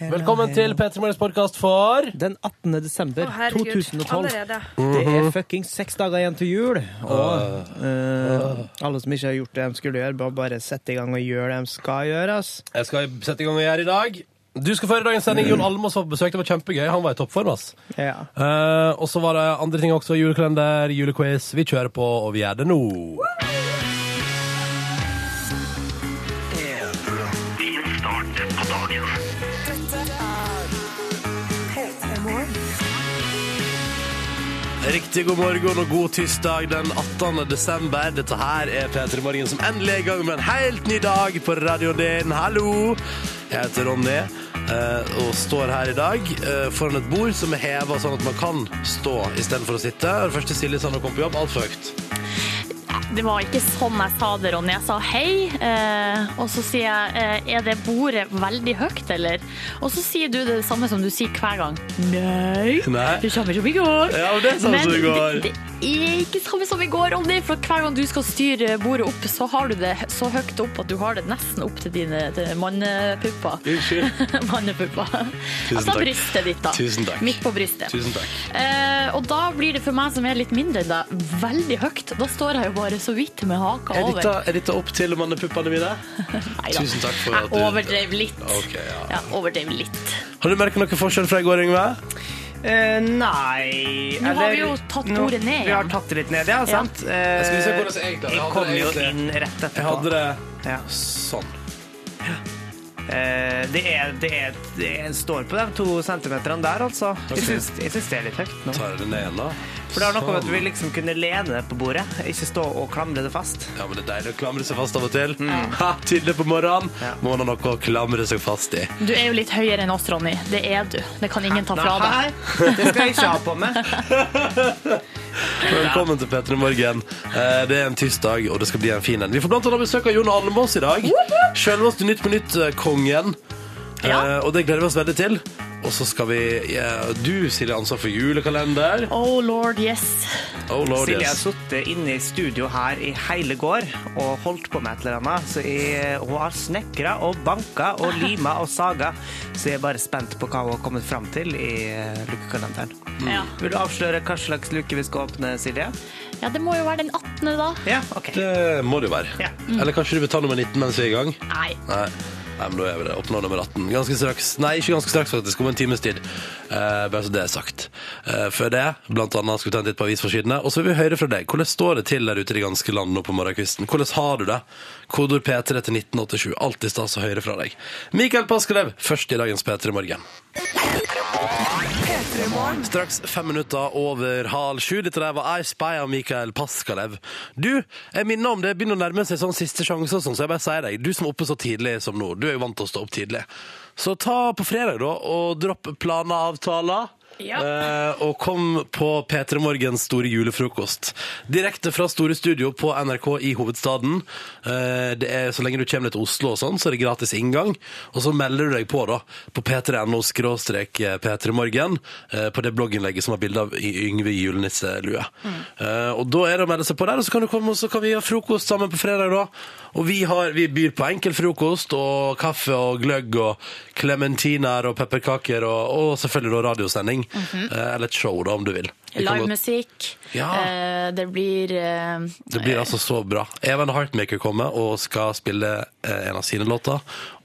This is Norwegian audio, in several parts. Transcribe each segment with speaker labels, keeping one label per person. Speaker 1: Velkommen til P3 Morgens podkast for
Speaker 2: Den 18. desember
Speaker 3: Å, herregud.
Speaker 2: 2012.
Speaker 3: Allerede.
Speaker 2: Det er fuckings seks dager igjen til jul. Og eh, alle som ikke har gjort det de skulle gjøre, bare, bare sette i gang og gjøre det de skal gjøre. ass.
Speaker 1: Jeg skal sette i gang og gjøre i dag. Du skal føre dagens sending. Jon Almaas var på besøk. Det var kjempegøy. Han var i toppform. ass.
Speaker 2: Ja.
Speaker 1: Eh, og så var det andre ting også. Julekalender, julequiz. Vi kjører på, og vi gjør det nå. Riktig god morgen og god tirsdag den 18. desember. Dette her er P3 Morgen som endelig er i gang med en helt ny dag på radioen din. Hallo! Jeg heter Ronny eh, og står her i dag eh, foran et bord som er heva sånn at man kan stå istedenfor å sitte. Og Det første Silje sa da hun kom på jobb, altfor høyt.
Speaker 4: Det var ikke sånn jeg sa det, Ronny. Jeg sa hei, eh, og så sier jeg eh, er det bordet veldig høyt, eller? Og så sier du det samme som du sier hver gang. Nei,
Speaker 1: Nei.
Speaker 4: det kommer som i går.
Speaker 1: Ja, men det er samme som i går.
Speaker 4: Det, det er ikke samme som i går, Ronny, for hver gang du skal styre bordet opp, så har du det så høyt opp at du har det nesten opp til dine til mannepupper.
Speaker 1: Unnskyld.
Speaker 4: mannepupper. Altså
Speaker 1: takk.
Speaker 4: brystet ditt, da.
Speaker 1: Tusen takk.
Speaker 4: Midt på brystet.
Speaker 1: Tusen takk.
Speaker 4: Eh, og da blir det for meg som er litt mindre enn deg, veldig høyt. Da står jeg jo bare så vidt med haka
Speaker 1: Er
Speaker 4: over.
Speaker 1: dette, er dette opp til mannepuppene mine?
Speaker 4: Neida.
Speaker 1: Tusen takk for at
Speaker 4: Jeg
Speaker 1: du
Speaker 4: overdrev litt.
Speaker 1: Ok, ja.
Speaker 4: Jeg overdrev litt.
Speaker 1: Har du merka noe forskjell fra i går, Yngve?
Speaker 2: Eh, nei
Speaker 4: Nå har vi jo tatt
Speaker 2: nå-
Speaker 4: bordet ned
Speaker 2: Vi har
Speaker 4: igjen.
Speaker 2: tatt det litt ned, ja. sant? Eh,
Speaker 1: Skal vi se hvordan jeg klarte det? Jeg hadde
Speaker 2: kom
Speaker 1: det
Speaker 2: jo
Speaker 1: egentlig-
Speaker 2: inn rett
Speaker 1: Jeg
Speaker 2: etterpå.
Speaker 1: hadde det
Speaker 2: Ja.
Speaker 1: sånn.
Speaker 2: Eh, det, er, det, er, det er- står på de to centimeterne der, altså. Jeg syns, jeg syns det er litt høyt nå.
Speaker 1: Tar jeg det ned igjen, da?
Speaker 2: For det er noe med at vi
Speaker 1: Sånn.
Speaker 2: liksom kunne lene det på bordet, ikke stå og klamre det fast.
Speaker 1: Ja, men Det er deilig å klamre seg fast av og til. Ha, Tidlig på morgenen
Speaker 2: Ja.
Speaker 1: må man ha noe å klamre seg fast i.
Speaker 4: Du er jo litt høyere enn oss, Ronny. Det er du. Det kan ingen ta fra deg.
Speaker 2: Nei, det skal jeg ikke ha på meg.
Speaker 1: Velkommen til P3 Morgen. Eh, Det er en tirsdag, og det skal bli en fin en. Vi får blant annet besøk av Jon Almaas i dag. Selveste Nytt på Nytt-kongen.
Speaker 4: Ja.
Speaker 1: Eh, Og det gleder vi oss veldig til. Og så skal vi ja, Du, Silje, har ansvar for julekalender.
Speaker 4: Oh lord, yes.
Speaker 1: Oh lord,
Speaker 2: Silje har
Speaker 1: yes.
Speaker 2: sittet inne i studio her i hele går og holdt på med et eller annet. Så jeg, hun har snekra og banka og lima og saga. Så jeg er bare spent på hva hun har kommet fram til i eh, lukekalenderen.
Speaker 1: Mm.
Speaker 4: Ja.
Speaker 2: Vil du avsløre hva slags luke vi skal åpne, Silje?
Speaker 4: ja, det må jo være den 18., da.
Speaker 2: Ja, OK.
Speaker 1: Det må det jo være.
Speaker 2: Ja.
Speaker 1: Eller kanskje du vil ta nummer 19 mens vi er i gang?
Speaker 4: Nei.
Speaker 1: Nei. Nei, men da er vi det. Oppnå nummer 18. Ganske straks. Nei, ikke ganske straks, faktisk. Om en times tid. Eh, bare så det er sagt. Eh, før det, blant annet, skal vi ta en titt på avisforsidene. Og så vil vi høre fra deg. Hvordan står det til der ute i det ganske land nå på morgenkvisten? Hvordan har du det? Kodord P3 til 1987. Alltid stas å høre fra deg. Mikael Paskelev, først i dagens P3 Morgen. Straks fem minutter over halv sju. Dette der var I Spy av Mikael Paskalev. Du, jeg minner om det begynner å nærme seg sånn siste sjanse og sånn, så jeg bare sier deg, du som er oppe så tidlig som nå, du er jo vant til å stå opp tidlig. Så ta på fredag, da, og dropp planer, avtaler.
Speaker 4: Ja.
Speaker 1: Eh, og kom på P3 Morgens store julefrokost. Direkte fra store studio på NRK i hovedstaden. Eh, det er, så lenge du kommer deg til Oslo, og sånn, så er det gratis inngang. Og så melder du deg på da, på p3.no skråstrek P3 Morgen, eh, på det blogginnlegget som har bilde av Y- Yngve i julenisselue. Eh, og da er det å melde seg på der, og så kan, du komme, og så kan vi ha frokost sammen på fredag. da. Og vi, har, vi byr på enkel frokost og kaffe og gløgg og klementiner og pepperkaker og, og selvfølgelig da radiosending. Eh, Eller et show, da, om du vil. Vi kan godt-
Speaker 4: Livemusikk.
Speaker 1: Ja.
Speaker 4: Eh, Det blir eh,
Speaker 1: Det blir altså så bra. Even Heartmaker kommer og skal spille eh, en av sine låter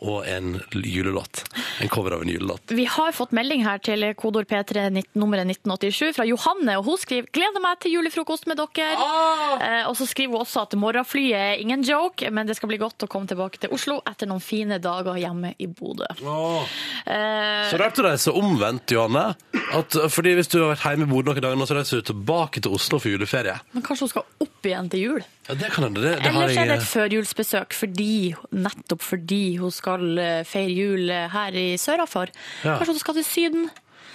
Speaker 1: og en julelåt. En cover av en julelåt.
Speaker 4: Vi har fått melding her til kodord P3 nitt- nummeret 1987 fra Johanne, og hun skriver 'Gleder meg til julefrokost med dere'.
Speaker 1: Ah!
Speaker 4: Eh, og så skriver hun også at morgenflyet er ingen joke, men det skal bli godt å komme tilbake til Oslo etter noen fine dager hjemme i Bodø. Eh,
Speaker 1: Så rart du reiser omvendt, Johanne. At, eh, fordi Hvis du har vært hjemme i Bodø noen dager, nå, så reiser du tilbake til Oslo for juleferie.
Speaker 4: men kanskje hun skal opp igjen til jul?
Speaker 1: Ja, det kan hende. Det, det har
Speaker 4: Ellers er
Speaker 1: jeg
Speaker 4: det et førjulsbesøk fordi, nettopp fordi hun skal eh, feire jul eh, her i sørafor.
Speaker 1: Ja.
Speaker 4: Kanskje hun skal til Syden?
Speaker 1: eh,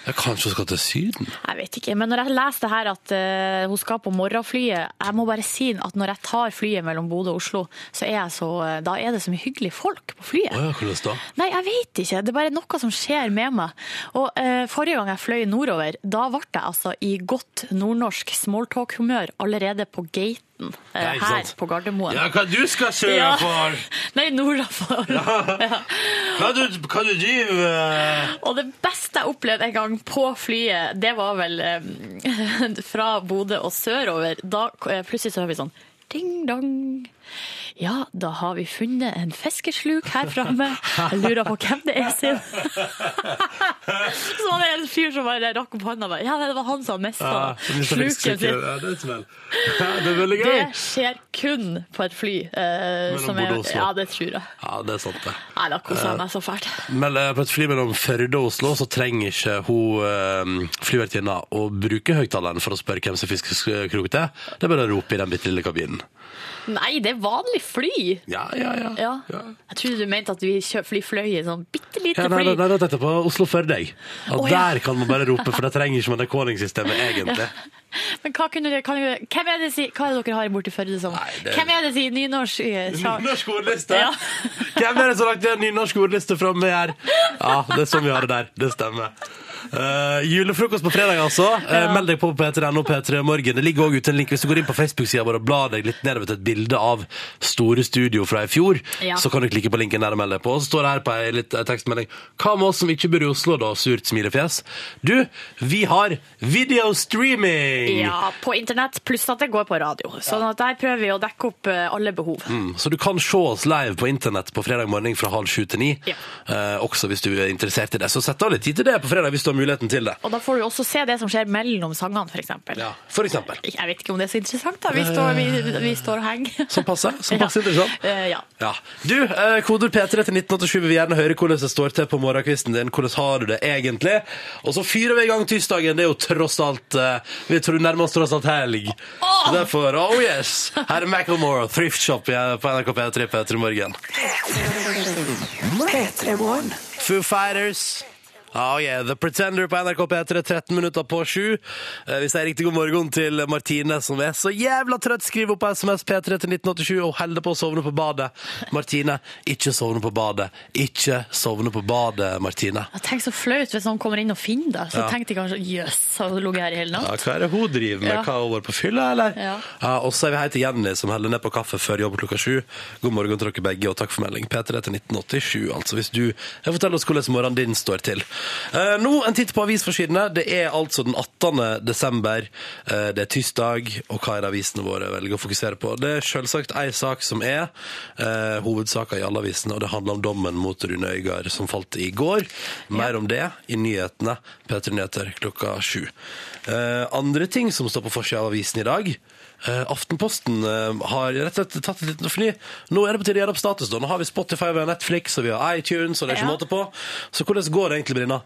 Speaker 1: Ja, Kanskje hun skal til Syden?
Speaker 4: Jeg vet ikke, men når jeg leser det her at eh, hun skal på morgenflyet, jeg må bare si at når jeg tar flyet mellom Bodø og Oslo, så er, jeg så, eh, da er det så mye hyggelige folk på flyet.
Speaker 1: Å ja, hvordan da?
Speaker 4: Nei, jeg vet ikke. Det er bare noe som skjer med meg. Og eh, Forrige gang jeg fløy nordover, da ble jeg altså i godt nordnorsk smalltalk-humør allerede på gaten eh,
Speaker 1: Ja, ikke
Speaker 4: her
Speaker 1: sant?
Speaker 4: på Gardermoen.
Speaker 1: Ja, hva du skal søke
Speaker 4: Ja.
Speaker 1: for?
Speaker 4: Nei, nordafor. Ja.
Speaker 1: Hva du, hva du driver med?
Speaker 4: det beste jeg opplevde en gang på flyet, det var vel eh, fra Bodø og sørover. Da eh, plutselig så hører vi sånn ding-dong. Ja, da har vi funnet en fiskesluk her framme. Jeg lurer på hvem det er sin. så var det en fyr som bare rakk opp hånda og bare Ja, det var han som
Speaker 1: Ah,
Speaker 4: mista sluken sin.
Speaker 1: Ja, det er smell. Ja, det er veldig gøy.
Speaker 4: Det skjer kun på et fly. eh,
Speaker 1: Mellom
Speaker 4: som
Speaker 1: Bodø
Speaker 4: er,
Speaker 1: og Oslo.
Speaker 4: ja, det tror jeg.
Speaker 1: Ja, det er sant, det.
Speaker 4: Nei, da koser jeg meg så fælt.
Speaker 1: Men eh, på et fly mellom Førde og Oslo så trenger ikke hun eh, flyvertinna å bruke høyttaleren for å spørre hvem som fisker sk- krok til. Det er bare å rope i den bitte lille kabinen.
Speaker 4: Nei, det er vanlig fly.
Speaker 1: Ja, ja, ja.
Speaker 4: Ja. Jeg trodde du mente at vi kjø- fly fløy i sånn bitte lite
Speaker 1: Ja, nei, nei,
Speaker 4: fly.
Speaker 1: nei, da tenkte jeg på Oslo-Førde. jeg. At
Speaker 4: Å, ja.
Speaker 1: der kan man bare rope, for da trenger ikke man det calling-systemet, egentlig.
Speaker 4: Men hva kunne dere, kan dere Hvem er det si, hva er det dere har borti Førde som
Speaker 1: Nei, det-
Speaker 4: Hvem er det sier nynorsk? eh, sa-
Speaker 1: Nynorsk ordliste!
Speaker 4: Ja.
Speaker 1: Hvem er det som har lagt en nynorsk ordliste framme her? Ja, det er sånn vi har det der. Det stemmer. Eh, julefrokost på fredag, altså. Eh,
Speaker 4: Ja.
Speaker 1: Meld deg på på P3NO P3 Morgen. Det ligger også ute en link hvis du går inn på Facebook-sida vår og blar deg litt nedover til et bilde av Store Studio fra i fjor.
Speaker 4: Ja.
Speaker 1: Så kan du klikke på linken der og melde deg på. Og så står det her på ei litt- ei tekstmelding Hva med oss som ikke bor i Oslo, da? Surt smilefjes. Du, vi har videostreaming!
Speaker 4: Ja, på internett, pluss at det går på radio. Sånn at der prøver vi å dekke opp eh, alle behov.
Speaker 1: Mm, Så du kan se oss live på internett på fredag morgen fra halv sju til ni.
Speaker 4: Ja.
Speaker 1: Eh, også hvis du er interessert i det. Så sett av litt tid til det på fredag hvis du har muligheten til det.
Speaker 4: Og da får du også se det som skjer mellom sangene, f.eks.
Speaker 1: Ja, for eksempel.
Speaker 4: Jeg vet ikke om det er så interessant, da. Vi står, vi, vi står og henger.
Speaker 1: Som passer. Som passer interessant.
Speaker 4: Eh, ja.
Speaker 1: Ja. Du, eh, koder P3 til 1987 vil vi gjerne høre hvordan det står til på morgenkvisten din. Hvordan har du det egentlig? Og så fyrer vi i gang tirsdagen. Det er jo tross alt eh, Vi tror nærmer oss tross alt helg. Så Derfor, oh yes! Her er Macclemore, Thrift Shop eh, på NRK P3 P3 Morgen. Foo Fighters. Oh yeah, The Pretender på NRK P3, 13 minutter på sju. Eh, Vi sier riktig god morgen til Martine, som er så jævla trøtt. Skriv opp på SMS P3 til 1987 og holder på å sovne på badet. Martine, ikke sovne på badet. Ikke sovne på badet, Martine.
Speaker 4: Jeg tenker så flaut hvis noen kommer inn og finner deg. Så tenkte jeg kanskje jøss, har du ligget her i hele natt?
Speaker 1: Ja, hva er det hun driver med?
Speaker 4: Ja.
Speaker 1: Hva har hun vært på fylla, eller?
Speaker 4: Ja.
Speaker 1: og så er vi hei til Jenny, som heller ned på kaffe før jobb klokka sju. God morgen til dere begge, og takk for melding. P3 til 1987, altså, hvis du jeg forteller oss hvordan morgenen din står til. Eh, nå en titt på avisforsidene. Det er altså den 18. desember. Eh, det er tirsdag, og hva er det avisene våre velger å fokusere på? Det er selvsagt ei sak som er uh, hovedsaka i alle avisene, og det handler om dommen mot Rune Øygard som falt i går. Mer om det i nyhetene P3 Nyheter klokka sju. Eh, andre ting som står på forsida av avisen i dag. eh, Aftenposten eh, har rett og slett tatt et liten fly. Nå er det på tide å gjøre opp status. da. Nå har vi Spotify, vi har Netflix og vi har iTunes. og det er ikke
Speaker 4: Ja.
Speaker 1: måte på. Så hvordan går det egentlig med denne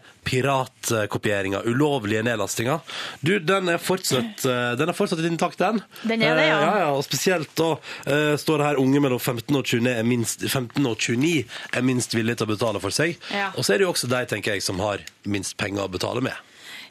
Speaker 1: piratkopieringa, ulovlige nedlastinga? Du, den er fortsatt, eh, den er fortsatt litt intakt, den.
Speaker 4: Den er det, ja.
Speaker 1: Eh, ja, ja og spesielt da eh, står det her unge mellom 15 og 29 er minst, 15 og 29 er minst villige til å betale for seg.
Speaker 4: Ja.
Speaker 1: Og så er det jo også de, tenker jeg, som har minst penger å betale med.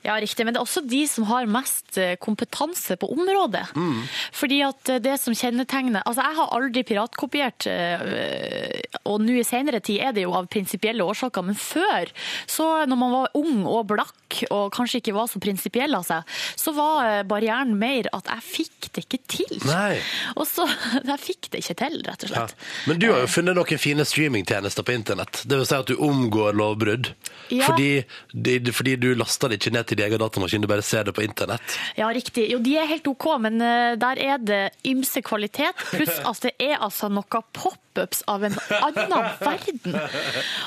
Speaker 4: Ja, riktig. Men det er også de som har mest eh, kompetanse på området.
Speaker 1: Mm.
Speaker 4: Fordi at eh, det som kjennetegner Altså, jeg har aldri piratkopiert, eh, og nå i senere tid er det jo av prinsipielle årsaker, men før, så når man var ung og blakk og kanskje ikke var så prinsipiell av seg, så var eh, barrieren mer at jeg fikk det ikke til.
Speaker 1: Nei.
Speaker 4: Og så Jeg fikk det ikke til, rett og
Speaker 1: Ja.
Speaker 4: slett.
Speaker 1: Men du har jo funnet noen fine streamingtjenester på internett. Det vil si at du omgår lovbrudd.
Speaker 4: Ja.
Speaker 1: Fordi, de- fordi du laster det ikke ned til din egen datamaskin, du bare ser det på internett.
Speaker 4: Ja, riktig. Jo, de er helt OK, men eh, der er det ymse kvalitet. Pluss at det er altså noe pop-ups av en annen verden.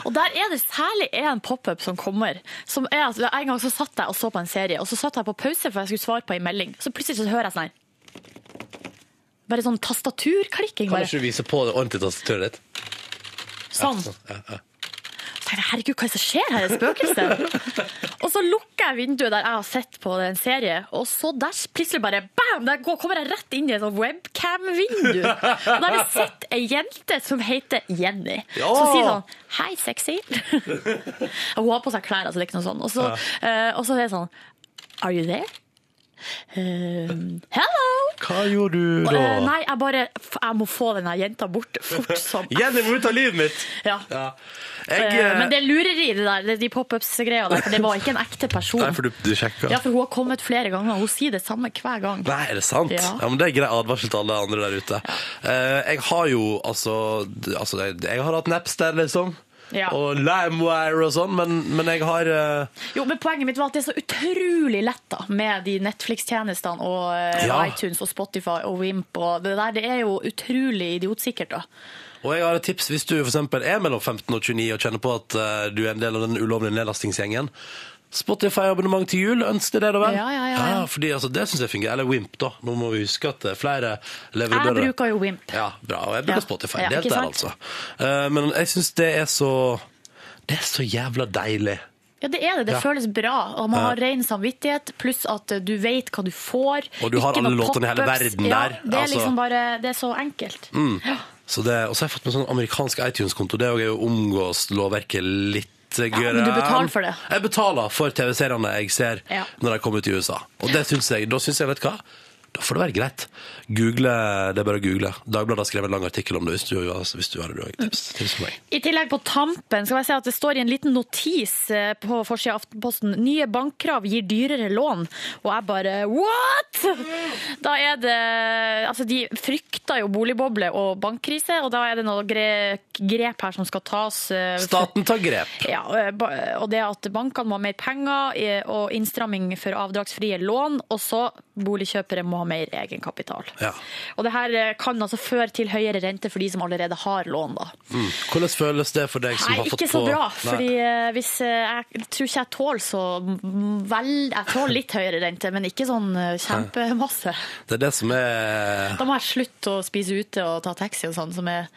Speaker 4: Og der er det særlig en pop-up som kommer. Som er, at- en gang så satt jeg og så på en serie, og så satt jeg på pause for jeg skulle svare på en melding. Så plutselig så hører jeg sånn her. Bare sånn tastaturklikking.
Speaker 1: Kan
Speaker 4: Bare.
Speaker 1: ikke du vise på det ordentlig tastaturet ditt?
Speaker 4: Sånn.
Speaker 1: Ja, ja.
Speaker 4: Så tenkte jeg, herregud, hva er det som skjer her? Er det spøkelse? og så lukker jeg vinduet der jeg har sett på en serie, og så der plutselig bare bam! Der går, kommer jeg rett inn i et sånt webcam-vindu. Og der har jeg sett ei jente som heter Jenny,
Speaker 1: Ja!
Speaker 4: som sier sånn Hei, sexy. Og Hun har på seg klær, altså, det er ikke noe sånn. Og så, eh, og så er det sånn Are you there? Um, hello!
Speaker 1: Hva gjorde du da?
Speaker 4: Eh, nei, jeg bare Jeg må få den her jenta bort fort som
Speaker 1: Jenny må ut av livet mitt!
Speaker 4: Ja.
Speaker 1: Ja. Jeg,
Speaker 4: Eh,
Speaker 1: eh,
Speaker 4: Men det er lureri, det der. det er De pop-ups-greia der. For det var ikke en ekte person.
Speaker 1: Nei, for du, du sjekker.
Speaker 4: Ja, for hun har kommet flere ganger. og Hun sier det samme hver gang.
Speaker 1: Nei, er det sant? Ja.
Speaker 4: Ja.
Speaker 1: men Det er grei advarsel til alle andre der ute. Eh, jeg har jo altså, d- altså jeg, jeg har hatt Napster, liksom.
Speaker 4: Ja.
Speaker 1: og LimeWire og sånn, men, men jeg har eh,
Speaker 4: Jo, men Poenget mitt var at det er så utrolig lett da, med de Netflix-tjenestene og eh,
Speaker 1: Ja.
Speaker 4: iTunes og Spotify og Wimp. og Det der det er jo utrolig idiotsikkert. da.
Speaker 1: Og jeg har et tips hvis du for eksempel er mellom 15 og 29 og kjenner på at eh, du er en del av den ulovlige nedlastingsgjengen. Spotify-abonnement til jul, ønsker dere det vel?
Speaker 4: Ja, ja, ja, ja.
Speaker 1: fordi altså, det synes jeg fungerer. Eller Wimp, da. Nå må vi huske at det er flere leverandører.
Speaker 4: Jeg bruker jo Wimp.
Speaker 1: Ja, bra. Og jeg bruker
Speaker 4: Ja.
Speaker 1: Spotify.
Speaker 4: Ja,
Speaker 1: det er
Speaker 4: ikke
Speaker 1: der,
Speaker 4: sant?
Speaker 1: altså. Eh, men jeg synes det er så Det er så jævla deilig.
Speaker 4: Ja, det er det. Det
Speaker 1: Ja.
Speaker 4: føles bra. Og man har ren samvittighet, pluss at eh, du vet hva du får.
Speaker 1: Og du har
Speaker 4: Ikke
Speaker 1: alle
Speaker 4: noe
Speaker 1: låtene i hele
Speaker 4: pop-ups.
Speaker 1: verden
Speaker 4: ja,
Speaker 1: der,
Speaker 4: Det er
Speaker 1: altså.
Speaker 4: liksom bare, det er så enkelt.
Speaker 1: Så det, og så har jeg fått meg sånn amerikansk iTunes-konto. Det er jo å omgås lovverket litt. Ja,
Speaker 4: men du betaler for det.
Speaker 1: Jeg betaler for TV-seriene jeg ser
Speaker 4: Ja.
Speaker 1: når de kommer ut i USA. Og det synes jeg, da syns jeg, vet du hva, da får det være greit. Google, det er bare å google. Dagbladet har skrevet en lang artikkel om det, hvis du, altså, hvis du har det. du har Tips, tips for meg.
Speaker 4: I tillegg på tampen skal jeg si at det står i en liten notis eh, på forsida av Aftenposten nye bankkrav gir dyrere lån. Og jeg bare what?! Da er det Altså, de frykter jo boligboble og bankkrise, og da er det noe gre grep her som skal tas. eh, for-
Speaker 1: Staten tar grep.
Speaker 4: Ja, eh, ba- og det at bankene må ha mer penger eh, og innstramming for avdragsfrie lån, og så boligkjøpere må ha mer egenkapital.
Speaker 1: Ja.
Speaker 4: Og det her eh, kan altså føre til høyere rente for de som allerede har lån, da.
Speaker 1: Mm. Hvordan føles det for deg som
Speaker 4: Nei,
Speaker 1: har fått
Speaker 4: ikke så
Speaker 1: på
Speaker 4: bra.
Speaker 1: Nei.
Speaker 4: fordi eh, hvis, eh, Jeg tror ikke jeg tåler så vel Jeg tåler litt høyere rente, men ikke sånn eh, kjempemasse.
Speaker 1: Det er det som er
Speaker 4: Da må jeg slutte å spise ute og ta taxi og sånn, som er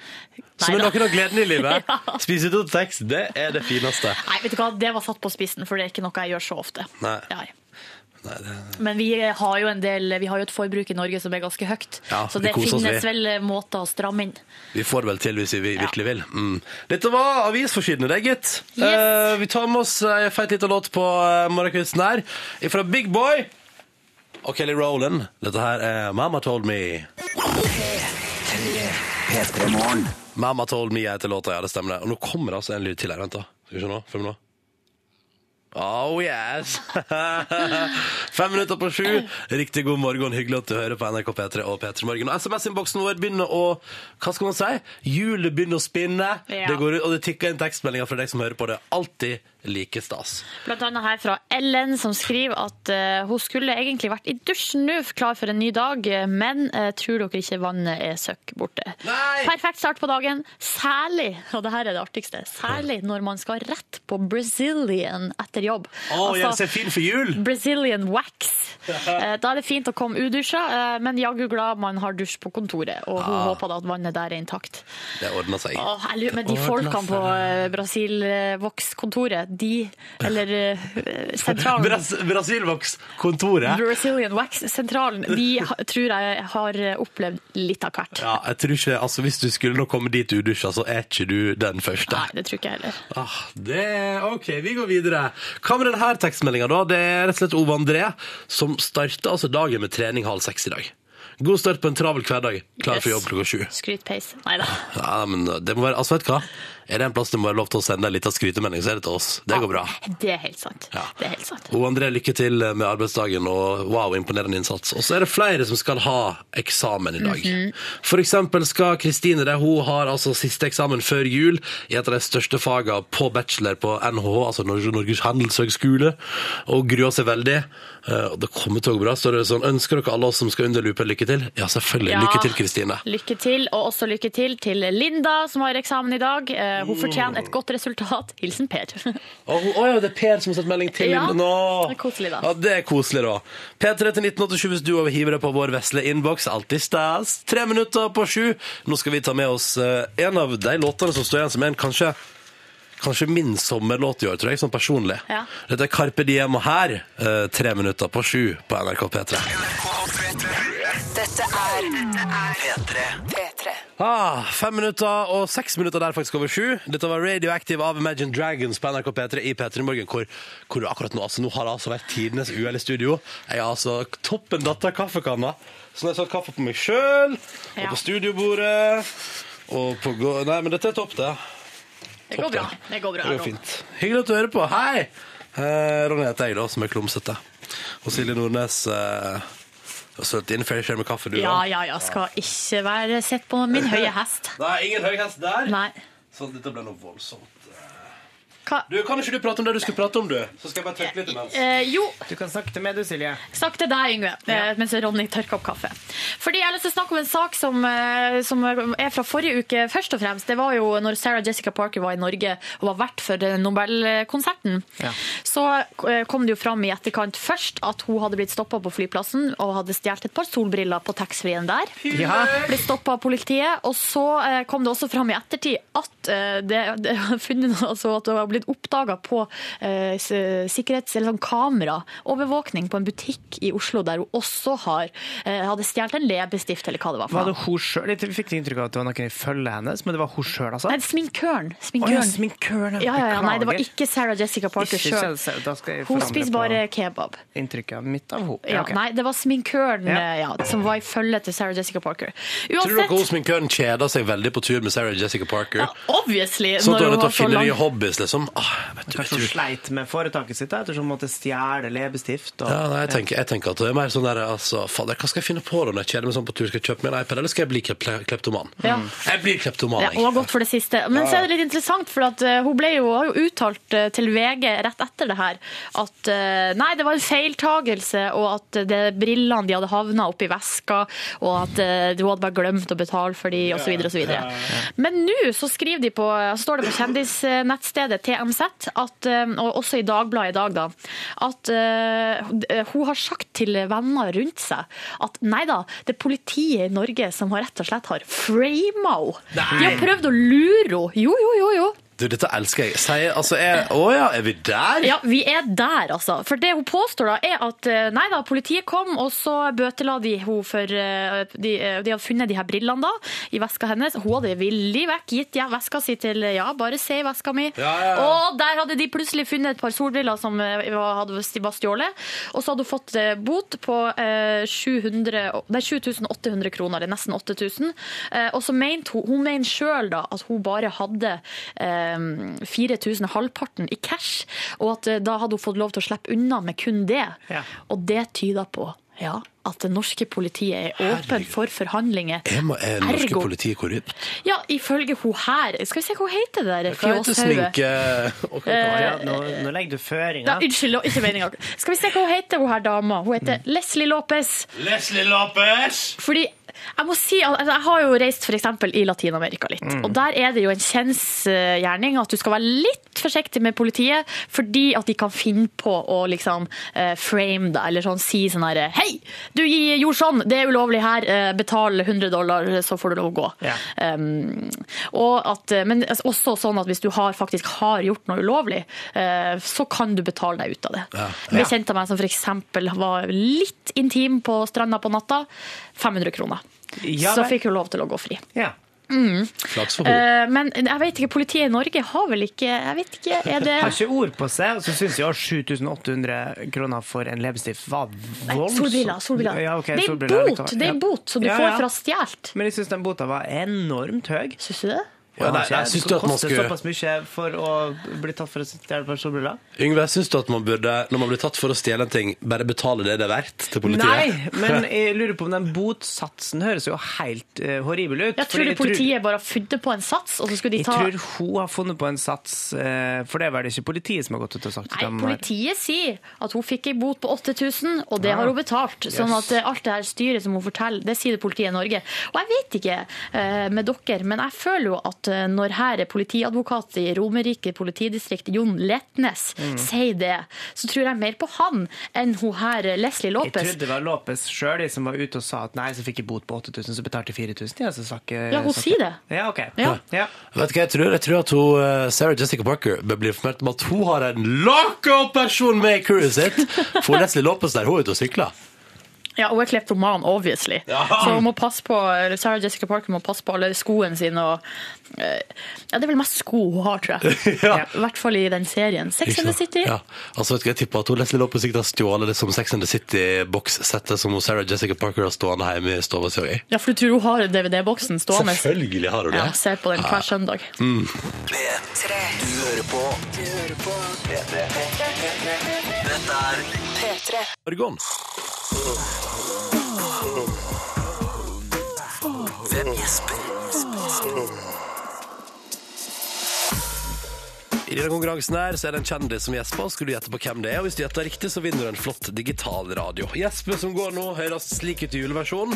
Speaker 1: Som er
Speaker 4: da.
Speaker 1: noen av gledene i livet.
Speaker 4: Ja.
Speaker 1: Spise ut tekst, det er det fineste.
Speaker 4: Nei, vet du hva, det var satt på spissen, for det er ikke noe jeg gjør så ofte.
Speaker 1: Nei. Nei, det...
Speaker 4: Men vi har jo en del, vi har jo et forbruk i Norge som er ganske høyt,
Speaker 1: Ja,
Speaker 4: så
Speaker 1: vi
Speaker 4: det
Speaker 1: koser oss,
Speaker 4: finnes
Speaker 1: vi.
Speaker 4: vel eh, måter å stramme inn.
Speaker 1: Vi får det vel til hvis vi vi- virkelig vil. Mm. Dette var avisforsidene, det, gitt.
Speaker 4: Yes.
Speaker 1: Eh, vi tar med oss ei feit lita låt på uh, morgenkvisten her. Fra Big Boy og Kelly Rowland. Dette her er Mama Told Me. Mama Told Me heter låta, ja, det stemmer det. Og nå kommer det altså en lyd til her. Vent, da. Skal vi se nå. Fem nå. Oh yes! Fem minutter på sju. Riktig god morgen. Hyggelig at du hører på NRK P3 og P3 Morgen. Og SMS-innboksen vår begynner å Hva skal man si? Hjulet begynner å spinne.
Speaker 4: Ja.
Speaker 1: Det går ut, og det tikker inn tekstmeldinger fra deg som hører på det. Alltid like stas.
Speaker 4: Blant annet her fra Ellen, som skriver at eh, hun skulle egentlig vært i dusjen nå, klar for en ny dag, eh, men eh, tror dere ikke vannet er søkk borte.
Speaker 1: Nei!
Speaker 4: Perfekt start på dagen, særlig, og det her er det artigste, særlig når man skal rett på Brazilian etter jobb.
Speaker 1: Å,
Speaker 4: Altså,
Speaker 1: gjør seg fin for jul!
Speaker 4: Brazilian wax. Eh, Da er det fint å komme udusja, eh, men jaggu glad man har dusj på kontoret. Og hun
Speaker 1: Ah.
Speaker 4: håper da at vannet der er intakt.
Speaker 1: Det ordner seg.
Speaker 4: Åh, jeg lurer, men de
Speaker 1: Det ordner
Speaker 4: folkene på eh, Brasil eh, Vox-kontoret, de Eller eh, sentralen.
Speaker 1: Bras Brasilvox-kontoret.
Speaker 4: Brazilian Wax-sentralen, de ha- tror jeg har opplevd litt av hvert.
Speaker 1: Ja, jeg tror ikke, altså Hvis du skulle nå komme dit udusja, så er ikke du den første.
Speaker 4: Nei, det tror ikke jeg heller.
Speaker 1: Ah, det, ok, vi går videre. Hva med denne tekstmeldingen da? Det er rett og slett Ove André, som starter altså dagen med trening halv seks i dag. God start på en travel hverdag. Klar for
Speaker 4: Yes.
Speaker 1: jobb klokka sju.
Speaker 4: Skrytpeis. Nei da.
Speaker 1: Ja, men det må være, altså vet du hva? Er det en plass det må være lov til å sende en liten skrytemelding, så er det til oss.
Speaker 4: Ah.
Speaker 1: Det går bra.
Speaker 4: Det er helt sant.
Speaker 1: Ja.
Speaker 4: Det er helt sant.
Speaker 1: Ove André, lykke til med arbeidsdagen, og wow, imponerende innsats. Og så er det flere som skal ha eksamen i dag. For eksempel skal Kristine det, hun har altså siste eksamen før jul i et av de største fagene på bachelor på NHH, altså Nor- Norges handelshøgskole, og gruer seg veldig. Eh, Og det kommer til å gå bra. Så det er sånn, ønsker dere alle oss som skal under lupen lykke til? Ja, selvfølgelig.
Speaker 4: Ja.
Speaker 1: Lykke til, Kristine.
Speaker 4: Lykke til, og også lykke til til Linda, som har eksamen i dag. Eh,
Speaker 1: Mm.
Speaker 4: Hun fortjener et godt resultat. Hilsen Per.
Speaker 1: Å å ja, det er Per som har sett melding til
Speaker 4: Ja,
Speaker 1: Linda. Nå.
Speaker 4: det er koselig da.
Speaker 1: Ja, det er koselig da. P3 til 1987 hvis du over hiver deg på vår vesle innboks. Alltid stas. Tre minutter på sju. Nå skal vi ta med oss eh, en av de låtene som står igjen som en kanskje Kanskje min sommerlåt i år, tror jeg, sånn personlig.
Speaker 4: Ja.
Speaker 1: Dette er Carpe Diem og her, eh, tre minutter på sju på NRK P3.
Speaker 3: Dette er P3. P3.
Speaker 1: Ah, fem minutter og seks minutter der faktisk over sju. Dette var Radioactive av Imagine Dragons på NRK P3 i P3 Morgen, hvor, hvor du akkurat nå, altså nå har det altså vært tidenes uhell i studio. Jeg har altså toppen datt av kaffekanna, så nå har jeg satt kaffe på meg sjøl, og
Speaker 4: Ja.
Speaker 1: på studiobordet, og på gå... Nei, men dette er topp, det.
Speaker 4: Det går bra. Det går bra.
Speaker 1: Det går fint. Hyggelig at du hører på. Hei! Eh, Ronny heter jeg, da, som er klumsete. Og Silje Nordnes eh, har sølt inn fair share med kaffe, du
Speaker 4: Ja,
Speaker 1: da.
Speaker 4: ja, ja. Skal ikke være sett på min høye hest.
Speaker 1: Nei, ingen høy hest der.
Speaker 4: Nei.
Speaker 1: Så dette ble noe voldsomt. eh,
Speaker 4: Hva?
Speaker 1: Du, Kan ikke du prate om det du skulle prate om, du? Så skal jeg bare tørke litt imens.
Speaker 4: Eh, jo,
Speaker 2: Du kan snakke til meg, du, Silje.
Speaker 4: Snakk til deg, Yngve, eh, mens Ronny tørker opp kaffe. Fordi Jeg har lyst til å snakke om en sak som, eh, som er fra forrige uke, først og fremst. Det var jo når Sarah Jessica Parker var i Norge og var vert for eh, Nobelkonserten.
Speaker 2: Ja.
Speaker 4: Så eh, kom det jo fram i etterkant først at hun hadde blitt stoppa på flyplassen og hadde stjålet et par solbriller på taxfree-en der.
Speaker 2: Ja.
Speaker 4: Ble stoppa av politiet. Og så eh, kom det også fram i ettertid at eh, det, det, har funnet, noe- altså at det var blitt oppdaga på eh, s- sikkerhets- eller sånn kameraovervåkning på en butikk i Oslo der hun også har, eh, hadde stjålet en leppestift eller hva det var. for
Speaker 2: Var det
Speaker 4: noe.
Speaker 2: hun selv? Jeg fikk inntrykk av at det var noen i følget hennes, men det var hun sjøl, altså?
Speaker 4: Nei, sminkøren.
Speaker 2: Å,
Speaker 4: sminkøren.
Speaker 2: ja, sminkøren.
Speaker 4: ja, ja, ja, nei, det var
Speaker 2: Beklager.
Speaker 4: ikke Sarah Jessica Parker
Speaker 2: Ikke
Speaker 4: sjøl.
Speaker 2: selv, da skal jeg
Speaker 4: Hun
Speaker 2: forandre
Speaker 4: spiser
Speaker 2: på
Speaker 4: bare kebab.
Speaker 2: Inntrykket mitt av henne.
Speaker 4: Ja,
Speaker 2: ok.
Speaker 4: Nei, det var sminkøren
Speaker 2: Ja.
Speaker 4: eh, ja, som var i følge til Sarah Jessica Parker.
Speaker 1: Tror dere
Speaker 4: Uansett,
Speaker 1: hun sminkøren kjeder seg veldig på tur med Sarah Jessica Parker?
Speaker 4: ja, obviously,
Speaker 1: Sånn at
Speaker 4: når
Speaker 1: hun er
Speaker 4: hun
Speaker 1: nødt til
Speaker 4: var
Speaker 1: å
Speaker 4: så
Speaker 1: finne
Speaker 4: lang.
Speaker 1: nye hobbies, liksom. Ah, vet du, vet
Speaker 2: Kanskje hun
Speaker 1: du.
Speaker 2: sleit med foretaket sitt da, ettersom hun måtte stjele leppestift. Og...
Speaker 1: Ja, nei, jeg, tenker, jeg tenker at det er mer sånn der altså, fader, Hva skal jeg finne på da når jeg kjeder meg sånn på tur? Skal jeg kjøpe meg en iPad, eller skal jeg bli klep- kleptoman?
Speaker 4: Ja.
Speaker 1: Jeg blir kleptoman,
Speaker 4: Ja,
Speaker 1: jeg.
Speaker 4: og har gått for det siste. Men så er det litt interessant, for at eh, hun ble jo, har jo uttalt eh, til VG rett etter det her at eh, nei, det var en feiltagelse, og at eh, det brillene de hadde havna oppi veska, og at eh, hun hadde bare glemt å betale for de, osv. osv. Men nå så skriver de på, så står det på kjendisnettstedet TMZ, at, eh, og også i Dagbladet i dag, da, at eh, hun har sagt til venner rundt seg at nei da, det er politiet i Norge som har rett og slett har frama henne. De har prøvd å lure henne. Jo, jo, jo. jo.
Speaker 1: Du, dette elsker jeg. Sier altså jeg Å ja, er vi der?
Speaker 4: Ja, Vi er der, altså. For det hun påstår, da, er at eh, nei da, politiet kom, og så bøtela de henne for eh, de, eh, de hadde funnet de her brillene da, i veska hennes. Hun hadde villig vekk gitt ja, veska si til eh, ja, bare se i veska mi.
Speaker 1: Ja, ja, ja.
Speaker 4: Og der hadde de plutselig funnet et par solbriller som eh, var- hadde var stjålet. Og så hadde hun fått eh, bot på eh, 700, og- nei, 7800 kroner, det er nesten 8000. Eh, Og så mente hun, hun mener sjøl da at hun bare hadde eh, 4000, halvparten, i cash. Og at eh, da hadde hun fått lov til å slippe unna med kun det.
Speaker 2: Ja.
Speaker 4: Og det tyder på ja, at det norske politiet er åpen for forhandlinger.
Speaker 1: Er, ma- er norske
Speaker 4: Ergo.
Speaker 1: politiet korrupt?
Speaker 4: Ja, ifølge hun her Skal vi se hva hun heter, det der
Speaker 1: Hva heter
Speaker 4: fjåshauget? Eh,
Speaker 1: sminke...
Speaker 2: Å, ja, nå, nå legger du
Speaker 4: Ja,
Speaker 2: føringer.
Speaker 4: unnskyld, det var ikke meninga. Skal vi se hva hun heter, hun her dama. Hun heter Leslie Lopez.
Speaker 1: Leslie Lopez!
Speaker 4: Fordi jeg må si at altså, jeg har jo reist f.eks. i Latin-Amerika litt. Og der er det jo en kjensgjerning at du skal være litt forsiktig med politiet, fordi at de kan finne på å liksom eh, frame deg, eller sånn si sånn herre Hei, du gi- gjorde sånn, det er ulovlig her, eh, betal 100 dollar, så får du lov å gå.
Speaker 2: Ja.
Speaker 4: Um, og at, men også sånn at hvis du har, faktisk har gjort noe ulovlig, eh, så kan du betale deg ut av det.
Speaker 1: Ja.
Speaker 4: Vi kjente meg som f.eks. var litt intim på stranda på natta. 500 kroner.
Speaker 2: Ja,
Speaker 4: så
Speaker 2: vel.
Speaker 4: fikk hun lov til å gå fri.
Speaker 2: Ja.
Speaker 1: Flaks for henne.
Speaker 4: Eh, men jeg vet ikke, politiet i Norge har vel ikke Jeg vet ikke, er det
Speaker 2: Har ikke ord på seg, og så syns jeg også 7800 kroner for en leppestift var voldsomt.
Speaker 4: Solbriller. solbriller.
Speaker 2: Ja, ok,
Speaker 4: det er
Speaker 2: solbriller
Speaker 4: bot
Speaker 2: likevel.
Speaker 4: det er
Speaker 2: Ja.
Speaker 4: bot som du
Speaker 2: Ja,
Speaker 4: får
Speaker 2: ja.
Speaker 4: fra stjålet.
Speaker 2: Men jeg syns den bota var enormt høy.
Speaker 4: Syns du det?
Speaker 1: Ja, nei,
Speaker 2: Kanskje
Speaker 1: nei, syns du at man
Speaker 2: koster
Speaker 1: skulle-
Speaker 2: såpass mye for å bli tatt for å stjele et par solbriller?
Speaker 1: Yngve, syns du at man burde, når man blir tatt for å stjele en ting, bare betale det det er verdt til politiet?
Speaker 2: Nei, men jeg lurer på om den botsatsen høres jo helt eh, horribel ut.
Speaker 4: Jeg
Speaker 2: fordi
Speaker 4: tror det politiet bare har funnet på en sats, og så skulle de
Speaker 2: Jeg
Speaker 4: ta
Speaker 2: tror hun har funnet på en sats, eh, for det er vel ikke politiet som har gått ut og sagt at
Speaker 4: Nei,
Speaker 2: de har-
Speaker 4: politiet sier at hun fikk en bot på 8000, og det har hun betalt. Sånn
Speaker 2: Yes.
Speaker 4: at eh, alt det her styret som hun forteller, det sier det politiet i Norge. Og jeg vet ikke eh, med dere, men jeg føler jo at eh, når her er politiadvokat i Romerike politidistrikt, Jon Letnes,
Speaker 1: Mm.
Speaker 4: sier det, så tror jeg mer på han enn hun her eh, Leslie
Speaker 2: Jeg
Speaker 4: Lopez.
Speaker 2: trodde det var Lopez sjøl som var ute og sa at nei, så fikk jeg bot på 8000, så betalte jeg 4000. Ja, så sa ikke-
Speaker 4: Ja, hun
Speaker 2: sa
Speaker 4: sier
Speaker 2: ikke-
Speaker 4: det.
Speaker 2: Ja, ok.
Speaker 4: Ja.
Speaker 2: Ja.
Speaker 1: Vet du hva jeg tror? Jeg tror at hun, eh, Sarah Jessica Parker bør bli informert om at hun har en lockout-person med i crewet sitt! For Leslie Lopez der, hun er ute og sykler.
Speaker 4: Ja, hun er kleptoman, obviously.
Speaker 1: Ja.
Speaker 4: Så hun må passe på, eller Sarah Jessica Parker må passe på alle skoene sine. Og, eh, ja, det er vel mest sko hun har, tror jeg.
Speaker 1: Ja.
Speaker 4: I hvert fall i den serien. Sex
Speaker 1: Ikke
Speaker 4: and the
Speaker 1: sant?
Speaker 4: City.
Speaker 1: Ja. Altså, vet du hva, jeg tipper at hun Leslie Lopez sikkert har stjålet det som Sex and the City-bokssettet som hun Sarah Jessica Parker har stående hjemme i stua si.
Speaker 4: Ja, for du tror hun har DVD-boksen stående?
Speaker 1: Selvfølgelig har hun det.
Speaker 4: Ja, ser på den hver søndag.
Speaker 3: P3. Du hører på. Du hører på. P3. Dette er P3.
Speaker 1: Argon.
Speaker 3: Hvem gjesper?
Speaker 1: I denne konkurransen her så er det en kjendis som gjesper. og Skulle du gjette på hvem det er, og hvis du gjetter riktig, så vinner du en flott digital radio. Gjespen som går nå, høres slik ut i juleversjonen.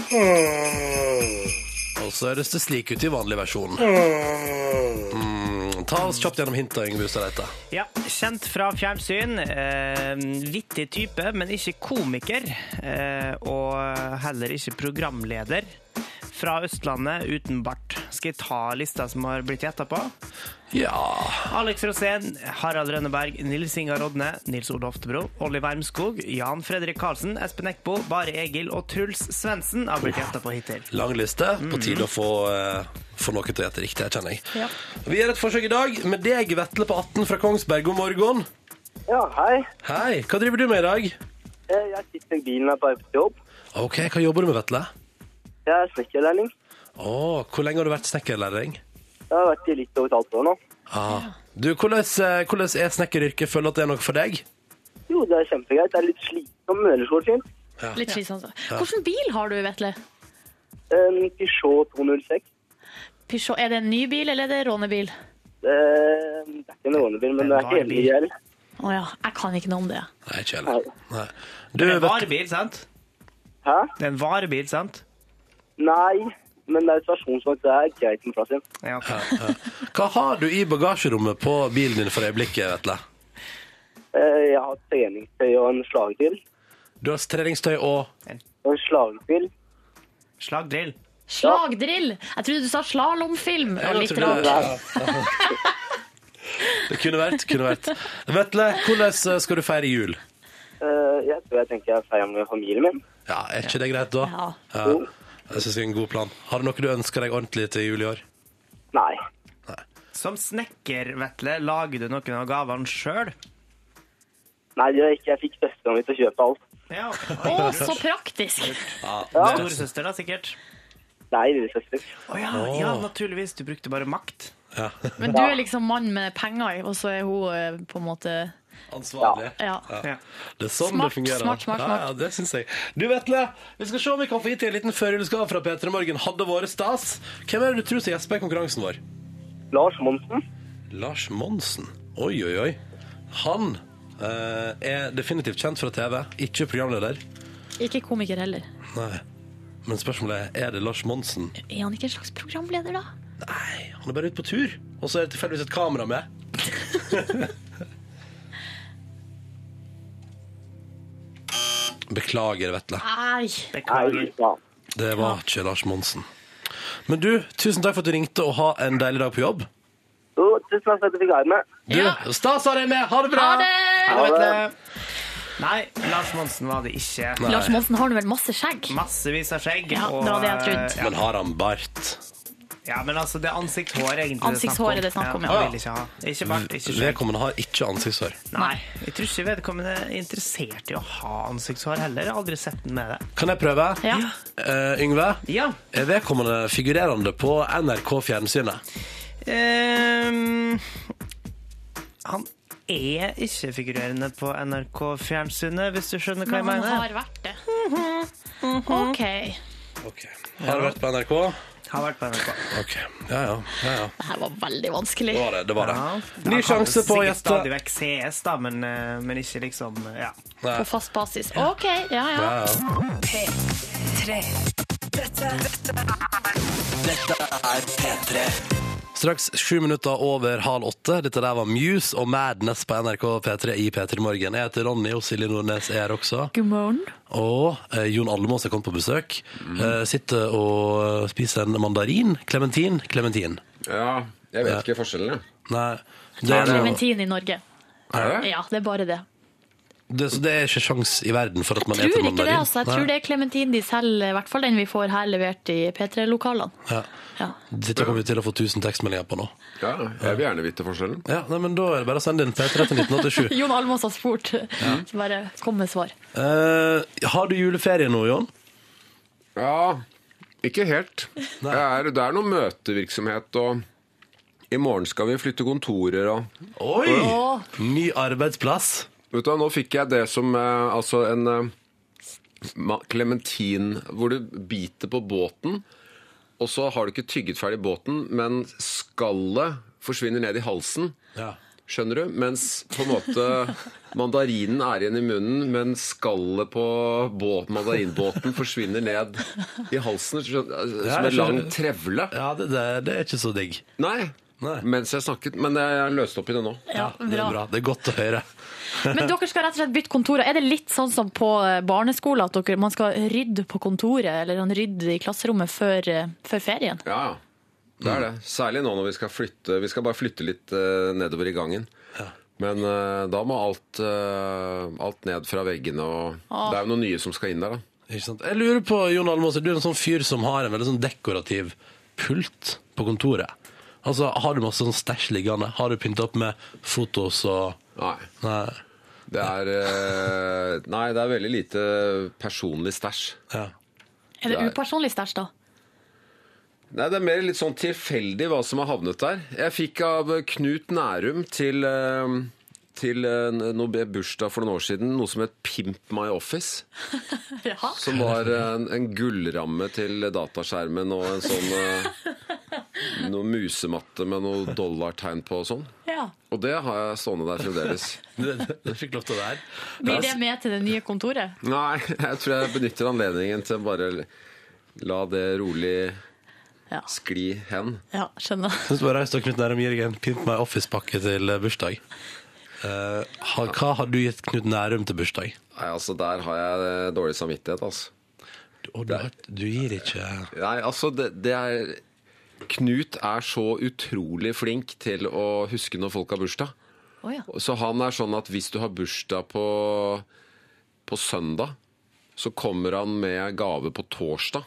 Speaker 1: Og så høres det slik ut i vanlig versjon. Mm, ta oss kjapt gjennom hinta, Yngve Ustadreite.
Speaker 5: Ja, kjent fra fjernsyn. Eh, vittig type, men ikke komiker. Eh, og heller ikke programleder. Fra Østlandet, uten bart. Skal jeg ta lista som har blitt gjetta på?
Speaker 1: Ja
Speaker 5: Alex Rosén, Harald Rønneberg, Nils Inga Rodne, Nils Ole Oftebro, Olli Wermskog, Jan Fredrik Karlsen, Espen Eckbo, Bare Egil og Truls Svendsen har blitt gjetta på hittil.
Speaker 1: Lang liste. På tide å få, eh, få noe til å gjette riktig, her, kjenner jeg.
Speaker 4: Ja.
Speaker 1: Vi gjør et forsøk i dag med deg, Vetle på 18 fra Kongsberg. God morgen.
Speaker 6: Ja, hei.
Speaker 1: Hei, hva driver du med i dag?
Speaker 6: Eh, Jeg sitter i bilen og er på vei på jobb.
Speaker 1: Ok, hva jobber du med, Vetle?
Speaker 6: Jeg er snekkerlærling.
Speaker 1: Å, hvor lenge har du vært snekkerlærling?
Speaker 6: Jeg har vært i litt over et halvt år nå.
Speaker 1: Ah. Du, hvordan, eh, hvordan er snekkeryrket? Føler du at det er noe for deg?
Speaker 6: Jo, det er kjempegreit. Det er litt slitsomt, men ellers går det fint.
Speaker 4: Litt altså. slitsomt. Hvilken bil har du, Vetle?
Speaker 6: En Ehm, Peugeot 206.
Speaker 4: Peugeot, er det en ny bil, eller er det rånebil?
Speaker 6: Eh, Det er ikke en rånebil, men det er
Speaker 5: Det er en varebil.
Speaker 6: helgjeld.
Speaker 4: Å ja, jeg kan ikke noe om det.
Speaker 1: Nei, ikke heller. Nei. Du,
Speaker 5: Det er en
Speaker 1: Vetle,
Speaker 5: varebil, sant?
Speaker 6: Hæ?
Speaker 5: Det er en varebil, sant?
Speaker 6: Nei, men det er et stasjonsvakt. Det er greit med plass igjen.
Speaker 5: Ja, ok.
Speaker 1: hva har du i bagasjerommet på bilen din for øyeblikket, Vetle?
Speaker 6: Eh, Jeg har treningstøy og en slagbil.
Speaker 1: Du har treningstøy og
Speaker 6: Og en slagbil.
Speaker 5: Slagdrill.
Speaker 4: Slagdrill! Jeg trodde du sa slalåmfilm.
Speaker 1: Ja,
Speaker 4: Og litt
Speaker 1: jeg tror
Speaker 4: rart.
Speaker 1: det. Det kunne vært, kunne vært. Vetle, hvordan eh, skal du feire jul?
Speaker 6: Eh, Jeg tror jeg tenker jeg feirer med familien min.
Speaker 1: Ja, Er ikke det greit, da?
Speaker 4: Ja.
Speaker 6: Jo.
Speaker 1: Jeg synes det er en god plan. Har du noe du ønsker deg ordentlig til jul i år?
Speaker 6: Nei.
Speaker 5: Som snekker, Vetle, lager du noen av gavene sjøl?
Speaker 6: Nei, det gjør jeg ikke. Jeg fikk søstera mi til å kjøpe alt.
Speaker 5: Ja.
Speaker 4: Å, så praktisk!
Speaker 5: Storesøster, da, sikkert.
Speaker 6: Nei, lillesøster.
Speaker 5: Å ja, ja, naturligvis. Du brukte bare makt.
Speaker 1: Ja.
Speaker 4: Men du er liksom mann med penger, og så er hun eh, på en måte
Speaker 1: Ansvarlig.
Speaker 4: Ja.
Speaker 5: Ja.
Speaker 1: Det er sånn
Speaker 4: Smart,
Speaker 1: det fungerer.
Speaker 4: smart, smart,
Speaker 1: Ja, ja, det synes jeg. Du, Vetle, vi skal se om vi kan få gitt deg en liten førjulsgave fra P3 Morgen. Hadde vært stas. Hvem er det du tror som gjesper i konkurransen vår?
Speaker 6: Lars Monsen.
Speaker 1: Lars Monsen. Oi, oi, oi. Han eh, er definitivt kjent fra TV, ikke programleder.
Speaker 4: Ikke komiker heller.
Speaker 1: Nei. Men spørsmålet er, er det Lars Monsen?
Speaker 4: Er han ikke en slags programleder, da?
Speaker 1: Nei, han er bare ute på tur. Og så er det tilfeldigvis et kamera med. Beklager, Vetle.
Speaker 4: Nei.
Speaker 6: Nei,
Speaker 5: Beklager.
Speaker 6: ja.
Speaker 1: Det var ikke Lars Monsen. Men du, tusen takk for at du ringte, og ha en deilig dag på jobb.
Speaker 6: Jo, tusen takk for at du fikk være med.
Speaker 1: Du,
Speaker 4: Ja.
Speaker 1: Stas har deg med! Ha det bra!
Speaker 4: Ha det!
Speaker 5: Hei, Vetle. Nei, Lars Monsen var det ikke.
Speaker 1: Nei.
Speaker 4: Lars Monsen har nå vel masse skjegg?
Speaker 5: Massevis av skjegg.
Speaker 4: Ja, det var det jeg trodde.
Speaker 1: Men har han bart?
Speaker 5: Ja, men altså, det er ansiktshår egentlig
Speaker 4: Ansiktshår er det snakk om, ja.
Speaker 5: ja. Han vil ikke ha. Ikke bart, ikke skjegg.
Speaker 1: Vedkommende har ikke ansiktshår.
Speaker 5: Nei, jeg tror ikke vedkommende er interessert i å ha ansiktshår heller. Jeg har aldri sett den med det.
Speaker 1: Kan jeg prøve?
Speaker 4: Ja.
Speaker 1: Eh, Yngve?
Speaker 5: Ja.
Speaker 1: Er vedkommende figurerende på NRK Fjernsynet?
Speaker 5: Ehm, han er ikke figurerende på NRK Fjernsynet, hvis du skjønner hva jeg
Speaker 4: Men han
Speaker 5: mener.
Speaker 4: har vært det. OK.
Speaker 1: Ok. Har du vært på NRK?
Speaker 5: Har vært på NRK.
Speaker 1: Ok. Ja, ja. ja, ja.
Speaker 4: Det her var veldig vanskelig.
Speaker 1: Det var det. det, var det.
Speaker 5: Ja.
Speaker 1: Ny sjanse på å
Speaker 5: Sikkert
Speaker 1: gjette.
Speaker 5: Stadig vekk CS, da, men, eh, men ikke liksom Ja.
Speaker 1: Nei.
Speaker 4: På fast basis. OK, ja ja.
Speaker 1: Ja, ja. Straks sju minutter over halv åtte. Dette der var Muse og Madness på NRK P3 i P3 Morgen. Jeg heter Ronny, og Silje Nordnes er her også.
Speaker 4: God morgen.
Speaker 1: Og eh, Jon Almaas er kommet på besøk. Eh, sitter og eh, spiser en mandarin. Klementin. Klementin.
Speaker 7: Ja, jeg vet ikke forskjellen, jeg.
Speaker 1: Nei. Det er, noe,
Speaker 4: Klementin i Norge.
Speaker 7: Er det?
Speaker 4: Ja, det er bare det.
Speaker 1: det, så det er ikke sjans i verden for at man
Speaker 4: Tror
Speaker 1: eter
Speaker 4: ikke det,
Speaker 1: mandarin.
Speaker 4: altså. Jeg tror det er klementin de selger, i hvert fall den vi får her levert i P3-lokalene.
Speaker 1: Ja.
Speaker 4: Ja.
Speaker 1: Dette kommer vi til å få 1000 tekstmeldinger på nå.
Speaker 7: Ja, jeg vil gjerne vite forskjellen.
Speaker 1: Ja, nei, men Da er det bare å sende inn P3 til 1987.
Speaker 4: Jon Almaas har spurt. Så bare kom med svar.
Speaker 1: Eh, har du juleferie nå, Jon?
Speaker 7: Ja, ikke helt. Det er, det er noe møtevirksomhet, og i morgen skal vi flytte kontorer og
Speaker 1: Oi! Ny arbeidsplass.
Speaker 7: Vet du hva, nå fikk jeg det som eh, altså en eh, klementin hvor du biter på båten, og så har du ikke tygget ferdig båten, men skallet forsvinner ned i halsen.
Speaker 1: Ja.
Speaker 7: Skjønner du? Mens på en måte mandarinen er igjen i munnen, men skallet på båt, mandarinbåten forsvinner ned i halsen skjønner,
Speaker 1: Ja,
Speaker 7: som
Speaker 1: jeg
Speaker 7: en lang
Speaker 1: skjønner.
Speaker 7: trevle.
Speaker 1: Ja, det, det, det er ikke så digg.
Speaker 7: Nei,
Speaker 1: Nei.
Speaker 7: mens jeg snakket, men jeg løste opp i det nå.
Speaker 4: Ja,
Speaker 1: Det er bra. Det er godt å høre.
Speaker 4: Men dere skal rett og slett bytte kontor. og Er det litt sånn som på eh, barneskolen, at dere, man skal rydde på kontoret eller sånn rydde i klasserommet før, eh, før ferien?
Speaker 7: Ja, ja. Det er det.
Speaker 1: Mm.
Speaker 7: Særlig nå når vi skal flytte. Vi skal bare flytte litt eh, nedover i gangen. Men eh, da må alt, eh, alt ned fra veggene, og det er jo noen nye som skal inn der, da.
Speaker 1: Ikke sant? Jeg lurer på, Jon Almaas, er du en sånn fyr som har en veldig sånn dekorativ pult på kontoret? Altså, Har du masse sånn stæsj liggende? Har du pynta opp med fotos og
Speaker 7: Nei.
Speaker 1: Nei.
Speaker 7: Det er eh, Nei, det er veldig lite personlig stæsj.
Speaker 1: Ja.
Speaker 4: Er det
Speaker 7: Nei.
Speaker 4: upersonlig stæsj, da?
Speaker 7: Nei, Det er mer litt sånn tilfeldig hva som har havnet der. Jeg fikk av Knut Nærum til, eh, til eh, noe be- bursdag for noen år siden noe som het Pimp my office.
Speaker 4: Ja.
Speaker 7: Som var eh, en, en gullramme til dataskjermen og en sånn eh, Noe musematte med noe dollartegn på og sånn.
Speaker 4: ja.
Speaker 7: Og det har jeg stående der fremdeles.
Speaker 1: Du fikk lov til å være her.
Speaker 4: Blir det med til det nye kontoret?
Speaker 7: Nei, jeg tror jeg benytter anledningen til å bare la det rolig
Speaker 4: Ja.
Speaker 7: skli hen.
Speaker 4: Ja, skjønner.
Speaker 1: Syns du var raust av Knut Nærum Jørgen. Pynt meg office-pakke til bursdag. Eh, ha, hva har du gitt Knut Nærum til bursdag?
Speaker 7: Nei, altså Der har jeg eh, dårlig samvittighet, altså.
Speaker 1: Du, å, du, har- du gir ikke
Speaker 7: Nei, altså det, det er Knut er så utrolig flink til å huske når folk har bursdag.
Speaker 4: Å ja.
Speaker 7: Så han er sånn at hvis du har bursdag på, på søndag, så kommer han med gave på torsdag.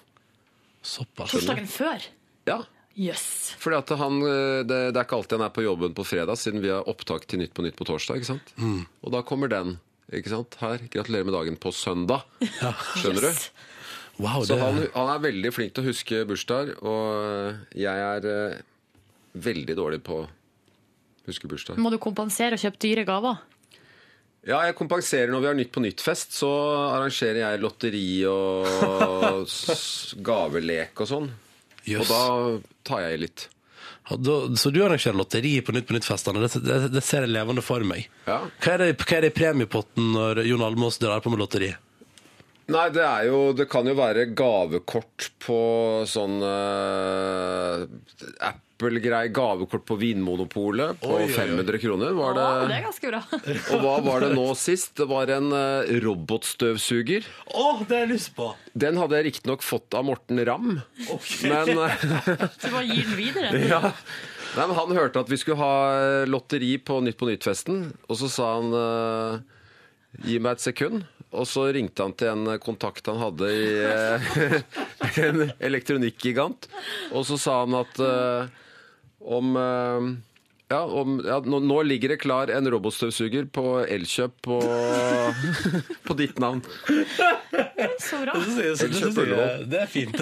Speaker 1: såpass.
Speaker 4: Torsdagen før?
Speaker 7: Ja,
Speaker 4: Jøss.
Speaker 7: fordi at han, eh, det, det er ikke alltid han er på jobben på fredag, siden vi har opptak til Nytt på Nytt på torsdag. ikke sant? Og da kommer den. ikke sant? Her, Gratulerer med dagen på søndag. Skjønner du?
Speaker 4: Yes.
Speaker 1: Wow,
Speaker 7: Så
Speaker 1: det,
Speaker 7: han, han er veldig flink til å huske bursdager, og jeg er eh, veldig dårlig på å huske bursdag.
Speaker 4: Må du kompensere og kjøpe dyre gaver?
Speaker 7: Ja, jeg kompenserer når vi har Nytt på nytt-fest. Så arrangerer jeg lotteri og s- gavelek og sånn.
Speaker 1: Jøss.
Speaker 7: Og da tar jeg i litt.
Speaker 1: Ja, da- Så du arrangerer lotteri på Nytt på Nytt-festene. Det, det, det ser jeg levende for meg.
Speaker 7: Ja.
Speaker 1: Hva, er det, hva er det i premiepotten når Jon Almaas drar på med lotteri?
Speaker 7: Nei, det er jo Det kan jo være gavekort på sånn eh, Apple-grei. Gavekort på Vinmonopolet på
Speaker 1: Oi, oi, oi.
Speaker 7: 500 kroner,
Speaker 4: Å,
Speaker 7: var det.
Speaker 4: det er ganske bra.
Speaker 7: Og hva var det nå sist? Det var en eh, robotstøvsuger.
Speaker 1: Å, det har jeg lyst på!
Speaker 7: Den hadde jeg riktignok fått av Morten Ramm, men, eh,
Speaker 4: Du bare gir den videre.
Speaker 7: ja. Nei, men han hørte at vi skulle ha eh, lotteri på Nytt på Nytt-festen, og så sa han eh, gi meg et sekund. Og så ringte han til en kontakt han hadde i eh, en elektronikkgigant, og så sa han at eh, om eh, ja, om, ja, nå, nå ligger det klar en robotstøvsuger på Elkjøp på, på ditt navn.
Speaker 4: Så bra.
Speaker 1: Det synes jeg- det synes jeg- det er fint.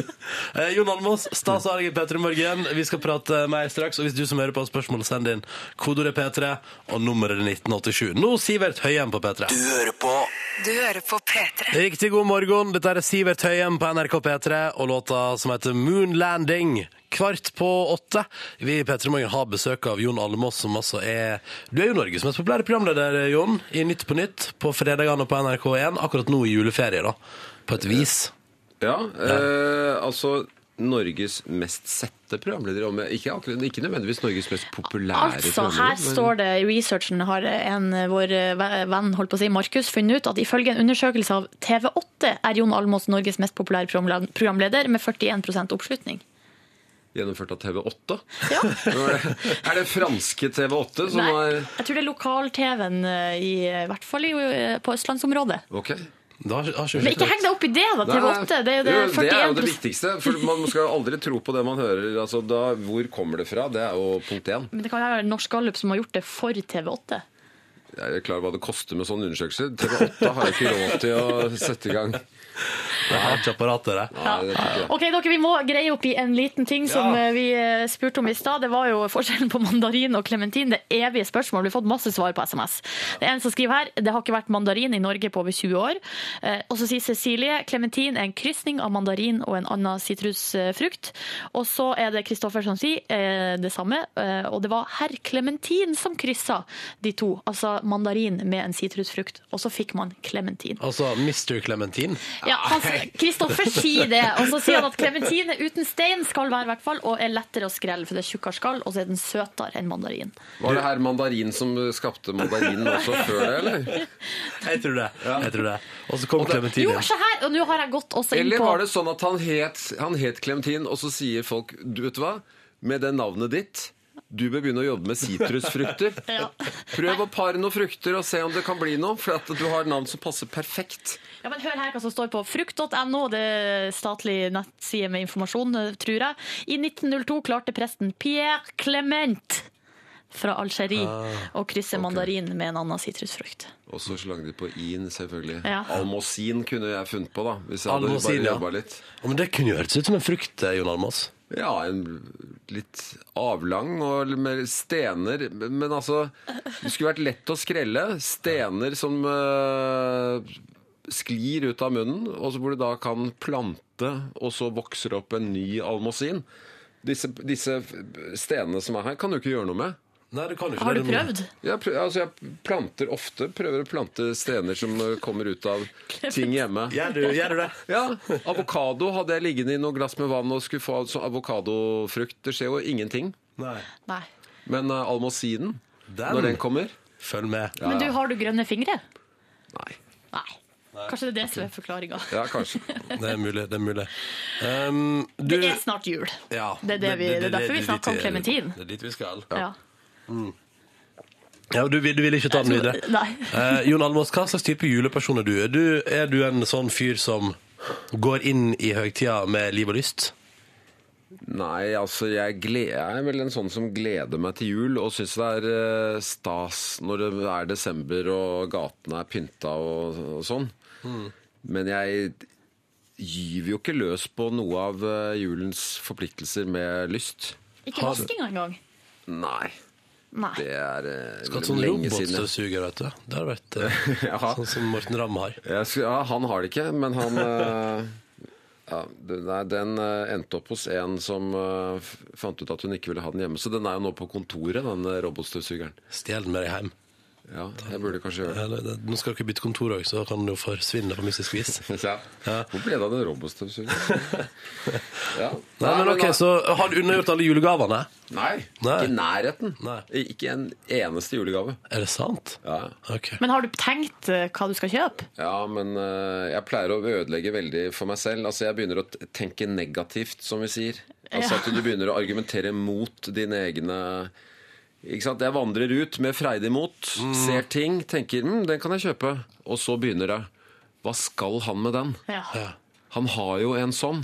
Speaker 1: Eh, Jon Almaas, stas å ha deg i P3 Morgen. Vi skal prate mer straks. Og hvis du som hører på har spørsmål, send inn kodeordet P3 og nummeret er 1987. Nå Sivert Høyem på P3.
Speaker 3: Du hører på
Speaker 8: Du hører på P3.
Speaker 1: Riktig god morgen. Dette er Sivert Høyem på NRK P3 og låta som heter Moon Landing. Kvart på åtte. Vi i P3 Morgen har besøk av Jon Almaas, som altså er Du er jo Norges mest populære programleder, Jon, i Nytt på Nytt på fredagene på NRK1. Akkurat nå i juleferie, da. På et vis.
Speaker 7: Ja, eh, altså Norges mest sette programleder. om jeg- Ikke, akkurat, ikke nødvendigvis Norges mest populære
Speaker 4: Altså, her
Speaker 7: programleder. men-
Speaker 4: står det i researchen, har en eh, vår eh, venn holdt på å si, Markus, funnet ut at ifølge en undersøkelse av TV8 er Jon Almaas Norges mest populære programla- programleder med 41 oppslutning.
Speaker 7: Gjennomført av TV8.
Speaker 4: Ja.
Speaker 7: er det franske TV8 som
Speaker 4: Nei,
Speaker 7: har
Speaker 4: jeg tror det er lokal-TV-en, eh, i eh, hvert fall i, eh, på østlandsområdet.
Speaker 7: Ok.
Speaker 1: Da har, har
Speaker 4: Men ikke heng deg opp i det, da, TV8. Det, er jo det,
Speaker 7: jo, det er jo
Speaker 4: 41
Speaker 7: det viktigste. For man skal aldri tro på det man hører. Altså, da, hvor kommer det fra? Det er jo punkt én.
Speaker 4: Men det kan være Norsk Gallup som har gjort det for TV8.
Speaker 7: sånn Jeg er klar over hva det koster med sånne undersøkelser. TV8 har jo ikke råd til å sette i gang.
Speaker 1: Det har ikke apparat til det.
Speaker 7: Nei, det tror jeg ikke.
Speaker 4: Ok, dere, Vi må greie opp i en liten ting som eh, vi eh, spurte om i stad. Det var jo forskjellen på mandarin og klementin. Det evige spørsmålet. Vi har fått masse svar på SMS. Det er en som skriver her det har ikke vært mandarin i Norge på over 20 år. Eh, Og så sier Cecilie klementin er en krysning av mandarin og en annen sitrusfrukt. Og så er det Kristoffer som sier eh, det samme. eh, Og det var herr klementin som kryssa de to. Altså mandarin med en sitrusfrukt. Og så fikk man klementin.
Speaker 1: Altså Mr. Clementine.
Speaker 4: Ja, han- Kristoffer sier det, og så sier han at klementine uten stein skal være i hvert fall, og er lettere å skrelle, for det er tjukkere skall, og så er den søtere enn mandarin.
Speaker 7: Var det her mandarin som skapte mandarinen også før det, eller?
Speaker 1: Jeg tror det. Jeg tror det. Og så kom Clementine
Speaker 4: Jo,
Speaker 1: inn.
Speaker 4: se her, og nå har jeg gått også inn
Speaker 7: Eller
Speaker 4: på
Speaker 7: var det sånn at han het, han het Clementin, og så sier folk du vet du hva, med det navnet ditt du bør begynne å jobbe med sitrusfrukter.
Speaker 4: Ja.
Speaker 7: Prøv å pare noen frukter og se om det kan bli noe, for at du har navn som passer perfekt.
Speaker 4: Ja, men Hør her hva som står på frukt.no, det er statlig nettside med informasjon, eh, tror jeg. I 1902 klarte presten Pierre Clement fra Algerie å krysse mandarin med en annen sitrusfrukt.
Speaker 7: Og så slang de på in, selvfølgelig.
Speaker 4: Ja.
Speaker 7: Almosin kunne jeg funnet på, da. Hvis jeg hadde
Speaker 1: Almosin,
Speaker 7: bare
Speaker 1: ja.
Speaker 7: jobba litt.
Speaker 1: Ja, men det kunne jo hørtes ut som en frukt, eh, Jon Almaas.
Speaker 7: Ja, en litt avlang og med stener Men altså, det skulle vært lett å skrelle. Stener som eh, sklir ut av munnen, og så hvor du da kan plante, og så vokser det opp en ny almosin. Disse, disse stenene som er her, kan du ikke gjøre noe med.
Speaker 1: Nei, du kan jo ikke
Speaker 4: Har
Speaker 1: det,
Speaker 4: du
Speaker 1: må-
Speaker 4: prøvd?
Speaker 7: Jeg, prø- altså jeg planter ofte, prøver å plante stener som eh, kommer ut av ting hjemme.
Speaker 1: Gjør du, gjør du det?
Speaker 7: Ja, avokado hadde jeg liggende i noe glass med vann og skulle få altså avokadofrukt. Det skjer jo ingenting.
Speaker 1: Nei.
Speaker 4: Nei.
Speaker 7: Men uh, almosinen,
Speaker 1: Den.
Speaker 7: når den kommer
Speaker 1: Følg med.
Speaker 4: Men du, har du grønne fingre?
Speaker 7: Nei.
Speaker 4: Nei. Kanskje det er det som er forklaringa.
Speaker 7: Ja, kanskje.
Speaker 1: Det er mulig. Det er mulig. Um, du,
Speaker 4: Det er snart jul.
Speaker 1: ja,
Speaker 4: Det er, det vi, det er derfor vi
Speaker 1: dit
Speaker 4: snakker om
Speaker 1: vi-
Speaker 4: klementin.
Speaker 1: Det er dit vi skal.
Speaker 4: Ja.
Speaker 1: Ja, og du, vil- du vil ikke ta den videre?
Speaker 4: Nei.
Speaker 1: Eh, Jon Almaas, hva slags type juleperson er du? er du? Er du en sånn fyr som går inn i høytida med liv og lyst?
Speaker 7: Nei, altså jeg, gled, jeg er vel en sånn som gleder meg til jul og syns det er eh, stas når det er desember og gatene er pynta og, og sånn. Men jeg gyver jo ikke løs på noe av eh, julens forpliktelser med lyst.
Speaker 4: Ikke vaskinga engang.
Speaker 7: Nei,
Speaker 4: Nei.
Speaker 7: det er eh,
Speaker 1: Skal ha sånn
Speaker 7: lenge siden.
Speaker 1: robotstøvsuger, vet du. Det har vært eh,
Speaker 7: Ja.
Speaker 1: sånn som Morten Ramm har.
Speaker 7: Jeg skulle, ja, han har det ikke, men han eh, ja, den, nei, den eh, endte opp hos en som eh, f- fant ut at hun ikke ville ha den hjemme. Så den er jo nå på kontoret, den eh, robotstøvsugeren.
Speaker 1: Stjel den med deg hjem.
Speaker 7: Ja, jeg burde kanskje gjøre det.
Speaker 1: Eller, det- Nå skal dere bytte kontor òg, så kan den jo forsvinne på mystisk vis.
Speaker 7: Ja. Hvor ble det av den robotstøvsugeren? ja.
Speaker 1: Nei, men ok, Så har du unnagjort alle julegavene?
Speaker 7: nei,
Speaker 1: Nei.
Speaker 7: ikke i nærheten.
Speaker 1: Nei.
Speaker 7: Ikke en eneste julegave.
Speaker 1: Er det sant?
Speaker 7: Ja,
Speaker 1: Ok.
Speaker 4: Men har du tenkt eh, hva du skal kjøpe?
Speaker 7: ja men eh, jeg pleier å ødelegge veldig for meg selv. Altså, Jeg begynner å t- tenke negativt, som vi sier. Altså
Speaker 4: Ja.
Speaker 7: At du begynner å argumentere mot dine egne ikke sant? Jeg vandrer ut med freidig mot, ser ting, tenker mm, 'den kan jeg kjøpe', og så begynner det. Hva skal han med den?
Speaker 4: Ja.
Speaker 1: Ja.
Speaker 7: Han har jo en sånn.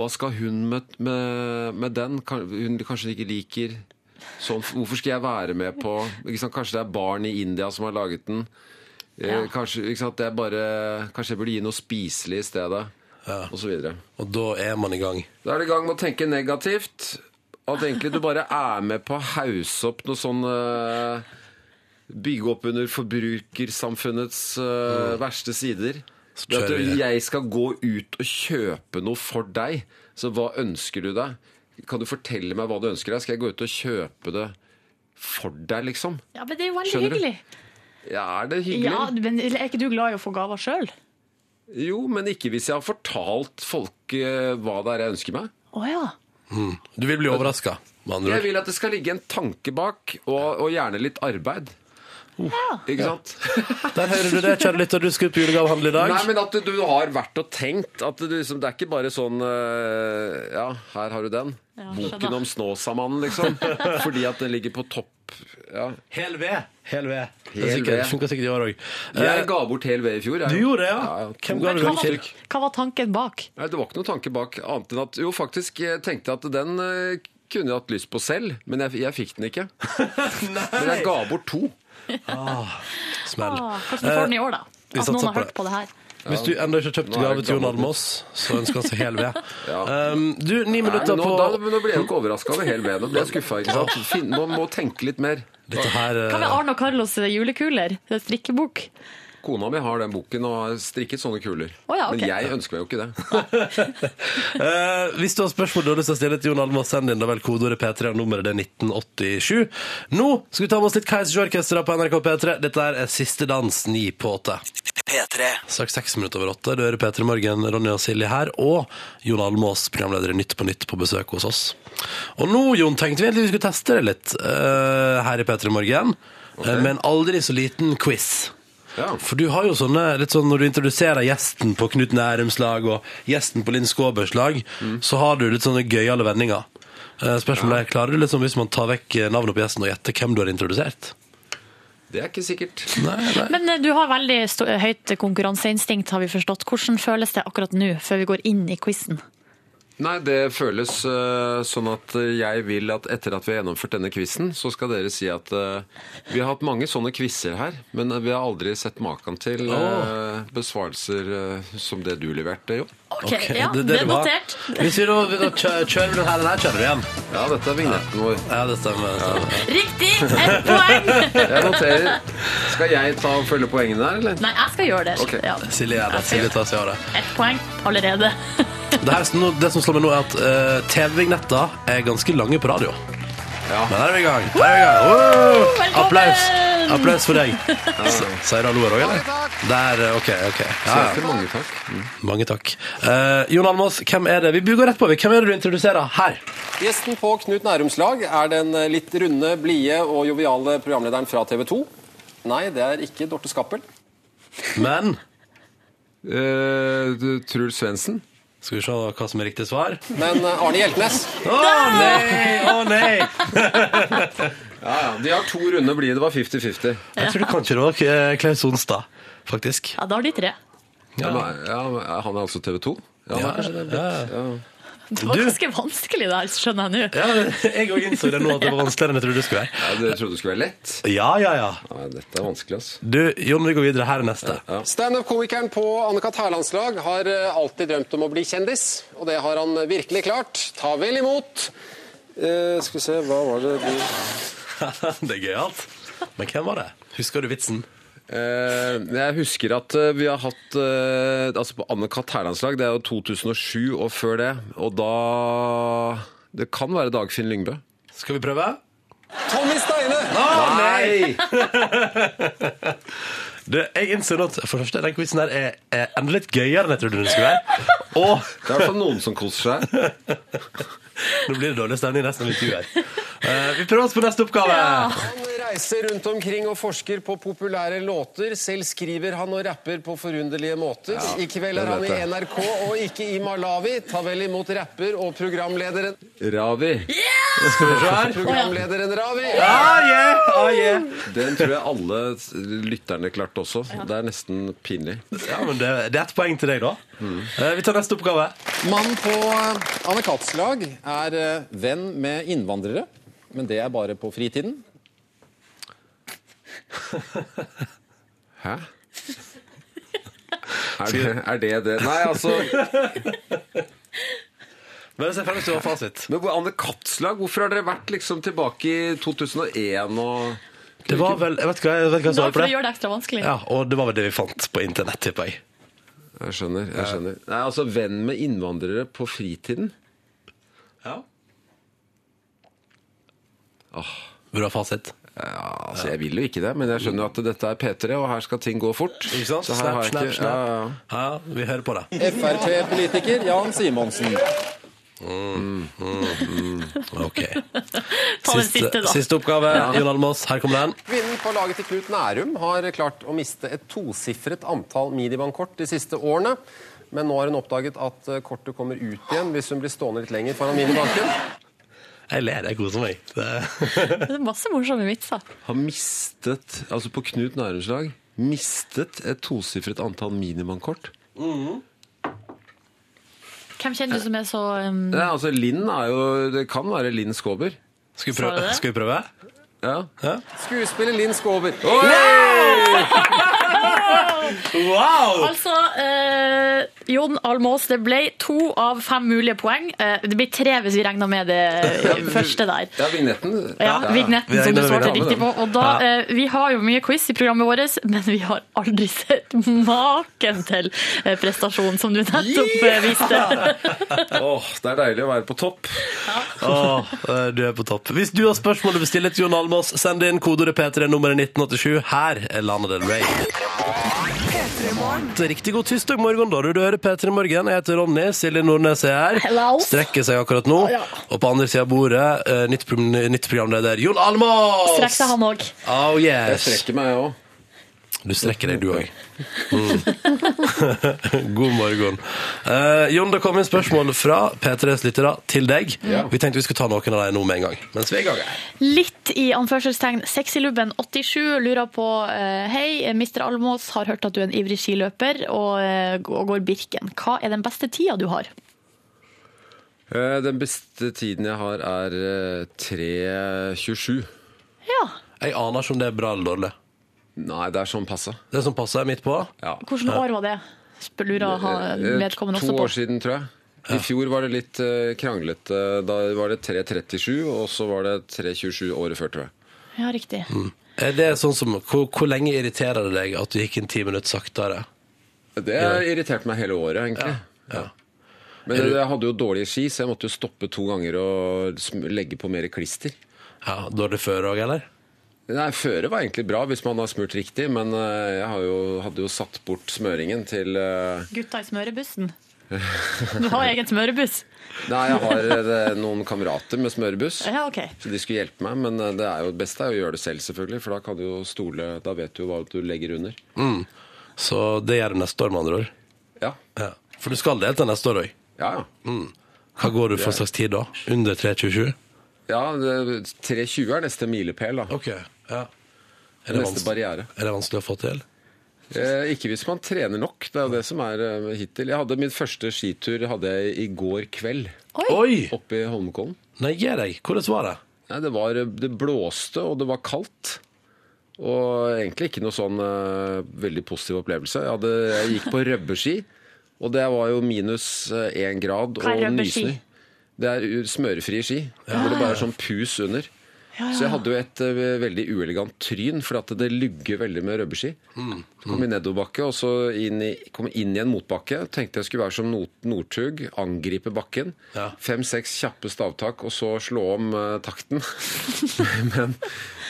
Speaker 7: Hva skal hun med, med, med den? Kan- Hun kanskje ikke liker sånn. Hvorfor skal jeg være med på ikke sant? Kanskje det er barn i India som har laget den. Eh,
Speaker 4: Ja.
Speaker 7: Kanskje, ikke sant? Det er bare, kanskje jeg burde gi noe spiselig i stedet. Og så videre.
Speaker 1: Og da er man i gang.
Speaker 7: Da er det i gang med å tenke negativt. At egentlig du bare er med på å hause opp noe sånn eh, Bygge opp under forbrukersamfunnets eh, verste sider. Det at
Speaker 1: kjører vi
Speaker 7: du,
Speaker 1: det.
Speaker 7: jeg skal gå ut og kjøpe noe for deg. Så hva ønsker du deg? Kan du fortelle meg hva du ønsker deg? Skal jeg gå ut og kjøpe det for deg, liksom?
Speaker 4: ja, men det er jo veldig
Speaker 7: Skjønner du?
Speaker 4: hyggelig.
Speaker 7: Ja, er det hyggelig?
Speaker 4: Ja, men Er ikke du glad i å få gaver sjøl?
Speaker 7: Jo, men ikke hvis jeg har fortalt folk eh, hva det er jeg ønsker meg.
Speaker 4: Å ja.
Speaker 1: Du vil bli overraska, med andre
Speaker 7: Jeg
Speaker 1: ord.
Speaker 7: vil at det skal ligge en tanke bak, og, og gjerne litt arbeid. Ikke sant?
Speaker 1: Der hører du det, kjære lytter. Du skal ut på julegavehandel i dag.
Speaker 7: Nei, men at du har vært og tenkt. At du, liksom, det er ikke bare sånn eh, Ja, her har du den.
Speaker 4: Ja, skjønner.
Speaker 7: Boken om Snåsamannen, liksom. Fordi at den ligger på topp. Ja.
Speaker 1: Hel ved. Hel ved.
Speaker 7: Hel
Speaker 1: Det er sikkert-
Speaker 7: ved.
Speaker 1: funker sikkert i år òg.
Speaker 7: Jeg ga bort hel ved i fjor. jeg.
Speaker 1: Eh, Du gjorde det, ja?
Speaker 7: to-
Speaker 1: Hvem ga du
Speaker 4: Hva
Speaker 1: den
Speaker 4: var,
Speaker 1: til?
Speaker 4: hva var tanken bak?
Speaker 7: Nei, Det var ikke noen tanke bak annet enn at Jo, faktisk jeg tenkte jeg at den eh, kunne jeg hatt lyst på selv, men jeg, jeg fikk den ikke. Men jeg ga bort to.
Speaker 1: Smell.
Speaker 4: Ah, kanskje du får den i år, da?
Speaker 1: vi
Speaker 4: At
Speaker 1: satser
Speaker 4: noen har
Speaker 1: på
Speaker 4: hørt
Speaker 1: det.
Speaker 4: på det her.
Speaker 1: Hvis du ennå ikke har kjøpt
Speaker 7: Nå er
Speaker 1: gave
Speaker 7: det
Speaker 1: til Jon
Speaker 7: gammelt.
Speaker 1: Almaas, så ønsker han seg hel ved.
Speaker 7: Ja.
Speaker 1: um, du, ni
Speaker 7: Nei,
Speaker 1: minutter
Speaker 7: nå,
Speaker 1: på
Speaker 7: da, nå ble jeg jo ikke overraska over hele veien. Nå ble jeg skuffa. Ikke sant? Finn, må, må tenke litt mer.
Speaker 1: Dette her
Speaker 4: Hva med
Speaker 1: uh,
Speaker 4: Arne og Carlos julekuler? Det er strikkebok.
Speaker 7: Kona mi har den boken og har strikket sånne kuler.
Speaker 4: Å ja, ok.
Speaker 7: Men jeg ønsker meg jo ikke det.
Speaker 1: Eh, Hvis du har spørsmål du har lyst til å stille til Jon Almaas, send inn da vel kodeordet P3 og nummeret det er 1987. Nå skal vi ta med oss litt Keiser Orkestra på NRK P3. Dette her er siste dans ni på åtte.
Speaker 3: P3
Speaker 1: Straks seks minutter over åtte. Du hører P3 Morgen, Ronny og Silje her, og Jon Almaas, programleder i Nytt på Nytt, på besøk hos oss. Og nå, Jon, tenkte vi egentlig vi skulle teste det litt eh, her i P3 Morgen, eh, med en aldri så liten quiz.
Speaker 7: Ja.
Speaker 1: For du har jo sånne, litt sånn når du introduserer gjesten på Knut Nærums lag og gjesten på Linn Skåbers lag, så har du litt sånne gøyale vendinger. Eh, Spørsmålet er, klarer du litt sånn hvis man tar vekk eh, navnet på gjesten og gjetter hvem du har introdusert?
Speaker 7: Det er ikke sikkert.
Speaker 1: Nei, nei.
Speaker 4: Men eh, du har veldig sto- høyt konkurranseinstinkt, har vi forstått. Hvordan føles det akkurat nå, før vi går inn i quizen?
Speaker 7: Nei, det føles øh, sånn at øh, jeg vil at etter at vi har gjennomført denne quizen, så skal dere si at øh, vi har hatt mange sånne quizer her, men vi har aldri sett maken til øh, besvarelser øh, som det du leverte, jo.
Speaker 4: Ok,
Speaker 1: Ok,
Speaker 4: ja, det,
Speaker 1: det
Speaker 4: er
Speaker 1: var-
Speaker 4: notert.
Speaker 1: Hvis vi da, da kjø- kjører vi den her, den her kjører vi igjen.
Speaker 7: Ja, dette er vignetten vår.
Speaker 1: Ja, det stemmer. Det stemmer.
Speaker 4: Riktig! Ett poeng!
Speaker 7: Jeg noterer. Skal jeg ta og følge poengene her, eller?
Speaker 4: Nei, jeg skal gjøre det.
Speaker 7: Ok.
Speaker 4: Ja,
Speaker 1: Silje gjør det. Silje tar seg av det.
Speaker 4: Ett poeng allerede.
Speaker 1: Det, her, som nå- det som slår meg nå, er at eh, TV-vignetter er ganske lange på radio.
Speaker 7: Ja.
Speaker 1: Men her er vi i gang. Her er vi i gang. Woo!
Speaker 4: Velkommen!
Speaker 1: Applaus. Applaus for deg. S- Sier du hallo her òg, eller? Der, eh, OK. ok. Ja,
Speaker 7: Så
Speaker 1: ja.
Speaker 7: heter mange takk. Mm.
Speaker 1: Mange takk. Eh, Jon Almaas, hvem er det? Vi buger rett på. vi. Hvem er det du introduserer her?
Speaker 9: Gjesten på Knut Nærums lag er den eh, litt runde, blide og joviale programlederen fra TV 2. Nei, det er ikke Dorte Skappel.
Speaker 1: Men
Speaker 7: Eh, du- Truls Svendsen.
Speaker 1: Skal vi se hva som er riktig svar. Å
Speaker 9: Men eh, Arne Hjeltnes.
Speaker 1: nei! Å nei!
Speaker 7: Ja, ja. De har to runde blide. Det var 50-50.
Speaker 1: Jeg tror kanskje det var eh, Klaus Sonstad, faktisk.
Speaker 4: Ja, da har de tre.
Speaker 7: Ja. men- ja, men han er altså TV 2. Ja, han er kanskje det.
Speaker 1: ja.
Speaker 4: Det var
Speaker 1: Du-
Speaker 4: ganske vanskelig det her, skjønner jeg nå.
Speaker 1: Ja, jeg òg innså det nå at det var vanskeligere enn jeg trodde det skulle være.
Speaker 7: Ja, du trodde det skulle være lett?
Speaker 1: Ja, ja, ja.
Speaker 7: Nei, dette er vanskelig, ass.
Speaker 1: Du, Jon, vi går videre. Her er neste.
Speaker 9: Standup-komikeren på Anne-Kat. Hærlands lag har eh, alltid drømt om å bli kjendis, og det har han virkelig klart. Ta vel imot eh, Skal vi se, hva var det du
Speaker 1: det er gøyalt. Men hvem var det? Husker du vitsen?
Speaker 7: Eh, jeg husker at eh, vi har hatt eh, Altså på Anne-Kat. Hærlands lag, det er jo 2007 og før det. Og da Det kan være Dagfinn Lyngbø.
Speaker 1: Skal vi prøve?
Speaker 9: Tommy Steine!
Speaker 7: Nei!
Speaker 1: Du, jeg innså nå at for det første, den quizen her er, er enda litt gøyere enn jeg trodde den skulle være. Og
Speaker 7: Det er i hvert fall noen som koser seg.
Speaker 1: nå blir det dårlig stemning resten av intervjuet her. Eh, vi prøver oss på neste oppgave.
Speaker 9: Han reiser rundt omkring og forsker på populære låter. Selv skriver han og rapper på forunderlige måter. I kveld
Speaker 7: det
Speaker 9: er han
Speaker 7: vet
Speaker 9: i
Speaker 7: jeg.
Speaker 9: NRK og ikke i Malawi. Ta vel imot rapper og programlederen
Speaker 7: Ravi.
Speaker 1: Skal vi se her.
Speaker 9: Programlederen Ravi.
Speaker 1: Ah, yeah, ah, yeah.
Speaker 7: Den tror jeg alle lytterne klarte også. Det er nesten pinlig.
Speaker 1: Ja, men det, det er ett poeng til deg, da. Eh, vi tar neste oppgave.
Speaker 9: Mannen på Anne Katts lag er eh, venn med innvandrere, men det er bare på fritiden.
Speaker 7: Hæ? Er det, er det det Nei, altså
Speaker 1: Men selvfølgelig står fasit.
Speaker 7: men hvor- Anne Katzlag, hvorfor har dere vært liksom tilbake i 2001 og
Speaker 1: Det var vel, jeg vet hva jeg vet hva jeg
Speaker 4: Da
Speaker 1: svarer
Speaker 4: for
Speaker 1: på
Speaker 4: å
Speaker 1: det.
Speaker 4: gjøre det ekstra vanskelig.
Speaker 1: Ja, og det var vel det vi fant på internett, tipper jeg.
Speaker 7: Jeg skjønner. jeg skjønner Nei, altså Venn med innvandrere på fritiden?
Speaker 1: Vil du ha fasit?
Speaker 7: Ja, altså Jeg vil jo ikke det, men jeg skjønner jo at dette er P3, og her skal ting gå fort.
Speaker 1: Ikke sant?
Speaker 7: Så her
Speaker 1: Snap,
Speaker 7: har jeg
Speaker 1: snap,
Speaker 7: ikke
Speaker 1: snap.
Speaker 7: ja, ja.
Speaker 1: Ja, vi hører på det.
Speaker 9: Frp-politiker Jan Simonsen.
Speaker 1: Ok.
Speaker 4: Ta den siste, da.
Speaker 1: siste oppgave. Jon Almaas, her kommer den.
Speaker 9: Kvinnen på laget til Knut Nærum har klart å miste et tosifret antall minibankkort de siste årene. Men nå har hun oppdaget at eh, kortet kommer ut igjen hvis hun blir stående litt lenger foran minibanken.
Speaker 1: Jeg ler, jeg koser meg. Det...
Speaker 4: Det er masse morsomme vitser.
Speaker 7: Har mistet, altså på Knut Nærums lag, mistet et tosifret antall minibankkort.
Speaker 4: Hvem kjenner du som er så um,
Speaker 7: Det, er, altså, Linn er jo Det kan være Linn Skåber.
Speaker 1: Skal, vi
Speaker 4: Sa du
Speaker 1: prøve?
Speaker 4: det?
Speaker 1: Skal vi prøve?
Speaker 7: Ja.
Speaker 9: Skuespiller Linn Skåber.
Speaker 7: Oi!
Speaker 2: Wow!
Speaker 4: Altså, eh, Jon Almås, det ble to av fem mulige poeng. Eh, det blir tre hvis vi regner med det eh, første der.
Speaker 7: Ja, vignetten.
Speaker 4: Ja, vignetten
Speaker 1: Vi
Speaker 4: som
Speaker 1: regner
Speaker 4: du
Speaker 1: med
Speaker 4: svarte
Speaker 1: det.
Speaker 4: riktig på. Og da, eh, vi har jo mye quiz i programmet vårt, men vi har aldri sett maken til eh, prestasjon, som du nettopp eh, viste.
Speaker 7: Åh, det er deilig å være på topp.
Speaker 1: Åh, eh, du er på topp. Hvis du har spørsmål du vil stille til Jon Almaas, send inn kodeordet P3 nummeret 1987. Her er Lana Del Rey. Riktig god tirsdag morgen, da. Du, du hører P3 Morgen. Jeg heter Ronny. Silje Nordnes er her.
Speaker 4: Hello.
Speaker 1: Strekker seg akkurat nå. Og på andre siden av bordet, eh, nytt, pro- nytt programleder Jon Almaas!
Speaker 4: Strekk seg han òg.
Speaker 1: Oh
Speaker 7: Jeg
Speaker 1: yes.
Speaker 7: strekker meg òg.
Speaker 1: Du strekker deg, du òg. Mm. God morgen. Eh, Jon, det kom inn spørsmål fra P3s lyttere til deg.
Speaker 7: Ja.
Speaker 1: Vi tenkte vi skulle ta noen av dem nå med en gang. Mens vi er i gang. her.
Speaker 4: Litt i anførselstegn. Sexylubben87 lurer på eh, Hei, Mr. Almås har hørt at du er en ivrig skiløper og, eh, og går Birken. Hva er den beste tida du har?
Speaker 7: Eh, Den beste tiden jeg har, er eh, 3.27.
Speaker 4: Ja,
Speaker 1: Jeg aner ikke om det er bra eller dårlig.
Speaker 7: Nei, det er sånn passe.
Speaker 1: Det som passer midt på.
Speaker 7: Ja.
Speaker 4: Hvilket år var det? Spør- Lurer han
Speaker 7: Eh,
Speaker 4: vedkommende også
Speaker 7: to år
Speaker 4: på.
Speaker 7: siden, tror jeg. I fjor var det litt eh, kranglete. Da var det 3.37, og så var det 3.27 året før, tror jeg.
Speaker 4: Ja, riktig.
Speaker 7: Mm.
Speaker 1: Er det sånn som, hvor, hvor lenge irriterer det deg at du gikk en ti minutter saktere?
Speaker 7: Det har irritert meg hele året, egentlig.
Speaker 1: Ja.
Speaker 7: Men jeg hadde jo dårlige ski, så jeg måtte jo stoppe to ganger og sm- legge på mer klister.
Speaker 1: ja dårlig før òg, eller?
Speaker 7: Nei, Føret var egentlig bra hvis man har smurt riktig, men eh, jeg har jo, hadde jo satt bort smøringen til eh,
Speaker 4: Gutta i smørebussen. Du har egen smørebuss?
Speaker 7: Nei, jeg har eh, noen kamerater med smørebuss.
Speaker 4: Ja, OK.
Speaker 7: Så de skulle hjelpe meg, men eh, det er jo det beste er jo å gjøre det selv, selvfølgelig. For da kan du jo stole Da vet du jo hva du legger under.
Speaker 1: Så det gjør du neste år, med andre ord.
Speaker 7: Ja,
Speaker 1: Ja. For du skal delta neste år òg.
Speaker 7: ja. ja.
Speaker 1: Hva går du for slags tid da? Under 3.27?
Speaker 7: ja det- 3.20 er neste milepæl, da.
Speaker 1: OK. Ja. Er det,
Speaker 7: Neste
Speaker 1: vanskelig,
Speaker 7: barriere.
Speaker 1: er det vanskelig å få til?
Speaker 7: Eh, ikke hvis man trener nok. Det er jo det som er eh, hittil. Jeg hadde Min første skitur hadde jeg i går kveld
Speaker 1: Oi!
Speaker 7: oppe i Holmenkollen.
Speaker 1: Nei, gi deg. Hvordan var det?
Speaker 7: Nei, det, var, det blåste, og det var kaldt. Og egentlig ikke noe sånn eh, veldig positiv opplevelse. Jeg, hadde, jeg gikk på røbbeski, og det var jo minus eh, én grad
Speaker 4: Hva er
Speaker 7: og
Speaker 4: røbberski?
Speaker 7: nysnø. Det er u- smørefrie ski, hvor det bare er sånn pus under. Så jeg hadde jo et eh, veldig uelegant tryn, for at det lugger veldig med røbbeski. Så kom jeg nedoverbakke, og så inn i, kom jeg inn i en motbakke. Tenkte jeg skulle være som Nord- Northug, angripe bakken.
Speaker 1: Ja.
Speaker 7: Fem-seks kjappe stavtak, og så slå om eh, takten. Men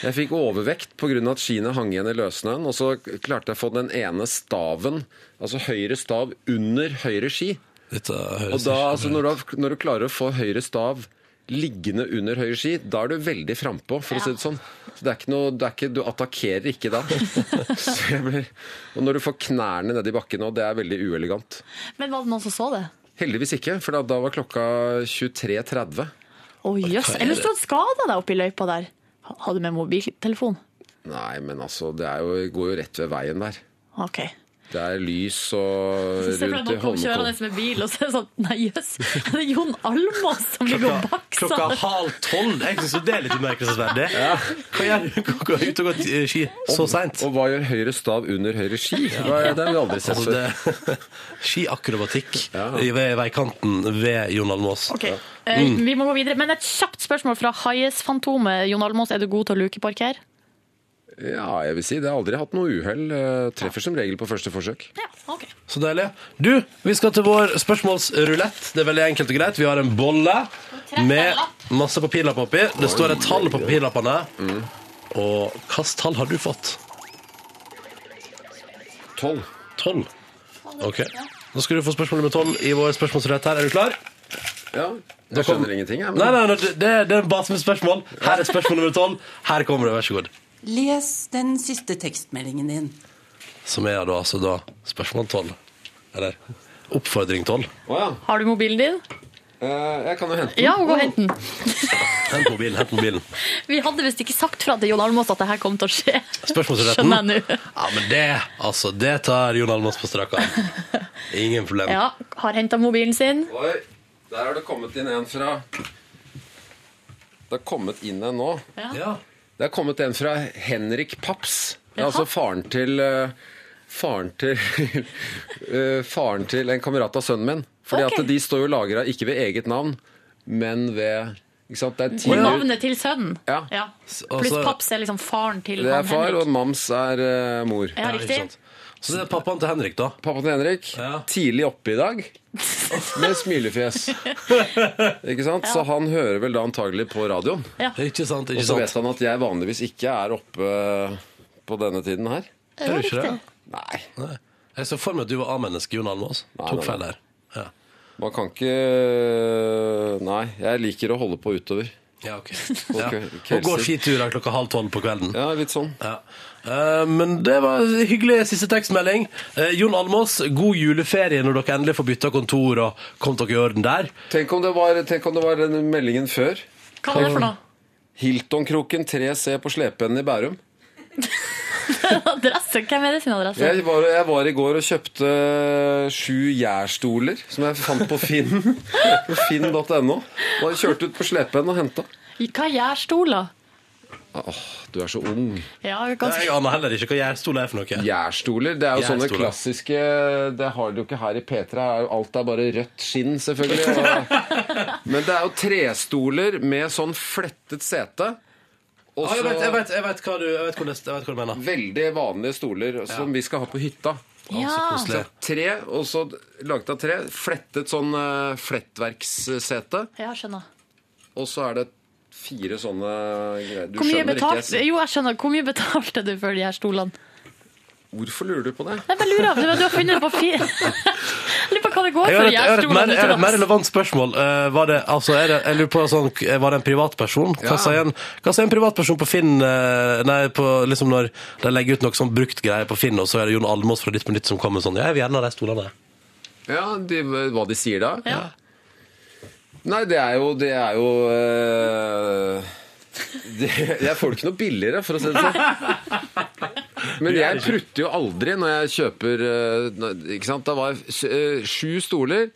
Speaker 7: jeg fikk overvekt pga. at skiene hang igjen i løssnøen. Og så klarte jeg å få den ene staven, altså høyre stav, under høyre ski.
Speaker 1: Dette eh, høres
Speaker 7: Og da,
Speaker 1: ikke
Speaker 7: altså, når, du, har- når du klarer å få høyre stav liggende under høyre ski, da er du veldig frampå, for å si det sånn. Så det er ikke noe, det er ikke, du attakkerer ikke da. Så jeg blir, og når du får knærne ned i bakken nå, det er veldig uelegant.
Speaker 4: Men var det noen som så det?
Speaker 7: Heldigvis ikke, for da, da var klokka 23.30.
Speaker 4: Å jøss. Eller så skada deg oppi løypa der. Hadde du med mobiltelefon?
Speaker 7: Nei, men altså, det er jo, går jo rett ved veien der.
Speaker 4: OK.
Speaker 7: Det er lys og
Speaker 4: Så ser du at
Speaker 7: rundt i
Speaker 4: noen kommer kjørende
Speaker 7: Holmenkollen.
Speaker 4: med bil, og så er det sånn Nei, jøss, det er Jon Almaas som ligger og
Speaker 1: Klokka
Speaker 4: bakser.
Speaker 1: halv tolv? Jeg syns jo det er litt umerkelsesverdig. Hva gjør du? Gå ut og gå t- ski så seint?
Speaker 7: Og hva gjør høyre stav under høyre ski? Hva er det? det har vi aldri sett
Speaker 1: Altså,
Speaker 7: før.
Speaker 1: det, skiakrobatikk
Speaker 7: Ja.
Speaker 1: i- ved veikanten ved Jon Almaas.
Speaker 4: Ok, eh, Vi må gå videre. Men et kjapt spørsmål fra Haies-fantomet. Jon Almaas, er du god til å lukeparkere?
Speaker 7: Ja, jeg vil si det. Jeg har aldri hatt noe uhell. Eh, Treffer som regel på første forsøk.
Speaker 4: Ja, ok.
Speaker 1: Så deilig. Du, vi skal til vår spørsmålsrulett. Det er veldig enkelt og greit. Vi har en bolle med masse papirlapp oppi. Det står et tall på papirlappene. Og hvilket tall har du fått?
Speaker 7: Tolv.
Speaker 1: Tolv. Ok. Nå skal du få spørsmål nummer tolv i vår spørsmålsrulett her. Er du klar?
Speaker 7: Ja, jeg
Speaker 1: kom-
Speaker 7: skjønner ingenting. Jeg,
Speaker 1: Nei, nei, nei det, det er bare som et spørsmål. Her er spørsmål nummer tolv. Her kommer det, vær så god.
Speaker 10: Les den siste tekstmeldingen din.
Speaker 1: Som er da altså da spørsmål tolv. Eller oppfordring tolv.
Speaker 7: Å ja.
Speaker 4: Har du mobilen din?
Speaker 7: Eh, jeg kan jo hente den.
Speaker 4: Ja, gå og hent den.
Speaker 1: Hent mobilen, hent mobilen.
Speaker 4: Vi hadde visst ikke sagt fra til Jon Almaas at det her kom til å skje.
Speaker 1: Spørsmålsretten.
Speaker 4: Skjønner jeg nå.
Speaker 1: Ja, men det, altså, det tar Jon Almaas på strak arm. Ingen problem.
Speaker 4: Ja, har henta mobilen sin.
Speaker 7: Oi, der har det kommet inn en fra Det har kommet inn en nå.
Speaker 1: Ja.
Speaker 7: Det har kommet en fra Henrik Paps. Det er altså faren til eh, faren til, eh, faren til en kamerat av sønnen min. Fordi
Speaker 4: Ok.
Speaker 7: at de står jo lagra ikke ved eget navn, men ved ikke sant? Det er
Speaker 4: Og
Speaker 7: tidlig-
Speaker 4: navnet til sønnen.
Speaker 7: Ja.
Speaker 1: Og
Speaker 4: Pluss
Speaker 1: så-
Speaker 4: paps er liksom faren til
Speaker 7: Det er
Speaker 4: han
Speaker 7: far, og
Speaker 4: Henrik.
Speaker 7: mams er eh, mor.
Speaker 4: Ja,
Speaker 1: ikke
Speaker 4: riktig.
Speaker 1: sant. Så det er pappaen til Henrik, da.
Speaker 7: Pappa til Henrik,
Speaker 1: Ja.
Speaker 7: tidlig oppe i dag, med smilefjes. Ikke sant? Så han hører vel da antagelig på radioen.
Speaker 1: Ikke sant?
Speaker 7: Og
Speaker 1: ikke
Speaker 7: så vet
Speaker 1: sant?
Speaker 7: han at jeg vanligvis ikke er oppe på denne tiden her.
Speaker 1: Hører du ikke det?
Speaker 7: Nei,
Speaker 1: Nei. Jeg så for meg at du var A-menneske, Jon Almaas.
Speaker 7: Nei,
Speaker 1: Tok
Speaker 7: nei,
Speaker 1: feil
Speaker 7: nei.
Speaker 1: der. Ja.
Speaker 7: man kan ikke Nei, jeg liker å holde på utover.
Speaker 1: Ja, ok.
Speaker 7: På
Speaker 1: Ja.
Speaker 7: kø-
Speaker 1: Og går
Speaker 7: kveldstid.
Speaker 1: skiturer klokka halv tolv på kvelden.
Speaker 7: Ja, litt sånn.
Speaker 1: Ja. Eh, men det var hyggelig siste tekstmelding. Eh, Jon Almås, god juleferie når dere endelig får bytta kontor og kom dere i orden der.
Speaker 7: Tenk om det var, tenk om det var den meldingen før.
Speaker 4: Hva var det for noe?
Speaker 7: Hiltonkroken 3C på slepeenden i Bærum.
Speaker 4: Adresse? Hvem er det sin adresse?
Speaker 7: Jeg var, jeg var i går og kjøpte eh, sju gjærstoler som jeg fant på Finn. På Finn.no. Bare kjørte ut på slepen og henta.
Speaker 4: Hva gjør stoler?
Speaker 7: Åh, du er så ung.
Speaker 4: Ja,
Speaker 1: Jeg
Speaker 4: ganske...
Speaker 1: aner heller ikke hva gjærstol er for noe.
Speaker 7: Gjærstoler, det er jo sånne
Speaker 1: Gjærstoler.
Speaker 7: klassiske Det har du jo ikke her i P3. Alt er bare rødt skinn, selvfølgelig. Og- Men det er jo trestoler med sånn flettet sete. Og
Speaker 1: Ah, jeg, vet, jeg,
Speaker 7: så
Speaker 1: vet, jeg, vet hva du, jeg vet hvordan- jeg vet hva du mener.
Speaker 7: veldig vanlige stoler som vi skal ha på hytta.
Speaker 4: Ja.
Speaker 1: Så koselig.
Speaker 7: Tre, og så laget av tre. Flettet sånn eh, flettverkssete.
Speaker 4: ja, skjønner.
Speaker 7: Og så er det fire sånne greier. Du
Speaker 4: Hvor mye,
Speaker 7: skjønner
Speaker 4: betalt...
Speaker 7: ikke.
Speaker 4: jo, jeg skjønner. Hvor mye betalte du for de her stolene?
Speaker 7: Hvorfor lurer du på det?
Speaker 4: Jeg bare lurer på, du har funnet det på fi... Jeg lurer på hva det går
Speaker 1: Jeg
Speaker 4: for
Speaker 1: har
Speaker 4: de
Speaker 1: et, jeg
Speaker 4: her
Speaker 1: har et, mer,
Speaker 4: stolene.
Speaker 1: jeg har et mer relevant spørsmål. Eh, var, det, altså, er det, jeg lurer på, sånn, var det en privatperson? Hva
Speaker 7: Ja.
Speaker 1: sier en, hva sier en privatperson på Finn eh, Nei, på, liksom når de legger ut noe sånn brukt greier på Finn, og så er det Jon Almås fra Nytt på Nytt som kommer sånn Ja, jeg vil gjerne ha de stolene.
Speaker 7: Ja, de, Hva de sier da?
Speaker 4: Ja.
Speaker 7: Nei, det er jo Det er jo eh, det, Jeg får det ikke noe billigere, for å si det sånn. Men jeg prutter jo aldri når jeg kjøper eh, når- Ikke sant? Da var jeg s- eh, sju stoler.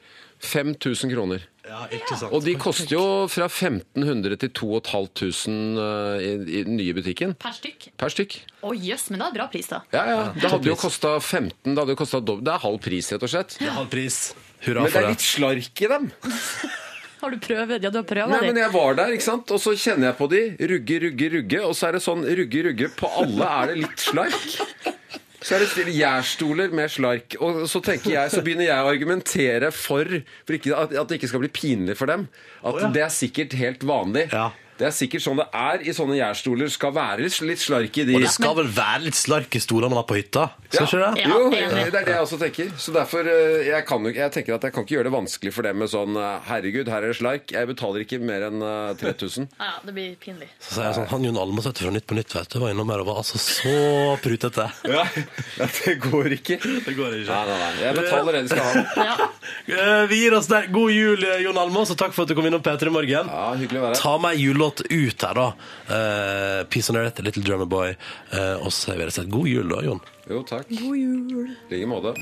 Speaker 7: 5000 kroner.
Speaker 1: Ja, ikke sant.
Speaker 7: Og de koster jo fra 1500 til 2500 eh, i, i den nye butikken
Speaker 4: Per stykk?
Speaker 7: per stykk.
Speaker 4: Å jøss, men det er bra pris, da.
Speaker 7: Ja, ja. Det hadde jo kosta 15 Det, hadde jo kostet dobb- det er halv pris, rett og slett.
Speaker 1: Det er halv pris. Hurra
Speaker 7: Men det
Speaker 1: for
Speaker 7: er
Speaker 1: det.
Speaker 7: litt slark i dem.
Speaker 4: Har du prøvd? Ja, du har prøvd
Speaker 7: Nei, men
Speaker 4: det.
Speaker 7: jeg var der, ikke sant? og så kjenner jeg på de. Rugge, rugge, rugge. Og så er det sånn rugge, rugge. På alle er det litt slark. Så er det stille gjærstoler med slark. Og så tenker jeg, så begynner jeg å argumentere for, for ikke, at, at det ikke skal bli pinlig for dem. At det er sikkert helt vanlig.
Speaker 1: Ja.
Speaker 7: Det er sikkert sånn det er i sånne gjærstoler. Skal være litt slark i de.
Speaker 1: Og det skal vel være litt slark i stolene når man er på hytta? Skal ikke det?
Speaker 4: Ja.
Speaker 7: Jo, det
Speaker 4: enig.
Speaker 7: er det jeg også tenker. Så derfor, eh, jeg, kan, jo ikke- jeg tenker at jeg kan ikke gjøre det vanskelig for dem med sånn eh, Herregud, her er det slark. Jeg betaler ikke mer enn eh, 3000.
Speaker 4: Ja, det blir pinlig.
Speaker 1: Så sier jeg sånn Han Jon Almås vet du, fra Nytt på Nytt vet du, var innom her og var altså så prutete.
Speaker 7: Ja, Det går ikke. Nei,
Speaker 1: Det går ikke.
Speaker 7: nei, nei. Jeg betaler det de skal ha.
Speaker 4: Ja.
Speaker 1: Eh, Vi gir oss der. God jul, eh, Jon Almås, og takk for at du kom innom P3 Morgen.
Speaker 7: Ja, Hyggelig å være her.
Speaker 1: Ta med ei julelåt ut her, da. Eh, Peace on Earth, Little Drummer Boy. Eh, og så vil jeg si at god jul, da, Jon.
Speaker 7: Jo, takk. God jul. I like måte.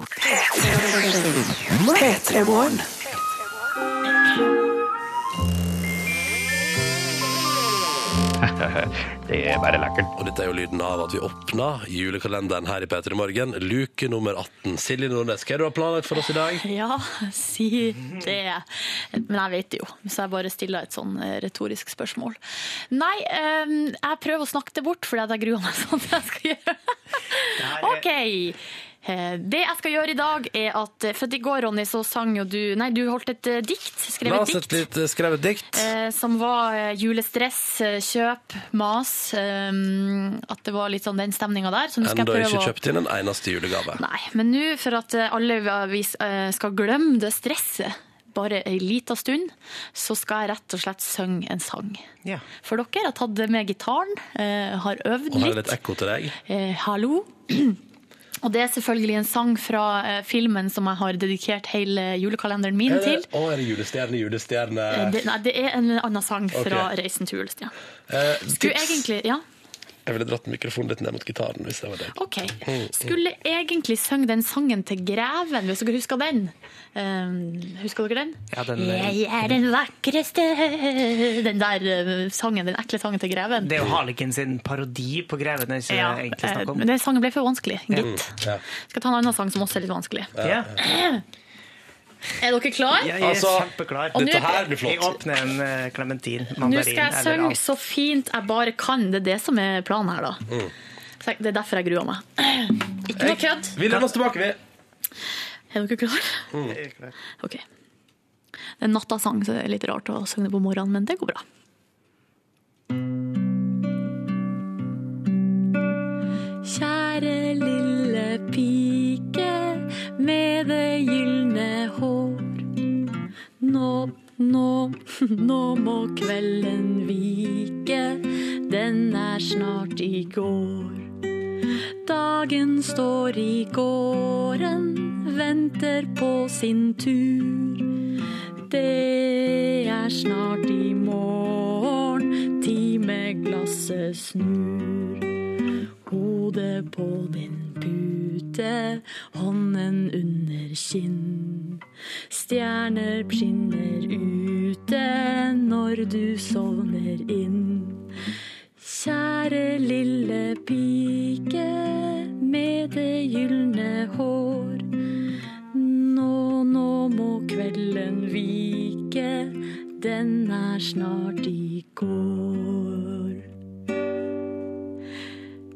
Speaker 1: Og dette er jo lyden av at vi åpna julekalenderen her i P3 Morgen. Luke nummer 18. Silje Nordnes, hva er det du har planlagt for oss i dag?
Speaker 4: Ja, si det. Men jeg vet det jo, så jeg bare stiller et sånn eh, retorisk spørsmål. Nei, eh, jeg prøver å snakke det bort, fordi at jeg gruer meg sånn til jeg skal gjøre. OK. Eh, Det jeg skal gjøre i dag, er at eh, For at i går, Ronny, så sang jo du Nei, du holdt et eh, dikt. Skrev
Speaker 1: La
Speaker 4: et
Speaker 1: oss et
Speaker 4: dikt.
Speaker 1: litt eh, skrevet dikt.
Speaker 4: Eh, som var eh, julestress, eh, kjøp, mas. eh, at det var litt sånn den stemninga der. Som du skal
Speaker 1: Enda
Speaker 4: prøve
Speaker 1: ikke
Speaker 4: å
Speaker 1: kjøpt inn en eneste julegave.
Speaker 4: Nei, men nå for at eh, alle vi eh, skal glemme det stresset bare ei lita stund, så skal jeg rett og slett synge en sang.
Speaker 2: Ja.
Speaker 4: For dere jeg har tatt det med gitaren, eh, har øvd
Speaker 1: Og her er
Speaker 4: litt.
Speaker 1: litt ekko til deg.
Speaker 4: Eh, hallo. Og det er selvfølgelig en sang fra eh, filmen som jeg har dedikert hele julekalenderen min
Speaker 1: Er
Speaker 4: til.
Speaker 1: det- Eh, Å, er det julestjerne, julestjerne
Speaker 4: Eh, Det, nei, det er en annen sang fra
Speaker 1: Ok.
Speaker 4: 'Reisen til julestjernen'.
Speaker 1: Eh,
Speaker 4: Skulle
Speaker 1: tips.
Speaker 4: egentlig Ja.
Speaker 1: Jeg ville dratt mikrofonen litt ned mot gitaren hvis jeg var deg.
Speaker 4: OK. Skulle egentlig synge den sangen til Greven, hvis dere husker den. Eh, husker dere den?
Speaker 5: Ja, den- eh,
Speaker 4: Jeg er den vakreste Den der eh, sangen, den ekle sangen til Greven.
Speaker 5: Det er jo Harlekin sin parodi på Greven det er ikke
Speaker 4: Ja,
Speaker 5: egentlig
Speaker 4: eh,
Speaker 5: snakk om. Mm.
Speaker 4: men den sangen ble for vanskelig, gitt.
Speaker 1: Ja.
Speaker 4: Skal ta en annen sang som også er litt vanskelig.
Speaker 5: Ja,
Speaker 4: Er dere klar?
Speaker 5: jeg er
Speaker 1: Altså,
Speaker 5: kjempeklar.
Speaker 4: Og nå-
Speaker 1: Dette her blir
Speaker 5: Jeg
Speaker 1: flott.
Speaker 5: åpner en eh, klementin,
Speaker 4: Nå
Speaker 5: mandarin
Speaker 4: skal jeg
Speaker 5: eller
Speaker 4: synge
Speaker 5: alt.
Speaker 4: så fint jeg bare kan. Det er det som er planen her, da.
Speaker 1: Mm.
Speaker 4: Så jeg- Det er derfor jeg gruer meg. Ikke noe kødd.
Speaker 1: Vi lener oss tilbake, vi. Mm.
Speaker 4: Er dere klare? OK. Det er en nattasang, så det er litt rart å synge det på morgenen, men det går bra. Kjære lille pike med det gylne hår. Nå, nå, nå må kvelden vike, den er snart i går. Dagen står i gården, venter på sin tur. Det er snart i morgen, timeglasset snur. Hodet på din pute, hånden under kinn. Stjerner skinner ute når du sovner inn. Kjære lille pike med det gylne hår. Nå, nå må kvelden vike, den er snart i går.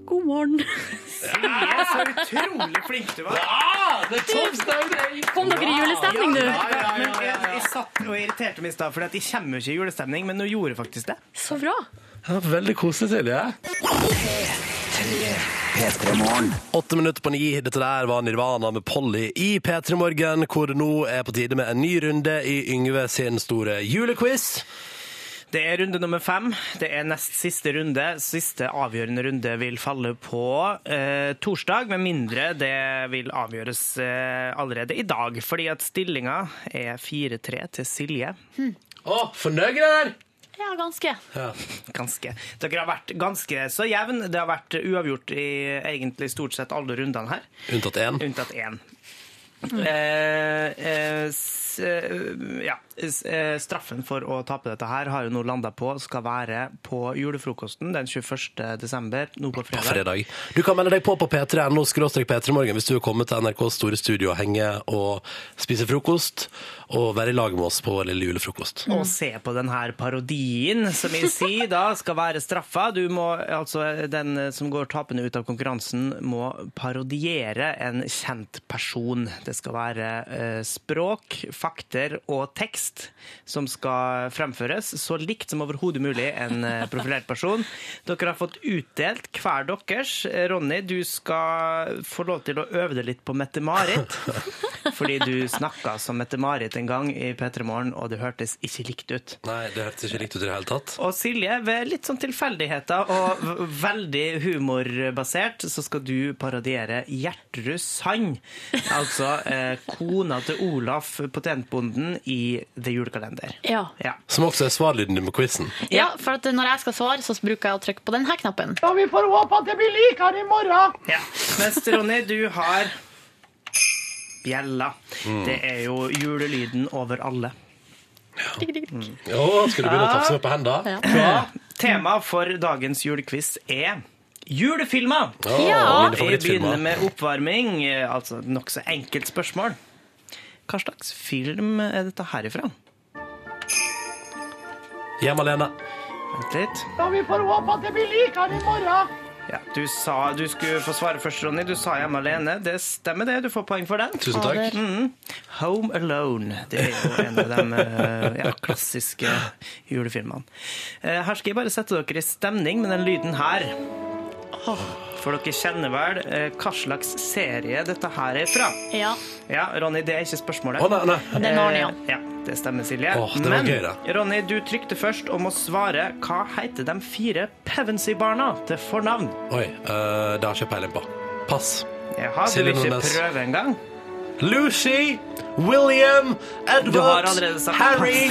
Speaker 4: God morgen.
Speaker 5: Jeg er så utrolig flink du var.
Speaker 4: Kom dere i julestemning, du?
Speaker 5: Men jeg, jeg satt og irriterte meg i stad, for jeg kommer jo ikke i julestemning, men nå gjorde jeg faktisk det.
Speaker 4: Så bra.
Speaker 1: Ja, veldig koselig, Silje. Åtte minutter på ni. Dette der var Nirvana med Polly i P3 Morgen, hvor det nå er på tide med en ny runde i Yngve sin store julequiz.
Speaker 5: Det er runde nummer fem. Det er nest siste runde. Siste avgjørende runde vil falle på eh, torsdag, med mindre det vil avgjøres eh, allerede i dag. Fordi at stillinga er 4-3 til Silje.
Speaker 1: Å, fornøyd der?
Speaker 4: Ja, ganske.
Speaker 5: Ganske. Dere har vært ganske så jevn. Det har vært uavgjort i egentlig stort sett alle rundene her.
Speaker 1: Unntatt én.
Speaker 5: Unntatt én. Eh, eh, s, eh, ja. s, eh, straffen for å tape dette her har jo nå landa på skal være på julefrokosten den 21. desember, nå på
Speaker 1: på
Speaker 5: fredag.
Speaker 1: fredag. Du kan melde deg på på p3.no p3morgen hvis du er kommet til NRKs store studio og henge og spise frokost og være i lag med oss på vår lille julefrokost.
Speaker 5: Og se på den her parodien, som jeg sier da skal være straffa. Du må, altså, den som går tapende ut av konkurransen, må parodiere en kjent person. Det skal være eh, språk, fakter og tekst som skal fremføres så likt som overhodet mulig en eh, profilert person. Dere har fått utdelt hver deres. Eh, Ronny, du skal få lov til å øve deg litt på Mette-Marit. Fordi du snakka som Mette-Marit en gang i P3 Morgen, og det hørtes ikke likt ut.
Speaker 1: Nei, det hørtes ikke riktig ut i det hele tatt.
Speaker 5: Og Silje, ved litt sånn tilfeldigheter og v- veldig humorbasert, så skal du parodiere Gjertrud Sand. Altså eh, kona til Olaf, potentbonden, i The Julekalender.
Speaker 4: Ja.
Speaker 5: Ja.
Speaker 1: Som også er svarlyden din på quizen.
Speaker 4: ja, for at når jeg skal svare, så bruker jeg å trykke på denne knappen.
Speaker 5: Ja. Mens Ronny, du har bjella. Det er jo julelyden over alle.
Speaker 4: Tikk, tikk, tikk.
Speaker 1: Å, skal du begynne å tafse meg på hendene?
Speaker 4: Ja.
Speaker 5: Tema for dagens julequiz er julefilmer.
Speaker 1: Å, mine
Speaker 4: Ja.
Speaker 5: Vi begynner
Speaker 1: favorittfilmer.
Speaker 5: med oppvarming, eh, altså nokså enkelt spørsmål. Hva slags film er dette herifra?
Speaker 1: Hjem alene.
Speaker 5: Vent litt. Ja, du sa du skulle få svare først, Ronny. Du sa hjemme alene. Det stemmer det, du får poeng for den.
Speaker 1: Tusen takk.
Speaker 5: Home Alone. Det er jo en av de eh, ja, klassiske julefilmene. Eh, Her skal jeg bare sette dere i stemning med den lyden her. For dere kjenner vel eh, hva slags serie dette her er fra.
Speaker 4: Ja.
Speaker 5: Ja, Ronny, det er ikke spørsmålet.
Speaker 1: Å, nei, nei.
Speaker 4: Den har den, ja.
Speaker 5: Eh, ja, det stemmer, Silje.
Speaker 1: Åh, det var
Speaker 5: Men
Speaker 1: gøy, da.
Speaker 5: Ronny, du trykte først om å svare hva heter de fire Pevensey-barna til fornavn?
Speaker 1: Oi, eh, det har ikke jeg peiling på. Pass.
Speaker 5: Jaha, du
Speaker 1: Silje
Speaker 5: vil ikke
Speaker 1: Nordnes.
Speaker 5: prøve engang?
Speaker 1: Lucy, William,
Speaker 5: Du har
Speaker 1: Edward,
Speaker 5: allerede sagt
Speaker 1: Harry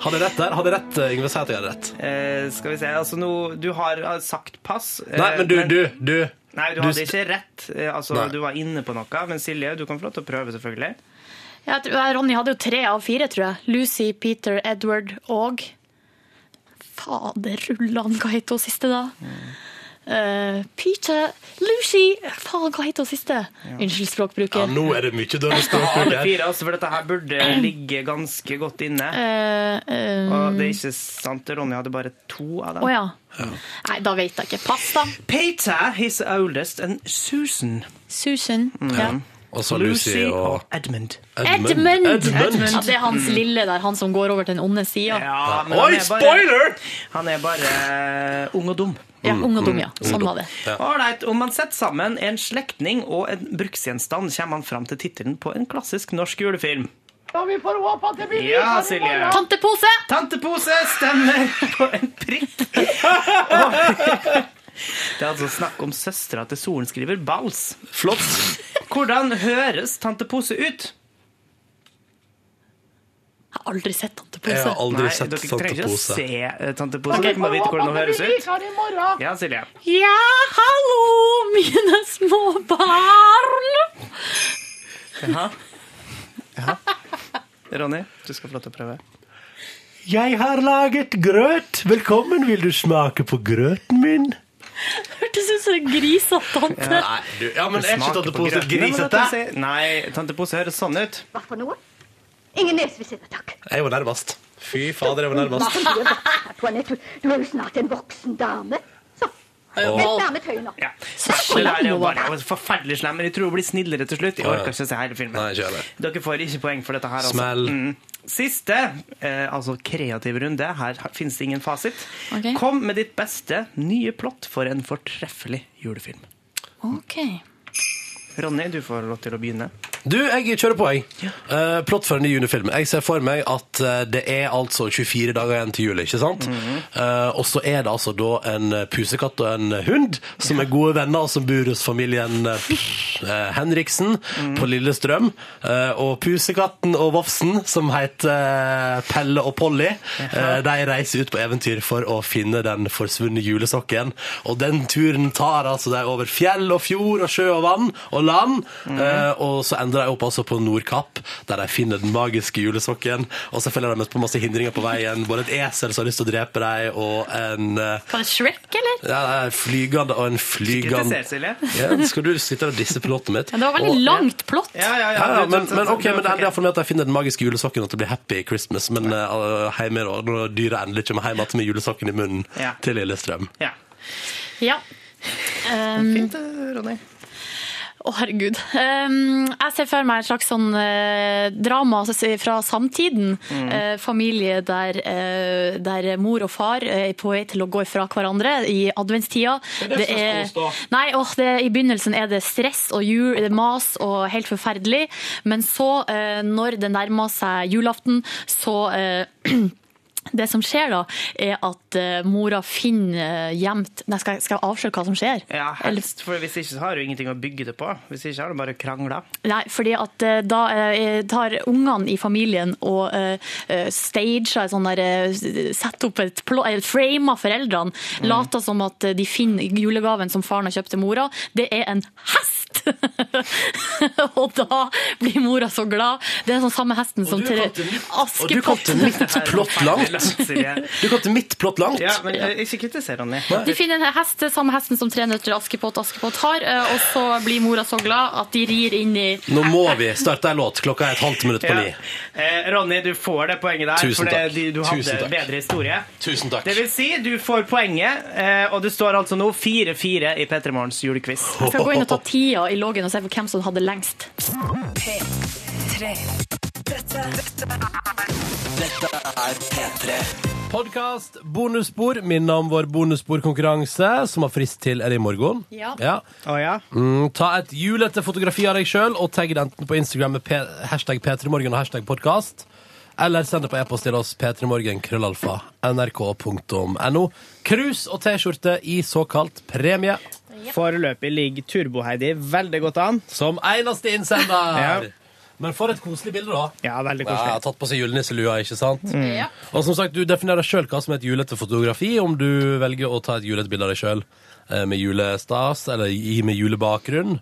Speaker 1: Hadde jeg rett der? Hadde jeg rett, Yngve? Si at jeg hadde rett.
Speaker 5: Eh, skal vi se, altså nå Du har eh, sagt pass. eh,
Speaker 1: Nei, men du, du, du.
Speaker 5: Nei, du
Speaker 1: Du
Speaker 5: hadde
Speaker 1: st-
Speaker 5: ikke rett. Eh, Altså,
Speaker 1: Nei.
Speaker 5: Du var inne på noe. Men Silje, du kan få lov til å prøve, selvfølgelig.
Speaker 11: Jeg tror, jeg- Ronny hadde jo tre av fire, tror jeg. Lucy, Peter, Edward og Faderullan, hva het hun siste, da? Eh, Peter Lucy Faen, hva het hun siste? Unnskyld
Speaker 1: Ja,
Speaker 11: språkbruker.
Speaker 1: nå er det mye dårlig språkbruk
Speaker 5: Alle
Speaker 1: her.
Speaker 5: fire, altså, for dette her burde ligge ganske godt inne.
Speaker 11: Eh, eh,
Speaker 5: Og det er ikke sant, Ronny hadde bare to av dem.
Speaker 11: Å ja. Nei, da vet jeg ikke. Pass, da.
Speaker 5: Peter, his oldest, and Susan,
Speaker 11: Susan. Ja.
Speaker 1: Og så
Speaker 5: Lucy
Speaker 1: Lucy og
Speaker 5: og Edmund.
Speaker 11: Edmund!
Speaker 1: Edmund.
Speaker 11: Ja, det er hans lille der, han som går over til den onde sida. Ja.
Speaker 5: Ja, men han
Speaker 1: Oi,
Speaker 5: er bare-
Speaker 1: spoiler!
Speaker 5: Han er bare eh, ung og dum.
Speaker 11: ung og dum, ja. Sånn var det.
Speaker 5: Ålreit, om man setter sammen en slektning og en bruksgjenstand, kommer man fram til tittelen på en klassisk norsk julefilm. Ja, Silje.
Speaker 11: Tantepose!
Speaker 5: Tantepose stemmer på en prikk. Det er altså snakk om søstera til sorenskriver Bals.
Speaker 1: Flott.
Speaker 5: Hvordan høres tantepose ut?
Speaker 11: Jeg har aldri sett
Speaker 1: Jeg
Speaker 11: tantepose.
Speaker 1: har aldri sett
Speaker 5: dere
Speaker 1: sånt
Speaker 5: trenger ikke å
Speaker 1: pose.
Speaker 5: se eh, tantepose. Dere må vite hvordan hun høres ut. Ja, Silje.
Speaker 11: Ja, hallo, mine små barn!
Speaker 5: Jaha. Jaha. Ronny, du skal få lov til å prøve.
Speaker 1: Jeg har laget grøt. Velkommen, vil du smake på grøten min?
Speaker 11: Hørtes ut som en grisete tante.
Speaker 1: Nei, du, ja, men er ikke
Speaker 5: Smaker
Speaker 1: tatt
Speaker 5: på
Speaker 1: pose
Speaker 5: grøten, men
Speaker 1: grisete?
Speaker 5: dette sier- Nei, tantepose høres sånn ut.
Speaker 4: Hva for noe? Ingen nesvisitter, takk.
Speaker 1: Jeg var nærmest. Fy fader, jeg var
Speaker 4: Hva
Speaker 1: nærmest.
Speaker 4: for noe? Antoinette, du er jo snart en voksen dame. Så, litt nærmere tøyet nå.
Speaker 5: Ja.
Speaker 11: Så
Speaker 5: Det der er jo
Speaker 11: slem hun var.
Speaker 5: bare forferdelig slem, men jeg tror hun blir snillere til slutt. Jeg
Speaker 1: Å, ja.
Speaker 5: orker ikke å se hele filmen.
Speaker 1: Nei, ikke heller.
Speaker 5: Dere får ikke poeng for dette her. Altså.
Speaker 1: Smell.
Speaker 5: Siste, eh, altså kreativ runde, her finnes det ingen fasit.
Speaker 11: Ok.
Speaker 5: Kom med ditt beste nye plott for en fortreffelig julefilm.
Speaker 11: Ok.
Speaker 5: Ronny, du får lov til å begynne.
Speaker 1: Du, jeg kjører på, jeg. Eh, plott for en ny julefilm. Jeg ser for meg at eh, det er altså 24 dager igjen til jul, ikke sant? Eh, og så er det altså da en pusekatt og en eh, hund som er gode venner, og som bor hos familien eh, Henriksen på Lillestrøm. Eh, og pusekatten og vofsen, som heter eh, Pelle og Polly, eh, de reiser ut på eventyr for å finne den forsvunne julesokken. Og den turen tar altså de over fjell og fjord og sjø og vann og land.
Speaker 11: Mhm.
Speaker 1: Eh, og så ender de opp altså på Nordkapp, der de finner den magiske julesokken. Og selvfølgelig har de møtt på masse hindringer på veien. Både et esel som har lyst til å drepe dem, og en eh,
Speaker 11: Var det Shrek, eller?
Speaker 1: ja, nei, flygende og en flygende
Speaker 5: Kritiser, Silje.
Speaker 1: ja, Skal du sitte og disse piloten mitt?
Speaker 11: Ja, det var veldig
Speaker 1: Og-
Speaker 11: langt plott.
Speaker 5: Ja, ja,
Speaker 1: ja, ja, men,
Speaker 5: du-
Speaker 1: men ok,
Speaker 5: du-
Speaker 1: men det er for meg at jeg finner den magiske julesokken og at det blir happy Christmas, men uh, hjemme da, når dyret endelig kommer hjem igjen med julesokken i munnen
Speaker 5: Ja.
Speaker 1: til Lillestrøm.
Speaker 5: Ja.
Speaker 11: Ja. Um,
Speaker 5: Fint, eh, Ronny.
Speaker 11: Å, herregud. Um, jeg ser for meg et slags sånn eh, drama altså, se- fra samtiden. Eh, familie der, eh, der mor og far eh, er på vei til å gå fra hverandre i adventstida. Det er, nei, åh, det, I begynnelsen er det stress og jul, det er mas og helt forferdelig. Men så, eh, når det nærmer seg julaften, så eh, det som skjer da, er at eh, mora finner eh, gjemt Nei, skal, jeg- skal jeg avsløre hva som skjer?
Speaker 5: Ja,
Speaker 11: Eller-
Speaker 5: helst, for hvis ikke så har du ingenting å bygge det på. Hvis ikke har du bare krangla.
Speaker 11: Nei, fordi at eh, da eh, tar ungene i familien og eh, eh, stager sånn der eh, Setter opp et plå... eh, Framer foreldrene. Later som at eh, de finner julegaven som faren har kjøpt til mora. Det er en hest! og da blir mora så glad. Det er sånn samme hesten som
Speaker 1: du
Speaker 11: til
Speaker 1: kalte mitt- og du
Speaker 11: Askepott.
Speaker 1: kalte mitt plott langt!
Speaker 5: Silje.
Speaker 1: Du kalte mitt plott langt!
Speaker 5: Ja, men eh, ikke kritiser, Ronny.
Speaker 11: De finner en hest, det er samme hesten som tre nøtter Askepott Askepott har, eh, og så blir mora så glad at de rir inn i
Speaker 1: Nå må vi starte en låt. Klokka er et halvt minutt på
Speaker 5: Ja.
Speaker 1: ni.
Speaker 5: Eh, Ronny, du får det poenget der,
Speaker 1: Tusen
Speaker 5: for
Speaker 1: takk.
Speaker 5: det, du, du hadde
Speaker 1: Tusen takk.
Speaker 5: bedre historie.
Speaker 1: Tusen takk.
Speaker 5: Det vil si, du får poenget, eh, og det står altså nå 4-4 i P3 Morgens julequiz.
Speaker 11: Jeg skal gå inn og ta tida i loggen og se på hvem som hadde lengst.
Speaker 12: P3. Dette, dette
Speaker 1: Podkast bonusspor minner om vår bonussporkonkurranse, som har frist til er det i morgen.
Speaker 11: Ja.
Speaker 5: Å ja?
Speaker 1: Mm, ta et julete fotografi av deg sjøl og tagg det enten på Instagram med P hashtag p3morgen og hashtag podkast. Eller send det på e-post til oss p3morgen krøllalfa nrk.no. Krus og T-skjorte i såkalt premie
Speaker 5: Foreløpig ligger Turbo-Heidi veldig godt an.
Speaker 1: som eneste innsender.
Speaker 5: Ja.
Speaker 1: Men for et koselig bilde, da.
Speaker 2: Ja, veldig
Speaker 1: Ja, jeg har
Speaker 2: koselig.
Speaker 1: tatt på seg julenisselua, ikke sant?
Speaker 2: Mm. Ja.
Speaker 1: Og som sagt, du definerer sjøl hva som er et julete fotografi, om du velger å ta et julete bilde av deg sjøl med julestas, eller i- med julebakgrunn.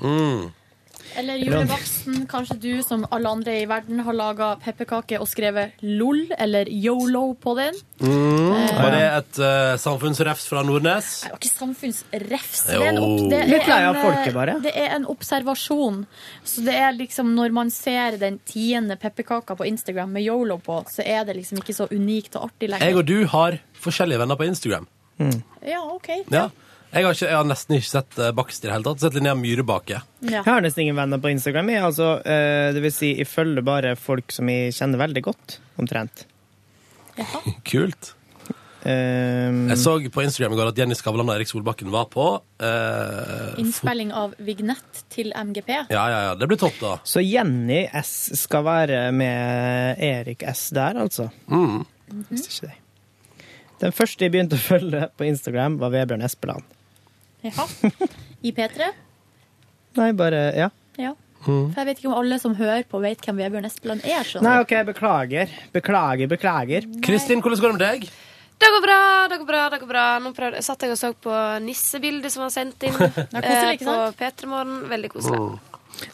Speaker 1: Mm.
Speaker 11: Eller julebaksten. Kanskje du, som alle andre i verden, har laga pepperkaker og skrevet LOL eller YOLO på den.
Speaker 1: Mm.
Speaker 11: Eh.
Speaker 1: Var det et eh, samfunnsrefs fra Nordnes?
Speaker 11: Det var ikke samfunnsrefs. Det er en, opp,
Speaker 1: Jo.
Speaker 11: det er
Speaker 1: Litt lei av
Speaker 11: en, eh,
Speaker 1: folket, bare.
Speaker 11: Det er en observasjon. Så det er liksom når man ser den tiende pepperkaka på Instagram med Yolo på, så er det liksom ikke så unikt og artig
Speaker 1: Jeg
Speaker 11: lenger.
Speaker 1: og du har forskjellige venner på Instagram.
Speaker 11: Ja, OK.
Speaker 1: Ja. Jeg, har ikke, jeg har nesten ikke sett eh, bakst i det hele tatt. Sett Linnea Myhrebake.
Speaker 11: Ja.
Speaker 5: Jeg har nesten ingen venner på Instagram. Jeg, altså, eh, det vil si, jeg følger bare folk som jeg kjenner veldig godt, omtrent.
Speaker 1: Kult. jeg så på Instagram i går at Jenny Skavlan og Erik Solbakken var på eh,
Speaker 11: Innspilling av vignett til MGP.
Speaker 1: Ja, ja, ja. Det blir topp, da.
Speaker 5: Så Jenny S skal være med Erik S der, altså. Visste ikke det. Den første jeg begynte å følge på Instagram, var Vebjørn Espeland.
Speaker 11: Ja. I P3.
Speaker 5: Nei, bare Ja.
Speaker 11: Ja.
Speaker 1: Mm.
Speaker 11: For jeg vet ikke om alle som hører på, vet hvem Vebjørn Espeland er. skjønner
Speaker 5: Nei,
Speaker 11: du.
Speaker 5: OK, beklager. Beklager, beklager.
Speaker 1: Kristin, hvordan går det med deg?
Speaker 13: Det går bra, det går bra. det går bra Nå prøvde, satt jeg og så på nissebildet som var sendt inn eh,
Speaker 11: ikke
Speaker 13: på P3morgen. Veldig koselig.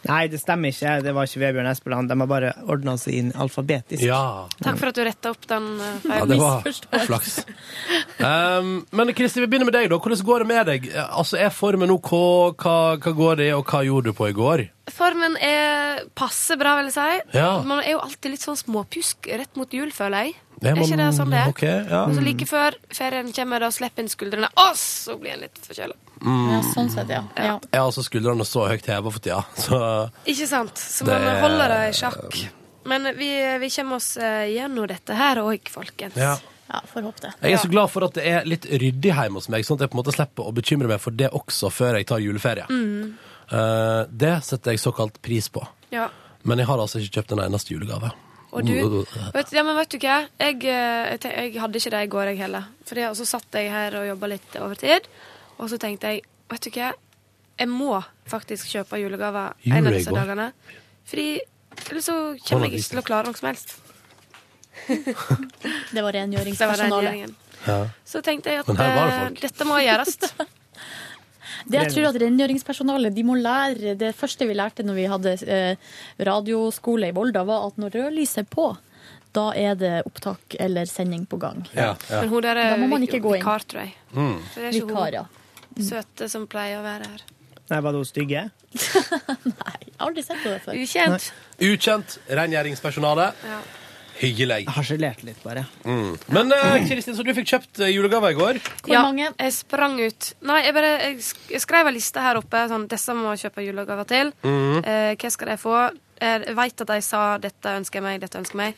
Speaker 5: Nei, det stemmer ikke. Det var ikke Vebjørn Espeland. De har bare ordna seg inn alfabetisk.
Speaker 1: Ja.
Speaker 13: Takk for at du retta opp den eh,
Speaker 1: Ja,
Speaker 13: feilen.
Speaker 1: det var flaks. Um, men Kristin, vi begynner med deg, da. Hvordan går det med deg? Eh, Altså, Er formen OK? Hva, hva går det i, og hva gjorde du på i går?
Speaker 13: Formen er passe bra, vil jeg si.
Speaker 1: Ja.
Speaker 13: Man er jo alltid litt sånn småpjusk rett mot jul, føler jeg.
Speaker 1: Det
Speaker 13: er
Speaker 1: må-
Speaker 13: ikke det sånn det er?
Speaker 1: ok, ja.
Speaker 13: Og så like før ferien kommer, da slipper en skuldrene, og så blir en litt forkjøla.
Speaker 1: Mm.
Speaker 11: Ja, sånn sett, ja. ja.
Speaker 1: Jeg har altså skuldrene så høyt heva for tida, så
Speaker 13: Ikke sant? Så
Speaker 1: Det
Speaker 13: man
Speaker 1: er-
Speaker 13: holder det i sjakk. Men vi, vi kommer oss eh, gjennom dette her òg, folkens.
Speaker 1: Ja.
Speaker 11: får håpe det.
Speaker 1: Jeg er så glad for at det er litt ryddig hjemme hos meg, sånn at jeg på en måte slipper å bekymre meg for det også før jeg tar juleferie.
Speaker 13: Mm.
Speaker 1: Eh, det setter jeg såkalt pris på.
Speaker 13: Ja.
Speaker 1: Men jeg har altså ikke kjøpt en eneste julegave. Mm.
Speaker 13: Og du, vet, ja, men vet du hva? Jeg, eh, jeg, tenk- jeg hadde ikke det i går, jeg heller. Fordi, og så satt jeg her og jobba litt overtid. Og så tenkte jeg, vet du hva? Jeg må faktisk kjøpe julegaver en
Speaker 1: Gjorde
Speaker 13: av
Speaker 1: jeg
Speaker 13: disse
Speaker 1: i går?
Speaker 13: dagene. Fordi ellers så
Speaker 1: Hvordan
Speaker 13: kommer jeg
Speaker 1: visste
Speaker 13: ikke til å klare noe som helst.
Speaker 11: Det var
Speaker 13: Det var
Speaker 11: rengjøringspersonalet.
Speaker 13: rengjøringen. Så tenkte jeg at
Speaker 1: Men her var det
Speaker 13: eh,
Speaker 1: folk.
Speaker 13: dette må gjøres.
Speaker 11: Det jeg tror at rengjøringspersonalet de må lære Det første vi lærte når vi hadde eh, radioskole i Volda, var at når rødlyset er på, da er det opptak eller sending på gang.
Speaker 1: Ja, ja.
Speaker 13: Men hun der
Speaker 11: Da
Speaker 13: er
Speaker 11: må man
Speaker 13: vik-
Speaker 11: ikke gå inn.
Speaker 13: vikar, tror jeg.
Speaker 1: Mm.
Speaker 13: Så det er ikke
Speaker 11: Vikar, ja.
Speaker 13: hun søte som pleier å være her.
Speaker 5: Nei, var det hun stygge?
Speaker 11: Jeg har aldri sett på det før.
Speaker 13: Ukjent.
Speaker 1: Ukjent rengjøringspersonale.
Speaker 13: Ja.
Speaker 1: Hyggelig.
Speaker 5: Harselerte litt, bare.
Speaker 1: Mm. Men eh, Kristin, så du fikk kjøpt eh, julegave i går?
Speaker 13: ja, Jeg sprang ut. Nei, jeg, bare, jeg sk- jeg skrev en liste her oppe. Sånn, disse må jeg kjøpe julegaver til.
Speaker 1: Mhm.
Speaker 13: Eh, hva skal de få? Eh, Jeg vet at de sa 'dette ønsker jeg meg', 'dette ønsker jeg meg'.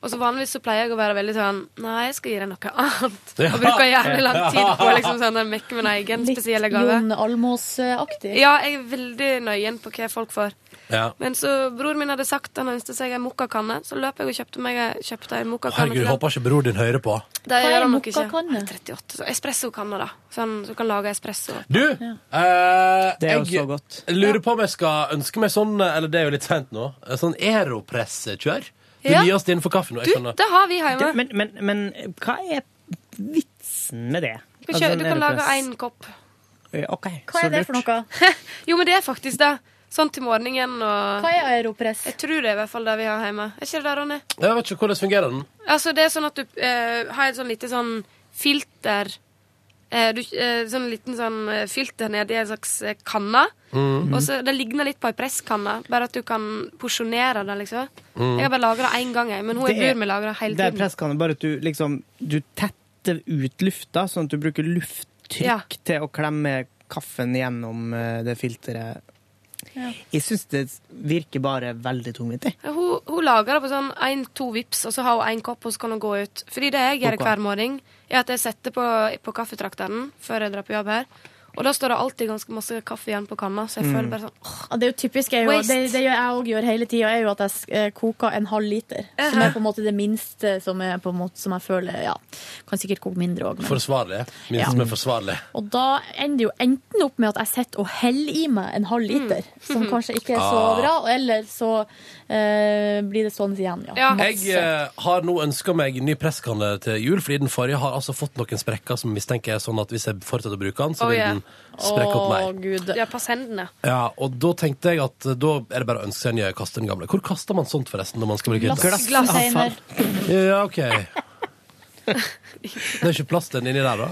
Speaker 13: Og så Vanligvis så pleier jeg å være veldig sånn Nei, jeg skal gi deg noe annet.
Speaker 11: Ja.
Speaker 13: Og bruker gjerne lang tid på å liksom, sånn, å mekke min egen spesielle gave.
Speaker 11: Jon Almås-aktig.
Speaker 13: Ja, jeg er veldig nøyen på hva folk får.
Speaker 1: Ja.
Speaker 13: Men så bror min hadde sagt han ønsket seg ei mokkakanne, så løp jeg og kjøpte meg ei- kjøpte ei mokkakanne.
Speaker 1: Herregud,
Speaker 13: til
Speaker 1: jeg
Speaker 13: han.
Speaker 1: håper ikke bror din hører på.
Speaker 13: Det
Speaker 11: Hva er
Speaker 13: gjør han nok ikke.
Speaker 11: mokkakanne?
Speaker 13: 38, så Espressokanne, da. Sånn, så du kan lage espresso.
Speaker 1: Du, eh,
Speaker 5: Det er jo
Speaker 1: jeg
Speaker 5: så godt.
Speaker 1: lurer på om jeg skal ønske meg sånn, eh, eller det er jo litt sent nå, eh, sånn aeropressekjør. Du
Speaker 13: Ja.
Speaker 1: gir oss det innenfor kaffen. og jeg skjønner-
Speaker 13: det har vi hjemme.
Speaker 5: Det- Men, men, men hva er vitsen med det? Altså,
Speaker 13: Du kan, kjø- du kan lage
Speaker 5: en
Speaker 13: én kopp.
Speaker 5: OK.
Speaker 13: Hva er det for noe? jo, men det er faktisk det. Sånn til morgenen og
Speaker 11: Hva er aeropress?
Speaker 13: Jeg tror det er i hvert fall det vi har hjemme. Er ikke det det, Ronny?
Speaker 1: Jeg vet ikke hvordan fungerer den.
Speaker 13: Altså, det er sånn at du eh, har et sånn lite sånn filter eh, du, eh, Sånn liten sånn eh, filter nedi en slags eh, kanne.
Speaker 5: Mm.
Speaker 1: Mhm.
Speaker 13: Og så Det ligner litt på ei presskanne, bare at du kan porsjonere det, liksom.
Speaker 5: Mhm.
Speaker 13: Jeg har bare lagra det én gang, jeg, men hun jeg
Speaker 5: Det er-
Speaker 13: bor med lagrer hele
Speaker 5: Det er
Speaker 13: tiden.
Speaker 5: presskanne, bare at du liksom Du tetter ut lufta, sånn at du bruker lufttrykk
Speaker 13: Ja.
Speaker 5: til å klemme kaffen gjennom eh, det filteret.
Speaker 13: Ja.
Speaker 5: Jeg syns det virker bare veldig tungvint, jeg.
Speaker 13: Hun, hun lager det på sånn én-to vips, og så har hun én kopp, og så kan hun gå ut. Fordi det jeg gjør
Speaker 5: Ok.
Speaker 13: hver morgen, er at jeg setter på, på kaffetrakteren før jeg drar på jobb her, Og da står det alltid ganske masse kaffe igjen på kanna, så jeg
Speaker 11: Mm.
Speaker 13: føler bare sånn åh,
Speaker 11: Ja, Det er jo typisk, er jo,
Speaker 13: Waste.
Speaker 11: det, det gjør jeg òg gjør hele tida, er jo at jeg sk- eh, koker en halv liter. Som er på en måte det minste som, er på en måte, som jeg føler Ja, kan sikkert koke mindre òg, men
Speaker 1: Forsvarlig. Minst
Speaker 11: Ja.
Speaker 1: som er forsvarlig.
Speaker 11: Og da ender det jo enten opp med at jeg sitter og heller i meg en halv
Speaker 13: Mm.
Speaker 11: liter, som kanskje ikke er så
Speaker 1: Ah.
Speaker 11: bra, eller så eh, blir det stående igjen, ja.
Speaker 1: Jeg eh, har nå ønska meg ny presskanne til jul, fordi den forrige har altså fått noen sprekker som mistenker er sånn at hvis jeg fortsetter å bruke den, så
Speaker 13: oh,
Speaker 1: vil
Speaker 13: ja.
Speaker 1: den sprekke opp mer.
Speaker 11: Gud.
Speaker 13: Ja, pass hendene.
Speaker 1: Ja, og da tenkte jeg at eh, da er det bare å ønske seg en ny og kaste den gamle. Hvor kaster man sånt, forresten, når man skal bruke hytta?
Speaker 13: Glass- Ah, Glassavfall.
Speaker 1: Ja, OK. Det er ikke plass til den inni der, da?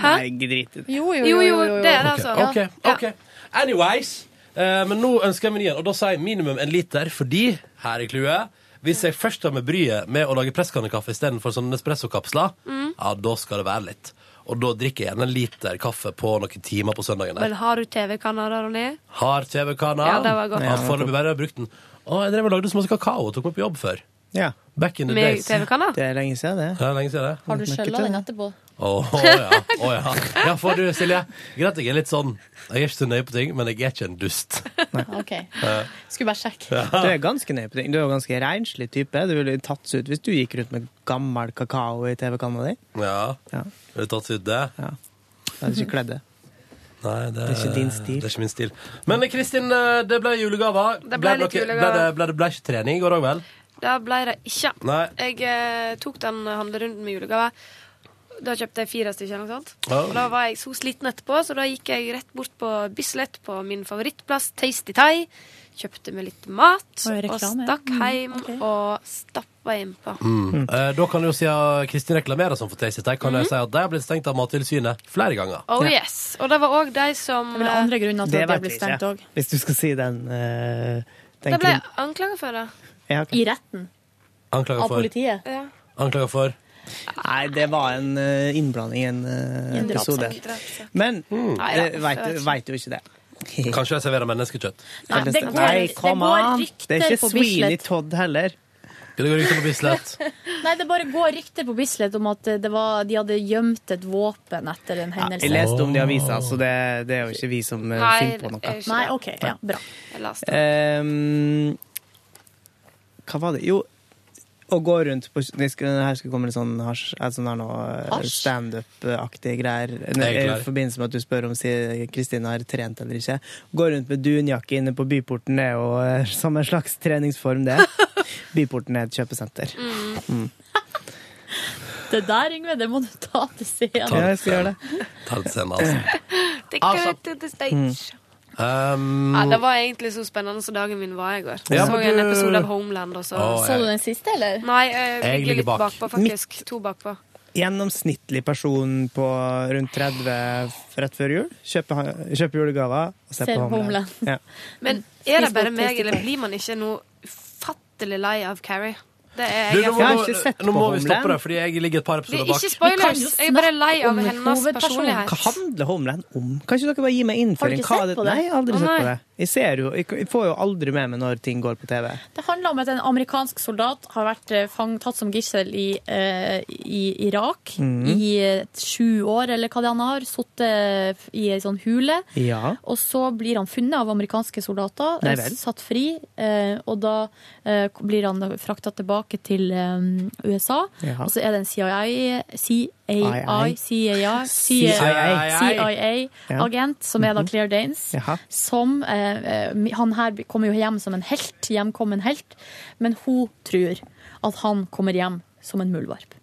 Speaker 13: Hæ?
Speaker 5: Nei, drit i det.
Speaker 11: Jo,
Speaker 13: jo, jo, jo, det er
Speaker 1: Ok,
Speaker 13: det, altså.
Speaker 1: ok, ok. Anyways, eh, men nå ønsker jeg menyen, og da sier jeg minimum en liter, fordi, her er clouet, hvis jeg først tar med bryet med å lage presskannekaffe istedenfor sånne espressokapsler, sånn
Speaker 13: Mm.
Speaker 1: ja, da skal det være litt. Og da drikker jeg gjerne en liter kaffe på noen timer på søndagen.
Speaker 13: Men har du TV-kanal, da, Ronny?
Speaker 1: Har TV-kanal.
Speaker 13: Ja, det var godt.
Speaker 1: Har foreløpig bare brukt den. Å, jeg drev og lagde så masse kakao og tok meg på jobb før.
Speaker 5: Ja.
Speaker 1: Back in the
Speaker 13: Med
Speaker 1: days.
Speaker 13: TV-kanal?
Speaker 5: Det er lenge siden, det.
Speaker 1: Ja, det er lenge siden det.
Speaker 11: Har du skjella den etterpå?
Speaker 1: Å ja. å ja. Ja, for du, Silje. Greit, jeg er litt sånn Jeg er ikke så nøye på ting, men jeg er ikke en dust.
Speaker 11: OK.
Speaker 1: Eh,
Speaker 11: Skulle bare sjekke.
Speaker 5: Du er ganske nøye på ting. Du er jo ganske renslig type. Du ville tatt seg ut hvis du gikk rundt med gammel kakao i TV-kanalen din.
Speaker 1: Ja.
Speaker 5: Ja.
Speaker 1: Har du tatt ut det?
Speaker 5: Da hadde du ikke kledd det.
Speaker 1: Nei, det,
Speaker 5: Det er ikke din stil.
Speaker 1: Det er ikke min stil. Men eh, Kristin, eh, det ble julegaver.
Speaker 13: Det ble litt
Speaker 1: noe-
Speaker 13: julegaver.
Speaker 1: Ble det, ble det ble ikke trening i går òg, vel?
Speaker 13: Det ble det ikke.
Speaker 1: Nei.
Speaker 13: Jeg eh, tok den handlerunden med julegaver. Da kjøpte jeg fire stykker. eller noe sånt.
Speaker 1: Ja.
Speaker 13: Og Da var jeg så sliten etterpå, så da gikk jeg rett bort på Bislett, på min favorittplass, Tasty Thai. Kjøpte meg litt mat,
Speaker 11: Oi,
Speaker 13: og
Speaker 11: reklame, ja.
Speaker 13: stakk hjem og stappa innpå.
Speaker 1: Mm. Eh, Da kan jo si at Kristin reklamerer sånn for Tasty Tech. Kan jeg
Speaker 13: Mhm.
Speaker 1: si at de har blitt stengt av Mattilsynet flere ganger.
Speaker 13: Oh yes. Og det var òg de som eh, Det ble andre
Speaker 11: grunner
Speaker 5: Det vet vi ikke. Hvis du skal si den, eh, den
Speaker 13: De ble
Speaker 5: krim-
Speaker 13: anklaga for det.
Speaker 5: Ja, ok.
Speaker 11: I retten.
Speaker 1: Anklager for.
Speaker 11: politiet?
Speaker 13: Ja.
Speaker 1: Anklager for.
Speaker 5: Nei, det var en eh, innblanding i en eh,
Speaker 1: I en
Speaker 5: episode.
Speaker 1: drapssak. Drapssak.
Speaker 5: Men
Speaker 1: Nei,
Speaker 5: det
Speaker 1: da,
Speaker 5: veit
Speaker 1: jeg
Speaker 5: du
Speaker 1: vet
Speaker 5: veit jo ikke det.
Speaker 1: Kanskje de serverer menneskekjøtt.
Speaker 11: Nei, det går-
Speaker 5: Nei,
Speaker 11: det
Speaker 5: come
Speaker 11: går
Speaker 5: on! Det er
Speaker 11: rykter
Speaker 5: ikke
Speaker 11: på Bislett.
Speaker 5: Sweeney Todd heller.
Speaker 1: Det går rykter på Bislett.
Speaker 11: Nei, det bare går rykter på Bislett om at eh, det var, de hadde gjemt et våpen etter en hendelse.
Speaker 5: Jeg leste om det i avisa, så det, det er jo ikke vi som eh, finner på noe.
Speaker 11: Nei, OK. Ja, bra.
Speaker 5: Ehm, hva var det? Jo, å gå rundt på det skal, Her skal komme litt sånn hasj, eh, sånn her nå, eh,
Speaker 11: Hasj?
Speaker 5: standup-aktige greier.
Speaker 1: Jeg er
Speaker 5: I
Speaker 1: klar.
Speaker 5: forbindelse med at du spør om si- Kristin har trent eller ikke. Gå rundt med dunjakke inne på Byporten er jo eh, som en slags treningsform, det. Byporten er et kjøpesenter. Mm.
Speaker 11: Det der, Yngve, det må du ta til scenen.
Speaker 5: Ja, jeg skal gjøre det.
Speaker 1: Ta det senere, altså.
Speaker 13: Take
Speaker 1: Altså.
Speaker 13: it to the stage. altså.
Speaker 1: Um,
Speaker 13: Ja, det var egentlig så spennende som dagen min var i går.
Speaker 1: Ja,
Speaker 13: Jeg så
Speaker 1: men
Speaker 13: en
Speaker 1: du-
Speaker 13: episode av Homeland. Og så.
Speaker 1: Å, Så jeg- du
Speaker 11: den siste, eller?
Speaker 13: Nei, eh,
Speaker 5: Jeg
Speaker 13: jeg, ligger
Speaker 5: ligger
Speaker 13: litt
Speaker 5: bak.
Speaker 13: bakpå, faktisk. To bakpå.
Speaker 5: Gjennomsnittlig person på rundt 30 rett før jul. Kjøper, kjøper julegaver og ser,
Speaker 13: Ser
Speaker 5: på Homeland.
Speaker 11: Homeland.
Speaker 5: Ja.
Speaker 13: Men
Speaker 11: Spis
Speaker 13: er det
Speaker 11: godt,
Speaker 13: bare
Speaker 11: spis
Speaker 13: meg,
Speaker 11: det.
Speaker 13: eller blir man ikke noe ufattelig lei av Carrie? Det er
Speaker 1: Du,
Speaker 13: jeg.
Speaker 1: nå,
Speaker 13: jeg
Speaker 1: må, nå må vi stoppe det, fordi jeg ligger et par
Speaker 13: Det
Speaker 1: episoder
Speaker 13: er
Speaker 1: bak.
Speaker 13: ikke
Speaker 11: Vi
Speaker 13: spoilers.
Speaker 11: kan jo
Speaker 13: Jeg er bare lei
Speaker 11: snakke
Speaker 13: av
Speaker 11: om
Speaker 13: hennes
Speaker 11: hovedpersonen.
Speaker 13: personlighet.
Speaker 5: Hva handler Homeland om? Kan ikke dere bare gi meg innføring?
Speaker 11: Har du ikke
Speaker 5: Hva er
Speaker 11: sett på det?
Speaker 5: Nei, jeg har aldri
Speaker 11: Å,
Speaker 5: sett på
Speaker 11: nei.
Speaker 5: det. Jeg ser jo, jeg- jeg får jo aldri med meg når ting går på TV.
Speaker 11: Det handler om at en amerikansk soldat har vært eh, fang, tatt som gissel i, eh, i Irak
Speaker 5: Mhm.
Speaker 11: i eh, sju år, eller hva det er han har. Sittet i ei sånn hule.
Speaker 5: Ja.
Speaker 11: Og så blir han funnet av amerikanske soldater,
Speaker 5: Nei
Speaker 11: eh,
Speaker 5: vel.
Speaker 11: satt fri, eh, og da eh, blir han frakta tilbake til eh, USA.
Speaker 5: Ja.
Speaker 11: Og så er det en CIA, CIA,
Speaker 5: II.
Speaker 11: CIA,
Speaker 5: Ja. Mhm.
Speaker 11: CIA-agent, som er da Claire Danes,
Speaker 5: Jaha.
Speaker 11: som eh, eh, Han her kommer jo hjem som en helt, hjemkommen helt, men hun tror at han kommer hjem som en muldvarp.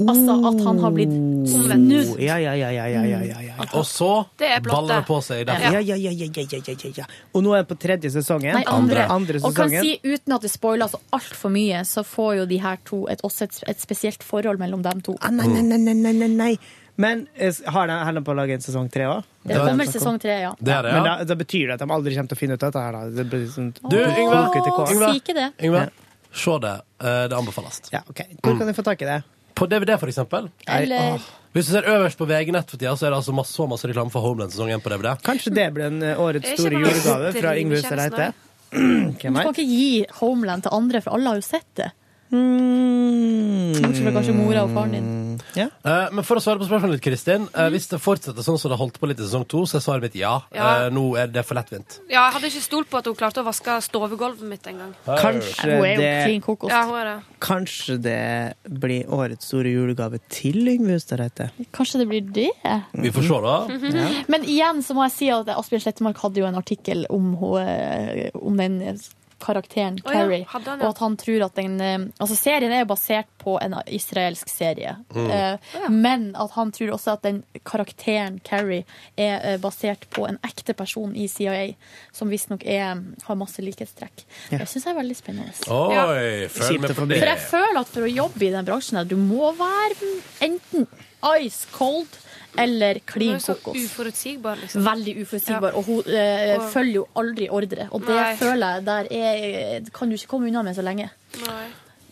Speaker 11: Altså at han har blitt snudd.
Speaker 5: Ja, ja, ja, ja, ja, ja, ja, ja.
Speaker 1: Og så
Speaker 11: Det er plottet.
Speaker 1: baller det på seg.
Speaker 5: Ja,
Speaker 1: Der.
Speaker 5: ja, ja, ja, ja, ja, ja, ja, ja. Og nå er jeg på tredje sesongen.
Speaker 11: Nei, andre. og kan
Speaker 5: sesongen.
Speaker 11: si Uten at det spoiler så altfor mye, så får jo de her to et, også et, et spesielt forhold mellom dem to.
Speaker 5: Ah, nei, nei, nei, nei, nei, nei, nei. Men eh, har de holder de på å lage en sesong tre òg?
Speaker 11: Det kommer sesong tre, ja.
Speaker 1: Det er det, ja.
Speaker 5: Men da, da betyr det at de aldri kommer til å finne ut av dette her, da. Det blir sånn,
Speaker 1: Du, Yngve.
Speaker 5: koker til kål.
Speaker 11: Si ikke det.
Speaker 1: Yngve, se det. Eh, Det anbefales.
Speaker 5: Ja, ok. Hvor kan jeg få tak i det?
Speaker 1: På DVD, for eksempel.
Speaker 5: Eller- åh.
Speaker 1: Hvis du ser øverst på VG-nett for tida, så er det altså masse, så masse reklame for Homeland-sesong 1 på DVD.
Speaker 5: Kanskje det blir en eh, årets
Speaker 11: Jeg
Speaker 5: store
Speaker 11: kjenner meg
Speaker 5: julegave fra
Speaker 11: dritkjent
Speaker 5: Yngve Sereite?
Speaker 11: snart. Du kan ikke gi
Speaker 5: Hmm.
Speaker 11: Homeland til andre, for alle har jo sett det. Bortsett fra kanskje mora og faren din.
Speaker 1: Eh, Men for å svare på spørsmålet ditt, Kristin.
Speaker 11: Mhm.
Speaker 1: eh, Hvis det fortsetter sånn som det holdt på litt i sesong to, så er svaret mitt ja.
Speaker 13: Ja.
Speaker 1: Eh, Nå er det for lettvint.
Speaker 13: Ja, jeg hadde ikke stolt på at hun klarte å vaske stovegulvet mitt en gang.
Speaker 5: Kanskje
Speaker 11: Eh,
Speaker 5: Hun er jo det- klin kokost.
Speaker 13: Ja, hun er det.
Speaker 5: Kanskje det blir årets store julegave til Yngve Hustad Reite.
Speaker 11: Kanskje det blir det?
Speaker 1: Vi får se, da.
Speaker 11: Mhm. Men igjen så må jeg si at Asbjørn Slettemark hadde jo en artikkel om, ho- eh, om den karakteren
Speaker 13: Å ja,
Speaker 11: Carrie,
Speaker 13: hadde han, ja.
Speaker 11: og at han tror at den eh, Altså, serien er jo basert på en israelsk serie,
Speaker 13: Mm.
Speaker 11: Eh, men at han tror også at den karakteren Carrie er eh, basert på en ekte person i CIA, som visstnok er- har masse likhetstrekk.
Speaker 1: Ja.
Speaker 11: Det syns jeg er veldig spennende.
Speaker 1: Oi,
Speaker 11: Ja.
Speaker 1: følg med på
Speaker 11: For jeg
Speaker 1: det.
Speaker 11: føler at for å jobbe i den bransjen her, du må være enten ice cold eller
Speaker 13: Hun
Speaker 11: klin
Speaker 13: er så
Speaker 11: kokos.
Speaker 13: uforutsigbar, liksom.
Speaker 11: Veldig uforutsigbar, og hun eh,
Speaker 13: Og-
Speaker 11: følger jo aldri ordre. Og det
Speaker 13: Nei.
Speaker 11: føler jeg der er, kan du ikke komme unna med så lenge.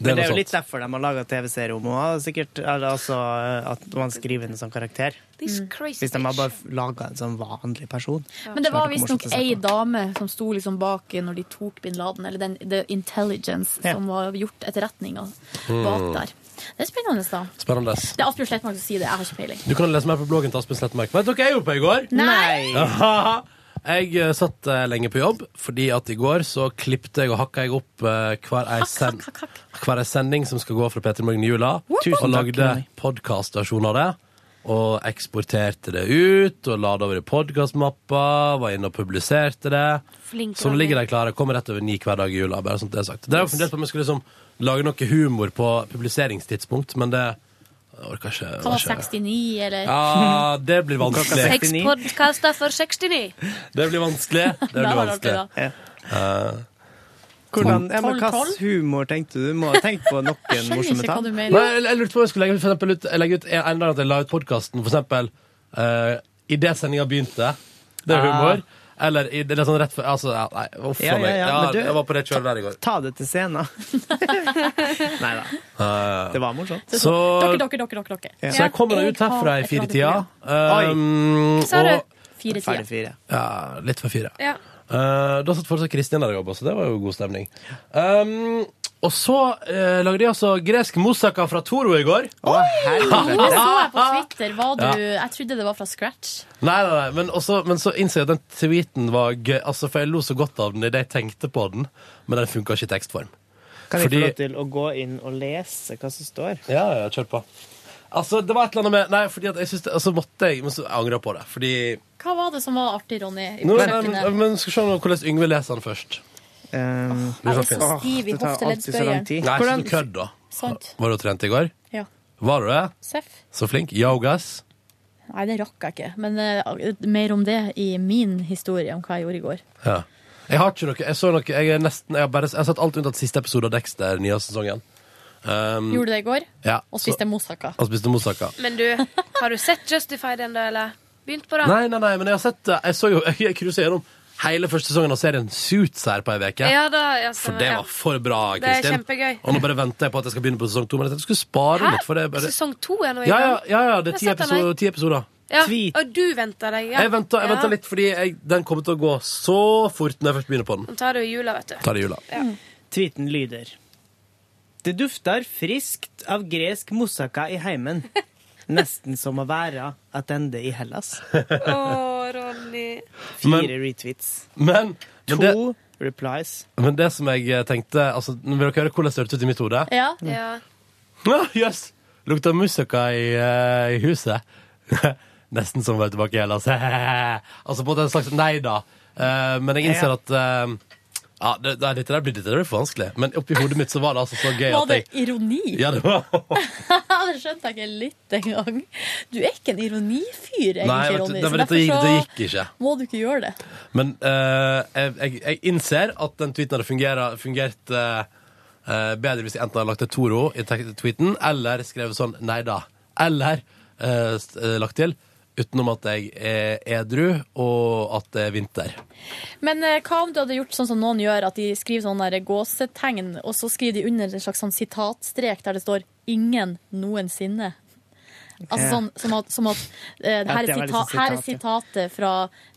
Speaker 5: Men det
Speaker 1: noe
Speaker 5: er jo
Speaker 1: sånt.
Speaker 5: litt derfor de har laga TV-serie om henne. Sikkert eller altså, at man skriver henne som karakter.
Speaker 11: This crazy
Speaker 5: Hvis de har bare laga en sånn vanlig person.
Speaker 11: Men
Speaker 5: Så
Speaker 11: det var
Speaker 5: er ikke
Speaker 11: visstnok
Speaker 5: morsomt å se
Speaker 11: ei
Speaker 5: på.
Speaker 11: dame som sto liksom bak når de tok bin Laden, eller den, The Intelligence, som var gjort etterretninga bak
Speaker 1: Mm.
Speaker 11: der. Det er spennende, da.
Speaker 1: Spennende.
Speaker 11: Det er Asbjørn Slettmark som sier det, jeg har ikke peiling.
Speaker 1: Du kan lese mer på bloggen til Aspen Slettemark. Vet dere hva jeg gjorde på i går?
Speaker 11: Nei.
Speaker 1: Jeg eh, satt eh, lenge på jobb, fordi at i går så klippte jeg og hakka jeg opp eh, hver ei, send hver ei sending som skal gå fra P3 Morgen i jula,
Speaker 5: Tusen takk,
Speaker 1: og lagde
Speaker 5: Ronny.
Speaker 1: podkastversjon av det. Og eksporterte det ut, og la det over i podkastmappa, var inne og publiserte det.
Speaker 13: Flink,
Speaker 1: så nå
Speaker 13: Ronny.
Speaker 1: ligger de klare. Kommer rett over ni hver dag i jula. bare sånn at det er sagt. Det er jo fundert på om jeg skulle liksom lage noe humor på publiseringstidspunkt, men det jeg orker ikke.
Speaker 11: Hva var
Speaker 1: var ikke-
Speaker 11: 69, eller?
Speaker 1: ja, det blir vanskelig.
Speaker 13: Seks podkaster for 69.
Speaker 1: Det blir vanskelig. Det
Speaker 13: Da
Speaker 1: blir
Speaker 13: var det
Speaker 1: vanskelig.
Speaker 13: artig,
Speaker 1: Eh,
Speaker 5: Hvordan, ja, men hva
Speaker 1: 12-12?
Speaker 5: slags humor tenkte du? Du må ha tenkt på noen morsomme tall.
Speaker 1: Nei, jeg, jeg lurte på om jeg skulle legge ut, for eksempel, ut, jeg legger ut en dag at jeg la ut podkasten, for eksempel uh, idet sendinga begynte. Det er
Speaker 5: Ah.
Speaker 1: humor. Eller i, det er sånn rett før altså, ja, Nei, uff a
Speaker 5: Ja, ja,
Speaker 1: meg.
Speaker 5: ja,
Speaker 1: Ja,
Speaker 5: men du-
Speaker 1: jeg var på det kjøret der i går.
Speaker 5: Ta det til scenen. Nei da.
Speaker 1: Eh,
Speaker 5: Det var morsomt.
Speaker 1: Så,
Speaker 5: sånn-
Speaker 11: Dere, dere, dere, dere, dere.
Speaker 1: så jeg kommer meg ut herfra i fire-tida. Um,
Speaker 11: Sa du?
Speaker 1: og-
Speaker 11: Fire-tida. Ferdig
Speaker 5: fire.
Speaker 1: Ja, litt for fire.
Speaker 13: Ja.
Speaker 1: Eh, da satt fortsatt Kristin der og jobba, så det var jo god stemning. Um, og så eh, lagde de altså gresk moussaka fra Toro i går.
Speaker 11: Jo, det så jeg på Twitter. Var du,
Speaker 1: Ah, Ja.
Speaker 11: jeg trodde det var fra scratch.
Speaker 1: Nei, nei, nei. Men, også, men så innså jeg at den tweeten var gøy, altså, for jeg lo så godt av den idet jeg tenkte på den, men den funka ikke i tekstform.
Speaker 5: Kan jeg få lov til å gå inn og lese hva som står?
Speaker 1: Ja, ja, kjør på. Altså, det var et eller annet med Nei, fordi at jeg synes det, altså, måtte jeg, men så angra jeg på det. Fordi
Speaker 11: Hva var det som var artig, Ronny? i
Speaker 1: Nå, nei,
Speaker 11: kjøkkenet?
Speaker 1: men, men skal vi se nå hvordan Yngve leser den først.
Speaker 5: Um,
Speaker 11: jeg er så stiv i
Speaker 5: Det tar alltid så lang
Speaker 11: hofteleddsbøyeren.
Speaker 5: tid.
Speaker 1: Nei, så
Speaker 5: Hvordan-
Speaker 1: du kødd, da.
Speaker 11: Sant.
Speaker 1: Var du og trente i går?
Speaker 11: Ja.
Speaker 1: Var du det?
Speaker 11: Seff.
Speaker 1: Så flink. Yogas.
Speaker 11: Nei, det rakk jeg ikke. Men eh, mer om det i min historie om hva jeg gjorde i går.
Speaker 1: Ja. Jeg har ikke noe Jeg så noe Jeg, er nesten, jeg, har bare, jeg har sett alt unntatt siste episode av Dexter, nye sesongen. Um,
Speaker 11: Gjorde du det i går?
Speaker 1: Ja.
Speaker 11: Og spiste moussaka.
Speaker 1: Og spiste moussaka.
Speaker 13: Men du, har du sett Justified ennå, eller? Begynt på det?
Speaker 1: Nei, nei, nei, men jeg har sett det. Jeg så jo Jeg cruiser gjennom hele første sesongen av serien Suits her på ei uke.
Speaker 13: Ja da, ja, stemmer,
Speaker 1: for det
Speaker 13: ja.
Speaker 1: var for bra,
Speaker 13: Det er
Speaker 1: Kristin.
Speaker 13: kjempegøy.
Speaker 1: Og nå bare venter jeg på at jeg skal begynne på sesong to. Men jeg tenkte jeg skulle spare litt. For det er bare...
Speaker 13: Sesong to er nå i
Speaker 1: Ja, ja,
Speaker 13: gang.
Speaker 1: ja, ja, det er ti,
Speaker 13: Jeg setter
Speaker 1: episo-
Speaker 13: deg.
Speaker 1: ti episoder.
Speaker 13: Ja, og du venter deg. Ja.
Speaker 1: Jeg venter, jeg venter
Speaker 13: Ja.
Speaker 1: litt, fordi jeg, den kommer til å gå så fort når jeg først begynner på den.
Speaker 13: Nå tar du i jula, vet du.
Speaker 1: Tar det i jula.
Speaker 13: Ja.
Speaker 5: Tweeten lyder Det dufter friskt av gresk moussaka i heimen. Nesten som å være attende i Hellas.
Speaker 13: Å, Ronny.
Speaker 1: Men-
Speaker 5: Fire retweets.
Speaker 1: Men, men, det,
Speaker 5: To replies.
Speaker 1: men det som jeg eh, tenkte altså, nå Vil dere høre hvordan det hørtes ut i mitt hode?
Speaker 11: Ja.
Speaker 1: Ah, Jøss! Lukta moussaka i, eh, i huset. Nesten som å være tilbake i Hellas. altså på en måte en slags nei da. Eh, men jeg innser
Speaker 5: Ja.
Speaker 1: at eh, ja, det, det, dette der blir dette der blir for vanskelig. Men oppi hodet mitt så var det altså så gøy
Speaker 11: Var
Speaker 1: at
Speaker 11: det
Speaker 1: jeg
Speaker 11: ironi?
Speaker 1: ja, det var.
Speaker 11: det skjønte jeg ikke litt engang. Du er ikke en ironifyr, egentlig,
Speaker 1: Nei, vet du,
Speaker 11: Ronny.
Speaker 1: det,
Speaker 11: så
Speaker 1: var dette, gikk, det
Speaker 11: derfor
Speaker 1: gikk ikke.
Speaker 11: så må du ikke gjøre det.
Speaker 1: Men eh, jeg, jeg, jeg innser at den tweeten hadde fungerer- fungert eh, eh, bedre hvis jeg enten hadde lagt til Toro i tek- tweeten, eller skrevet sånn nei da. Eller eh, s- eh, lagt til utenom at jeg er edru, og at det er vinter.
Speaker 11: Men eh, hva om du hadde gjort sånn som noen gjør, at de skriver sånne der gåsetegn, og så skriver de under en slags sånn sitatstrek der det står 'ingen noensinne'? Altså sånn som at, som at eh,
Speaker 5: Ja,
Speaker 11: her,
Speaker 5: det
Speaker 11: er
Speaker 5: var
Speaker 11: sita,
Speaker 5: liksom
Speaker 11: her er sitatet fra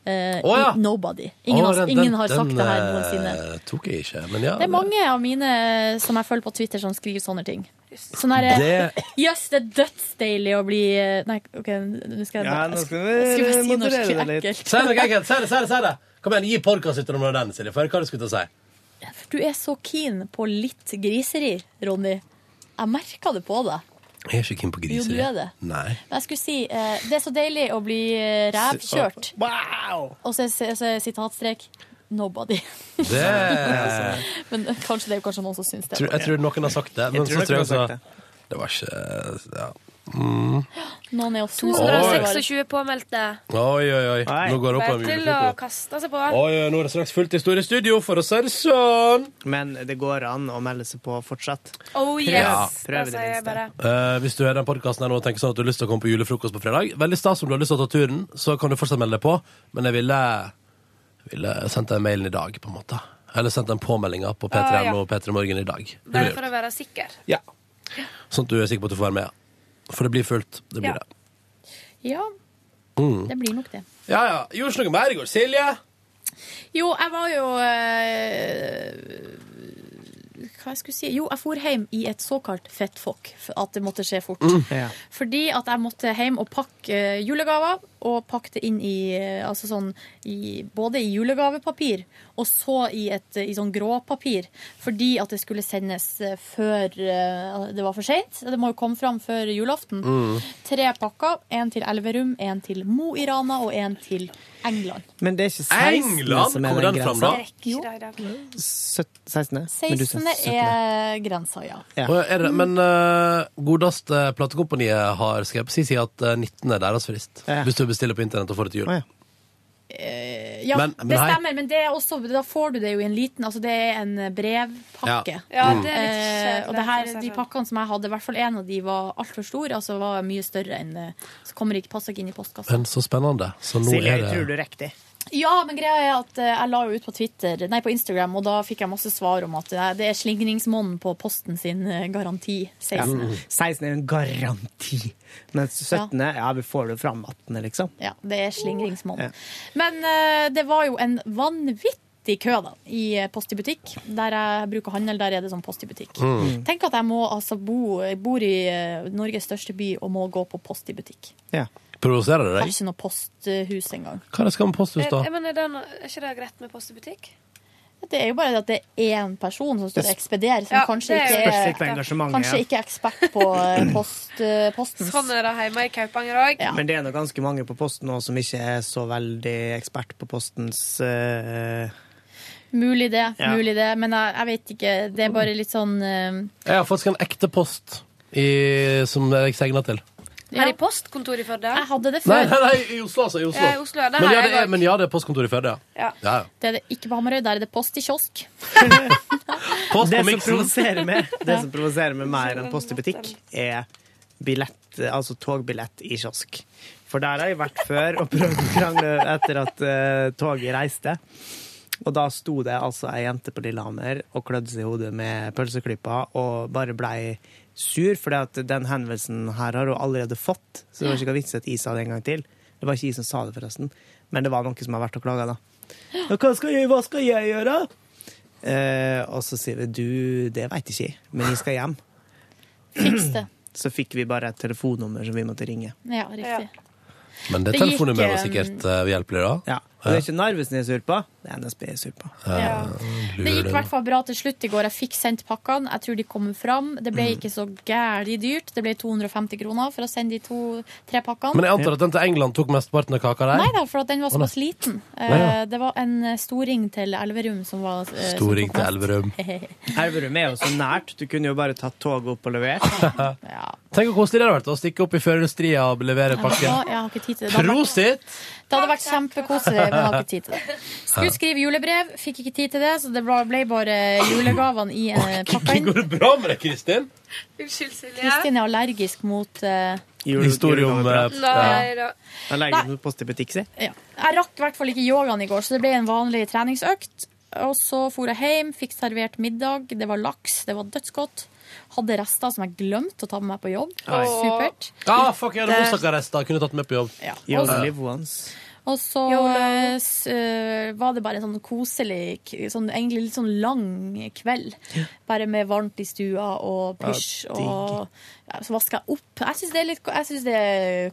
Speaker 11: eh,
Speaker 1: sånn Å, ja.
Speaker 11: Nobody. Ingen,
Speaker 1: Å,
Speaker 11: har-
Speaker 1: den-
Speaker 11: ingen har
Speaker 1: den-
Speaker 11: sagt det her
Speaker 1: den,
Speaker 11: noensinne.
Speaker 1: eh, tok jeg ikke, men ja.
Speaker 11: Det er mange av mine som jeg følger på Twitter, som skriver sånne ting. Sånn her Jøss,
Speaker 1: Det-
Speaker 11: yes, det er dødsdeilig å bli eh, Nei, OK, nå skal jeg
Speaker 1: Ja,
Speaker 11: bare
Speaker 1: nå skal
Speaker 11: jeg skulle
Speaker 1: vi
Speaker 11: jeg skulle bare si noe
Speaker 1: moderere
Speaker 11: skikkelig
Speaker 1: det litt.
Speaker 11: ekkelt.
Speaker 1: Si noe ekkelt. Si det, si det, si det. Kom igjen, gi podkastlytterne våre den, Silje. For hva du skulle til å si?
Speaker 11: Du er så keen på litt griseri, Ronny. Jeg merker det på deg.
Speaker 1: Jeg er ikke keen på
Speaker 11: Jo,
Speaker 1: griser.
Speaker 11: du er det.
Speaker 1: Nei.
Speaker 11: Men jeg skulle si eh, Det er så deilig å bli eh, rævkjørt. Og så er så er sitatstrek Nobody.
Speaker 1: Det
Speaker 11: Men eh, kanskje det er jo kanskje noen som syns det.
Speaker 1: tror, Jeg tror noen har sagt det,
Speaker 5: Jeg
Speaker 1: men
Speaker 5: tror
Speaker 1: så
Speaker 5: noen
Speaker 1: tror jeg
Speaker 5: har
Speaker 1: så
Speaker 5: sagt
Speaker 1: Det var ikke Ja. Mm.
Speaker 11: Noen er jo snusen.
Speaker 13: 226 påmeldte.
Speaker 1: Oi, oi, oi. Nå går det opp
Speaker 13: Bare
Speaker 1: en
Speaker 13: til å
Speaker 1: julefrokost.
Speaker 13: kaste seg på.
Speaker 1: Oi, oi, nå er det straks fullt i store studio, for å si det sånn.
Speaker 5: Men det går an å melde seg på fortsatt.
Speaker 13: Oh yes!
Speaker 1: Ja.
Speaker 13: Da
Speaker 5: Prøv i det
Speaker 13: sier jeg
Speaker 5: minste.
Speaker 13: bare
Speaker 1: Eh, hvis du hører den podcasten her nå og tenker sånn at du har lyst til å komme på julefrokost på fredag, veldig stas om du har lyst til å ta turen, så kan du fortsatt melde deg på. Men jeg ville, ville sendt deg mailen i dag, på en måte. Eller sendt den påmeldinga på P3
Speaker 13: Ah, ja.
Speaker 1: og P3 Morgen i dag. Det
Speaker 13: Bare
Speaker 1: blir-
Speaker 13: for å være sikker.
Speaker 1: Ja. Sånn at du er sikker på at du får være med. ja. For det blir fullt. Det blir
Speaker 13: Ja.
Speaker 1: det.
Speaker 11: Ja,
Speaker 1: Mm.
Speaker 11: det blir nok det.
Speaker 1: Ja, ja. Gjorde ikke noe mer i går. Silje?
Speaker 11: Jo, jeg var jo eh, Hva jeg skulle si Jo, jeg for hjem i et såkalt fettfokk. for At det måtte skje
Speaker 1: Mm.
Speaker 11: fort.
Speaker 5: Ja.
Speaker 11: Fordi at jeg måtte hjem og pakke eh, julegaver, og pakke det inn i, eh, altså sånn, i Både i julegavepapir og så i, et, i sånn gråpapir. Fordi at det skulle sendes eh, før eh, det var for seint. Det må jo komme fram før julaften.
Speaker 5: Mm.
Speaker 11: Tre pakker. Én til Elverum, én til Mo i Rana og én til England.
Speaker 5: Men det er ikke 16.
Speaker 1: England?
Speaker 5: som er
Speaker 1: Kommer
Speaker 5: den
Speaker 1: den fram
Speaker 5: grensa.
Speaker 1: da?
Speaker 11: Jo.
Speaker 5: 17. 16. Men du sa
Speaker 11: 16. er grensa, ja.
Speaker 1: Å, ja, er det, men eh, godeste platekompaniet har skrevet på sin side at eh, 19 er deres frist. Hvis du bestiller på internett og får det til jul.
Speaker 11: Eh, ja,
Speaker 1: Men- men
Speaker 11: det
Speaker 1: hei.
Speaker 11: stemmer, men det er også, da får du det jo i en liten Altså det er en brevpakke.
Speaker 1: Ja. Ja, det
Speaker 13: er litt kjedelig,
Speaker 11: Eh, og det her,
Speaker 13: for å si det
Speaker 11: de
Speaker 13: sånn.
Speaker 11: pakkene som jeg hadde, i hvert fall en av de var altfor stor, altså var mye større enn eh, Så kommer ikke, passer ikke inn i postkassa.
Speaker 1: Men så spennende. Så nå
Speaker 5: Silje,
Speaker 1: er det
Speaker 5: jeg tror du rekker det.
Speaker 11: Ja, men greia er at eh, jeg la jo ut på Twitter, nei på Instagram, og da fikk jeg masse svar om at eh, det er slingringsmonnen på posten sin eh, garanti 16.
Speaker 1: Mm.
Speaker 5: 16 er en garanti. Men 17. ja, vi får det fram 18., liksom.
Speaker 11: Ja, det er slingringsmål. Men eh, det var jo en vanvittig kø da, i eh, Post i butikk. Der jeg bruker handel, der er det sånn Post i butikk.
Speaker 5: Mm.
Speaker 11: Tenk at jeg må altså bo jeg bor i eh, Norges største by og må gå på Post i butikk.
Speaker 1: Provoserer det
Speaker 11: Har
Speaker 1: deg?
Speaker 11: ikke noe posthus engang.
Speaker 1: Hva er det skal med posthus, da?
Speaker 13: Eh, men er, det no er ikke det greit med post i butikk?
Speaker 11: Det er jo bare det at det er én person som står og ekspederer, som
Speaker 13: Ja,
Speaker 11: kanskje
Speaker 13: det er-
Speaker 11: ikke
Speaker 5: Spørs litt på
Speaker 11: er,
Speaker 5: engasjementet,
Speaker 11: kanskje
Speaker 5: ja.
Speaker 11: ikke er ekspert på eh, post, eh, postens.
Speaker 13: Sånn er det hjemme i Kaupanger òg.
Speaker 5: Men det er nå ganske mange på Posten nå som ikke er så veldig ekspert på Postens eh,
Speaker 11: Mulig det,
Speaker 5: Ja.
Speaker 11: mulig det. Men jeg, jeg vet ikke. Det er bare litt sånn eh,
Speaker 1: Jeg har faktisk en ekte post i, som jeg segner til.
Speaker 13: Her i postkontoret i Førde.
Speaker 11: Jeg hadde det
Speaker 1: Nei, nei, nei, i Oslo, altså. I Oslo.
Speaker 13: Ja, i Oslo, ja. Det
Speaker 1: men,
Speaker 13: har
Speaker 1: ja,
Speaker 13: jeg
Speaker 1: det er,
Speaker 13: også.
Speaker 1: men ja, det er postkontor i Førde, ja.
Speaker 13: Ja.
Speaker 1: ja.
Speaker 11: Det er det ikke på Hamarøy, der er det post i kiosk.
Speaker 1: Post
Speaker 5: det
Speaker 1: på
Speaker 5: som,
Speaker 1: miksen.
Speaker 5: provoserer meg, det som provoserer meg mer enn post i butikk, er billett, altså togbillett i kiosk. For der har jeg vært før og prøvd å krangle etter at eh, toget reiste. Og da sto det altså ei jente på Lillehammer og klødde seg i hodet med pølseklypa og bare blei sur, fordi at den henvendelsen her har hun allerede fått. Så det var ikke noe vits i at jeg sa det en gang til. Det var ikke jeg som sa det, forresten. Men det var noen som har vært og klaga, da. Og hva skal jeg, hva skal jeg gjøre? Eh, og så sier vi du, det veit ikke jeg, men jeg skal hjem.
Speaker 11: Fiks det.
Speaker 5: Så fikk vi bare et telefonnummer som vi måtte ringe.
Speaker 11: Ja, riktig.
Speaker 1: Men det
Speaker 11: Det gikk,
Speaker 1: telefonnummeret var
Speaker 11: eh,
Speaker 1: sikkert uh, hjelpelig, da.
Speaker 5: Og det er ikke Narvesen jeg er sur på, det er NSB jeg er sur på.
Speaker 1: Ja.
Speaker 11: Det gikk i hvert fall bra til slutt i går. Jeg fikk sendt pakkene. Jeg tror de kom fram. Det ble
Speaker 5: Mm.
Speaker 11: ikke så gæli dyrt. Det ble 250 kroner for å sende de to-tre pakkene.
Speaker 1: Men jeg antar at den til England tok mesteparten av kaka der?
Speaker 11: Nei da, for at den var
Speaker 1: Å, nei.
Speaker 11: såpass liten. Eh,
Speaker 1: Nei, ja.
Speaker 11: Det var en eh, storring til Elverum som var eh, som
Speaker 1: Storring til
Speaker 11: tok mest.
Speaker 1: Elverum.
Speaker 5: Elverum er jo så nært, du kunne jo bare tatt toget opp og levert.
Speaker 1: Tenk hvor koselig det hadde vært å stikke opp i førerstria og levere
Speaker 11: Jeg har-
Speaker 1: pakke.
Speaker 11: Jeg har ikke tid til det. Det hadde vært-
Speaker 1: Prosit!
Speaker 11: Det hadde vært kjempekoselig, men jeg har ikke tid til det. Skulle skrive julebrev, fikk ikke tid til det, så det ble bare julegavene i eh, pakka inn.
Speaker 1: Går det bra med deg, Kristin?
Speaker 13: Unnskyld, Silje.
Speaker 11: Kristin er allergisk mot eh,
Speaker 1: Historie om, eh,
Speaker 13: Nei da.
Speaker 5: Han legger ut post i butikk, si.
Speaker 11: ja. Jeg rakk i hvert fall ikke yogaen i går, så det ble en vanlig treningsøkt. Og så for jeg hjem, fikk servert middag. Det var laks, det var dødsgodt. Hadde rester som jeg glemte å ta med meg på jobb.
Speaker 1: Oi.
Speaker 11: Supert.
Speaker 1: Ah, fuck, jeg hadde
Speaker 11: Det-
Speaker 1: moussaka-rester. Kunne tatt den med på jobb.
Speaker 11: Ja.
Speaker 5: You only live once.
Speaker 11: Og så eh, s- eh, var det bare en sånn koselig, k- sånn, egentlig litt sånn lang kveld. Bare med varmt i stua og
Speaker 5: Ja,
Speaker 11: pysj.
Speaker 5: digg.
Speaker 11: Og ja, så vaska jeg opp. Jeg syns det, er litt- jeg synes det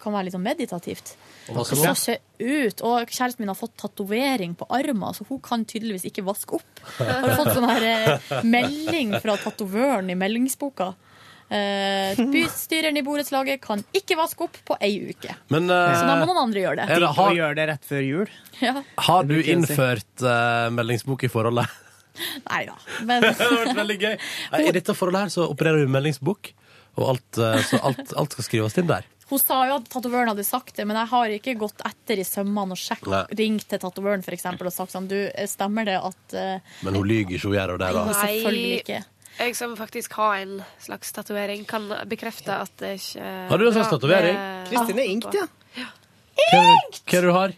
Speaker 11: kan være litt sånn meditativt.
Speaker 5: Og
Speaker 11: Man
Speaker 5: vaske
Speaker 11: skal
Speaker 5: opp?
Speaker 11: se ut. Og kjæresten min har fått tatovering på armen, så hun kan tydeligvis ikke vaske opp. Jeg har fått sånn her eh, melding fra tatovøren i meldingsboka. Eh, bystyreren i borettslaget kan ikke vaske opp på ei uke.
Speaker 1: Men eh,
Speaker 11: Så da må noen andre gjøre det.
Speaker 1: er det-
Speaker 5: Og
Speaker 1: har,
Speaker 5: gjør det rett før jul.
Speaker 11: Ja.
Speaker 1: har du
Speaker 5: Det bruker jeg å si.
Speaker 1: innført eh, meldingsbok i forholdet?
Speaker 11: Nei da. Men
Speaker 1: det hadde vært veldig gøy. Nei, I dette forholdet her så opererer vi med meldingsbok, og alt, eh, så alt, alt skal skrives inn der.
Speaker 11: hun sa jo at tatovøren hadde sagt det, men jeg har ikke gått etter i sømmene og sjekk,
Speaker 1: Nei.
Speaker 11: ringt til tatovøren for eksempel, og sagt sånn Du, stemmer det at eh,
Speaker 1: Men hun lyger ikke, hun gjør jo det, da.
Speaker 11: Selvfølgelig ikke.
Speaker 13: Jeg som faktisk har en slags tatovering, kan bekrefte at det ikke
Speaker 1: Har du en slags tatovering?
Speaker 5: Kristin er inkt, ja.
Speaker 1: Hva er det- hva er det du har?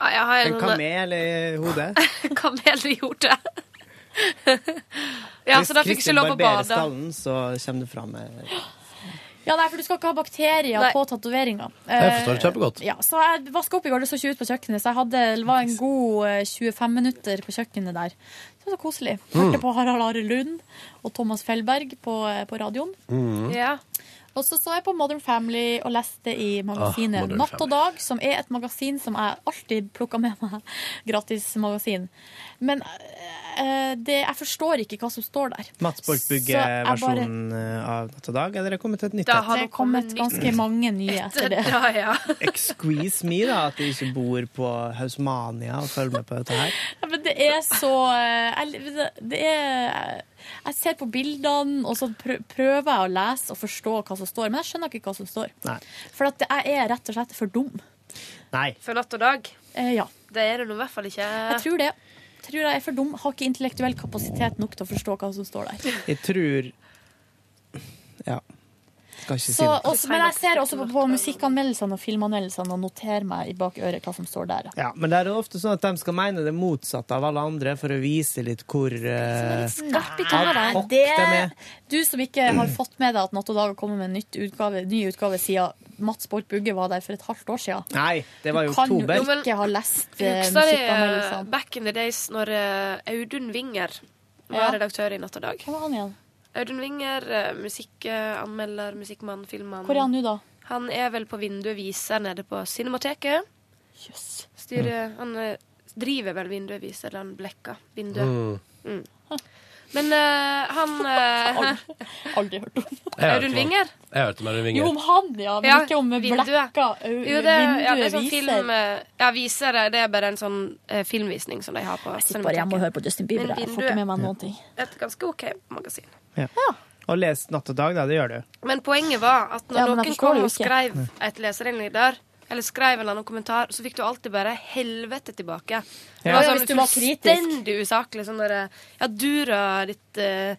Speaker 13: Ja, jeg har
Speaker 5: En
Speaker 13: en sånn-
Speaker 5: kamel i hodet.
Speaker 13: kamel i hodet. ja, så da fikk jeg ikke lov å
Speaker 5: barberer
Speaker 13: bade.
Speaker 5: skallen, så kommer det fram eh,
Speaker 11: Ja, nei, for du skal ikke ha bakterier på tatoveringa.
Speaker 5: Jeg forstår det kjempegodt.
Speaker 11: Ja, så jeg vaska opp i går, det så ikke ut på kjøkkenet, så jeg hadde, det var en god eh, 25 minutter på kjøkkenet der. Så det var så koselig. Hørte
Speaker 13: Mm.
Speaker 11: på Harald Are Lund og Thomas Fellberg på, eh, på radioen.
Speaker 13: Mhm. Ja.
Speaker 11: Og så så jeg på Modern Family og leste i
Speaker 13: Ah,
Speaker 11: magasinet
Speaker 13: Modern
Speaker 11: Natt og Dag, som er et magasin som jeg alltid plukker med meg. Gratis magasin. Men eh, det, jeg forstår ikke hva som står der.
Speaker 5: Mats Borch
Speaker 11: Så jeg
Speaker 5: Bugge-versjonen eh, av Natt og Dag, eller er det kommet et nytt
Speaker 11: Det
Speaker 5: et?
Speaker 11: har kommet ganske mange nye etter det.
Speaker 5: Excuse me, da, at de ikke bor på Hausmania og følger med på dette her.
Speaker 11: Ja, Men det er så eh, jeg, det er, jeg ser på bildene, og så prø- prøver jeg å lese og forstå hva som står, men jeg skjønner ikke hva som står.
Speaker 5: Nei.
Speaker 11: For at jeg er rett og slett for dum. Eh,
Speaker 5: Nei.
Speaker 13: For natt og dag?
Speaker 11: ja.
Speaker 13: Det er det nå i hvert fall ikke.
Speaker 11: Jeg tror det. Jeg tror jeg er for dum. Har ikke intellektuell kapasitet nok til å forstå hva som står der.
Speaker 5: Jeg tror Ja. Skal ikke si
Speaker 11: Så,
Speaker 5: noe.
Speaker 11: også, men jeg ser også på, på musikkanmeldelsene og filmanmeldelsene og noterer meg i bak øret hva som står der.
Speaker 5: Ja,
Speaker 11: Ja.
Speaker 5: men det er jo ofte sånn at de skal mene det motsatte av alle andre for å vise litt hvor eh,
Speaker 11: Skarp i tunga der.
Speaker 5: ad hoc de er.
Speaker 11: Det, du som ikke har fått med deg at Natt og Dag har kommet med en nytt utgave, ny utgave siden Mats Borch Bugge var der for et halvt år siden.
Speaker 5: Nei, det var jo
Speaker 11: kan jo
Speaker 5: oktober.
Speaker 11: ikke ha lest eh,
Speaker 13: Husker
Speaker 11: musikkanmeldelsene.
Speaker 13: du back in the days når eh, Audun Winger
Speaker 11: Ja.
Speaker 13: var redaktør i Natt og Dag?
Speaker 11: Hvem var han igjen?
Speaker 13: Audun Winger, eh, musikkanmelder, musikkmann, filmmann.
Speaker 11: Hvor er han nå, da?
Speaker 13: Han er vel på Vinduet Viser nede på Cinemateket.
Speaker 11: Yes.
Speaker 13: Styrer,
Speaker 1: Mm.
Speaker 13: Han eh, driver vel Vinduet Viser, eller han blekka Vinduet.
Speaker 1: Mm.
Speaker 13: Mm. Men eh, han eh,
Speaker 11: Aldri hørt om.
Speaker 1: Jeg har hørt
Speaker 13: Audun
Speaker 1: om han.
Speaker 13: Winger?
Speaker 1: Jeg hørte om Audun Winger.
Speaker 11: Jo, om han, ja. Men
Speaker 13: Ja,
Speaker 11: ikke om
Speaker 13: vinduet.
Speaker 11: blekka ø-
Speaker 13: Jo, det, ja, det er
Speaker 11: vinduet
Speaker 13: sånn film,
Speaker 11: viser.
Speaker 13: eh, ja, viser det. Det er bare en sånn eh, filmvisning som de har på Jeg
Speaker 11: sitter bare hjemme og hører på Justin Bieber, jeg får ikke med meg noen ting.
Speaker 13: Et ganske OK magasin.
Speaker 5: Ja. Og les Natt og Dag, da. Det gjør du.
Speaker 13: Men poenget var at når
Speaker 11: Ja, men jeg
Speaker 13: noen
Speaker 11: forstår det
Speaker 13: kom
Speaker 11: jo
Speaker 13: og
Speaker 11: ikke.
Speaker 13: skrev
Speaker 5: Mm.
Speaker 13: et leserinnlegg der, eller skrev en eller annen kommentar, så fikk du alltid bare helvete tilbake. Det
Speaker 11: Ja.
Speaker 13: var
Speaker 11: Ja,
Speaker 13: sånn
Speaker 11: hvis du var kritisk.
Speaker 13: fullstendig usaklig. Sånn derre Ja, du da, ditt eh,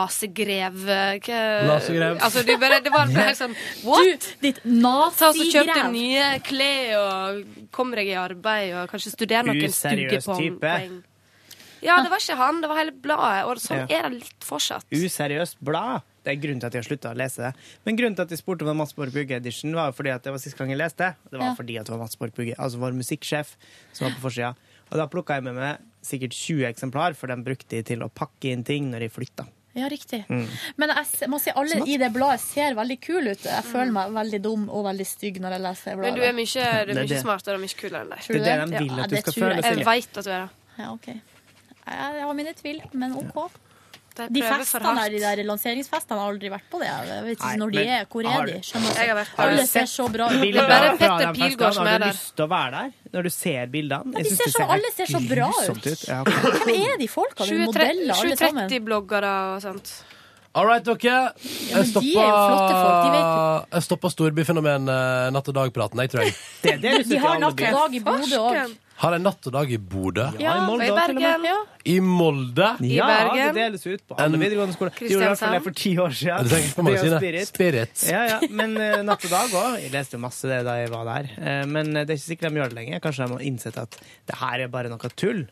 Speaker 13: nasegrev eh, hva-
Speaker 1: Nasegrev.
Speaker 13: Altså, du bare Det var bare helt sånn What?
Speaker 11: Du, ditt
Speaker 13: Ta oss og Kjøp deg
Speaker 11: nasigrev.
Speaker 13: nye klær og kom deg i arbeid og kanskje studer noen
Speaker 5: Useriøs
Speaker 13: studiepoeng.
Speaker 5: type.
Speaker 13: Ja, det var ikke han, det var hele bladet, og sånn
Speaker 5: Ja.
Speaker 13: er det litt fortsatt.
Speaker 5: Useriøst blad. Det er grunnen til at jeg har slutta å lese det. Men grunnen til at jeg spurte om Mats Borg Bugge-edition, var jo fordi at det var sist gang jeg leste. Det var
Speaker 11: Ja.
Speaker 5: fordi at det var Mats Borg Bugge, altså vår musikksjef, som var på forsida. Og da plukka jeg med meg sikkert 20 eksemplar, for den brukte jeg til å pakke inn ting når jeg flytta.
Speaker 11: Ja, riktig.
Speaker 5: Mm.
Speaker 11: Men jeg, se- man ser alle i det bladet ser veldig kule ut. Jeg føler meg veldig dum og veldig stygg når jeg leser det
Speaker 13: Mm. Men du
Speaker 11: bladet.
Speaker 13: er mye, du
Speaker 5: Det
Speaker 13: er
Speaker 5: er
Speaker 13: mye
Speaker 5: det.
Speaker 13: smartere og mye kulere enn deg.
Speaker 5: Tror du Det er det det? de vil at du skal føle,
Speaker 13: Jeg
Speaker 5: Silje.
Speaker 13: veit at du er det.
Speaker 11: Ja, ok. Jeg jeg har mine tvil, men OK. De
Speaker 13: prøver for
Speaker 11: festene der,
Speaker 13: hardt.
Speaker 11: de der lanseringsfestene jeg har aldri vært på det. Jeg vet ikke
Speaker 5: Nei,
Speaker 11: når de
Speaker 5: men
Speaker 11: er. Hvor
Speaker 5: har
Speaker 11: er
Speaker 5: du-
Speaker 11: de? Skjønner
Speaker 13: Jeg har
Speaker 11: ikke.
Speaker 13: vært der.
Speaker 11: Alle ser så bra ut.
Speaker 5: Bilder
Speaker 13: bare
Speaker 5: fra
Speaker 13: Petter
Speaker 5: den festen.
Speaker 13: Pilgaard som er
Speaker 5: Har
Speaker 13: der.
Speaker 5: du lyst til å være der når du ser bildene?
Speaker 11: de
Speaker 5: Jeg synes
Speaker 11: ser
Speaker 5: det
Speaker 11: så- alle ser så bra ut.
Speaker 5: grusomt Ja, ok.
Speaker 11: Hvem er de folka? De modeller, alle sammen.
Speaker 13: 730-bloggere og sånt.
Speaker 1: All right, dere.
Speaker 11: men
Speaker 1: Jeg
Speaker 11: de er jo flotte folk,
Speaker 1: stoppa,
Speaker 11: de
Speaker 1: jeg stoppa storbyfenomen eh, Natt og dag-praten, jeg tror jeg.
Speaker 5: Det er det du
Speaker 11: De
Speaker 5: sitter i
Speaker 11: har
Speaker 5: alle
Speaker 11: natt og
Speaker 5: byer.
Speaker 11: dag i Bodø òg.
Speaker 1: Har jeg Natt og dag i Bodø?
Speaker 11: Ja,
Speaker 5: i Molde
Speaker 11: og i
Speaker 5: også, til og med.
Speaker 11: Bergen. Ja.
Speaker 1: I Molde?
Speaker 5: Ja, det
Speaker 13: Bergen.
Speaker 5: deles ut på alle
Speaker 1: En-
Speaker 5: videregående skoler. Det gjorde i hvert fall det for ti år siden.
Speaker 1: Du tenker på
Speaker 5: Det er jo
Speaker 1: magasinet. Spirit.
Speaker 5: Ja, ja, Men eh, Natt og Dag òg. Jeg leste jo masse det eh, da jeg var der. Eh, men det er ikke sikkert de gjør det lenger. Kanskje de har innsett at det her er bare noe tull.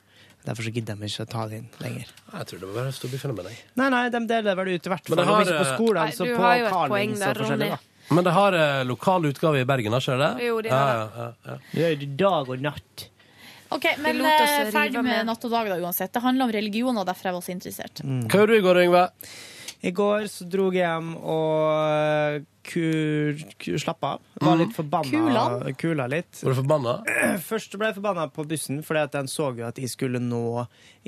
Speaker 5: Derfor så gidder de ikke å ta det inn lenger.
Speaker 1: Jeg tror det må være storbyfenomen, jeg.
Speaker 5: Nei, nei, de deler vel ut i hvert fall.
Speaker 1: Men det har,
Speaker 5: Om ikke på skolen, så
Speaker 13: Nei, du
Speaker 5: altså på
Speaker 13: har jo et
Speaker 5: Carling
Speaker 13: poeng
Speaker 5: så
Speaker 13: der,
Speaker 5: forskjellig,
Speaker 13: Ronny.
Speaker 5: da.
Speaker 1: Men det har eh, lokal utgave i Bergen, har ikke det det?
Speaker 13: Jo, de har
Speaker 1: ja, ja, ja, ja.
Speaker 5: Det er dag og natt.
Speaker 11: OK, men
Speaker 13: Vi lot oss
Speaker 11: eh,
Speaker 13: rive
Speaker 11: ferdig med
Speaker 13: med.
Speaker 11: natt og dag da uansett. Det handler om religion, og derfor jeg var så interessert.
Speaker 1: Hva gjorde du i går, Yngve?
Speaker 5: I går så dro jeg hjem og kur, kur, slapp av. Var litt forbanna.
Speaker 11: Kula?
Speaker 5: Kula litt.
Speaker 1: Var du forbanna?
Speaker 5: Først ble jeg forbanna på bussen, fordi at den så jo at jeg skulle nå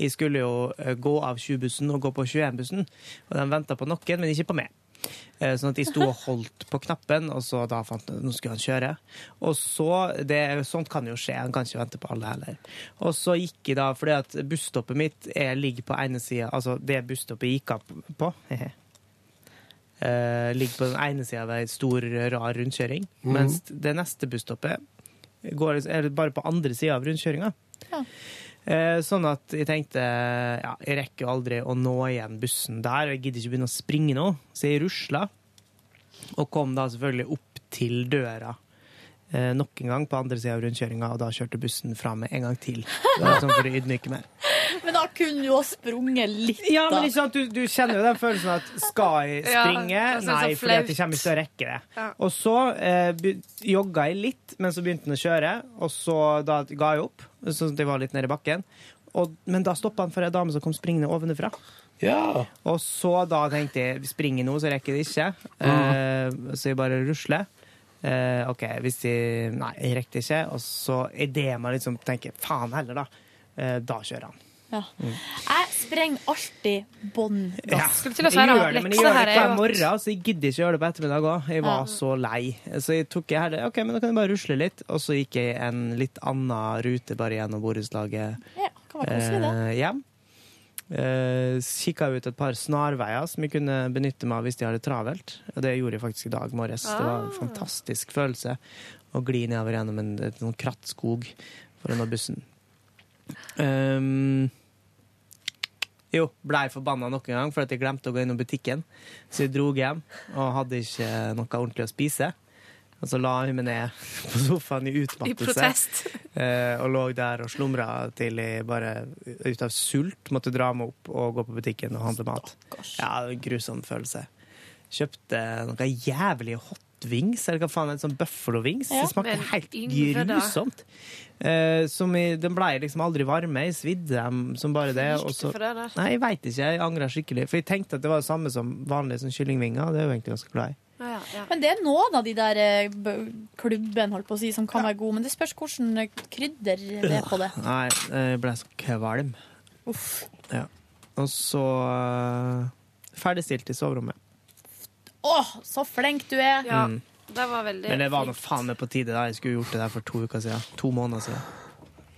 Speaker 5: Jeg skulle jo eh, gå av 20-bussen og gå på 21-bussen, og den venta på noen, men ikke på meg. Eh, Sånn at jeg sto og holdt på knappen, og så da fant jeg nå skulle han kjøre. Og så, det, Sånt kan jo skje, han kan ikke vente på alle heller. Og så gikk jeg da, fordi at busstoppet mitt eh, ligger på ene sida Altså det busstoppet jeg gikk av på eh, ligger på den ene sida av ei stor, rar rundkjøring,
Speaker 2: Mhm.
Speaker 5: mens det neste busstoppet går liksom- er bare på andre sida av rundkjøringa. Eh, Sånn at jeg tenkte ja, jeg rekker jo aldri å nå igjen bussen der, og jeg gidder ikke begynne å springe nå, så jeg rusla. Og kom da selvfølgelig opp til døra eh, nok en gang på andre sida av rundkjøringa, og da kjørte bussen fra meg en gang til. Bare Sånn for å ydmyke meg.
Speaker 11: Men da kunne du ha sprunget litt, da.
Speaker 5: Ja, men ikke sant, du, du kjenner jo den følelsen at skal jeg
Speaker 11: Ja,
Speaker 5: springe?
Speaker 11: det er sånn
Speaker 5: Nei,
Speaker 11: så
Speaker 5: fordi at jeg
Speaker 11: flaut.
Speaker 5: kommer ikke til å rekke det.
Speaker 11: Ja.
Speaker 5: Og så eh, be- jogga jeg litt, men så begynte han å kjøre, og så da ga jeg opp. Så det var litt nede i bakken. Og, men da stoppa han for ei dame som kom springende ovenfra.
Speaker 1: Ja.
Speaker 5: Og så da tenkte jeg springer nå, så rekker jeg det ikke. Eh, så jeg bare rusler. Eh, OK, hvis jeg Nei, jeg rekker det ikke. Og så er det meg liksom tenker faen heller, da. Eh, da kjører han.
Speaker 11: Ja. Jeg sprenger alltid bånn
Speaker 5: Ja.
Speaker 11: gass.
Speaker 5: jeg gjør det, men jeg gjør det hver morgen, så jeg gidder ikke gjøre det på ettermiddag òg. Jeg var
Speaker 11: Ja.
Speaker 5: så lei. Så jeg tok jeg her det, ok, men da kan jeg bare rusle litt. Og så gikk jeg en litt annen rute bare gjennom borettslaget
Speaker 11: Ja, kan være koselig, det.
Speaker 5: eh, hjem. Eh, Kikka ut et par snarveier som jeg kunne benytte meg av hvis de hadde travelt. Og det gjorde jeg faktisk i dag morges. Det var en fantastisk følelse å gli nedover gjennom en, en sånn krattskog foran bussen. Ehm, jo, blei forbanna nok en gang for at jeg glemte å gå innom butikken. Så jeg dro hjem og hadde ikke noe ordentlig å spise. Og så la jeg meg ned på sofaen i utmattelse.
Speaker 13: I protest.
Speaker 5: Eh, og lå der og slumra til jeg bare ut av sult måtte dra meg opp og gå på butikken og handle mat. Ja, det var en grusom følelse. Kjøpte noe jævlig hot wings, eller hva faen, en sånn buffalo wings.
Speaker 2: Ja,
Speaker 5: det smakte
Speaker 2: men
Speaker 5: helt
Speaker 2: Yngve, da.
Speaker 5: grusomt. Eh, som i, den blei liksom aldri varme, jeg svidde dem som bare det.
Speaker 2: Hvorfor gikk
Speaker 5: og
Speaker 2: du
Speaker 5: så-
Speaker 2: for det der?
Speaker 5: Nei, jeg veit ikke, jeg angra skikkelig. For jeg tenkte at det var det samme som vanlige sånn kyllingvinger, og det er jeg jo egentlig ganske glad i.
Speaker 11: Men det er noen av de der eh, b- klubben holdt på å si, som kan være gode, men det spørs hvordan krydder det er på det.
Speaker 5: Nei, jeg ble så kvalm.
Speaker 11: Uff.
Speaker 5: Ja. Og så eh, ferdigstilt i soverommet.
Speaker 11: Åh, så flink du er!
Speaker 5: Ja, Mm.
Speaker 13: det var veldig
Speaker 5: Men det var nå faen meg på tide. da Jeg skulle gjort det der for to uker siden. To måneder siden.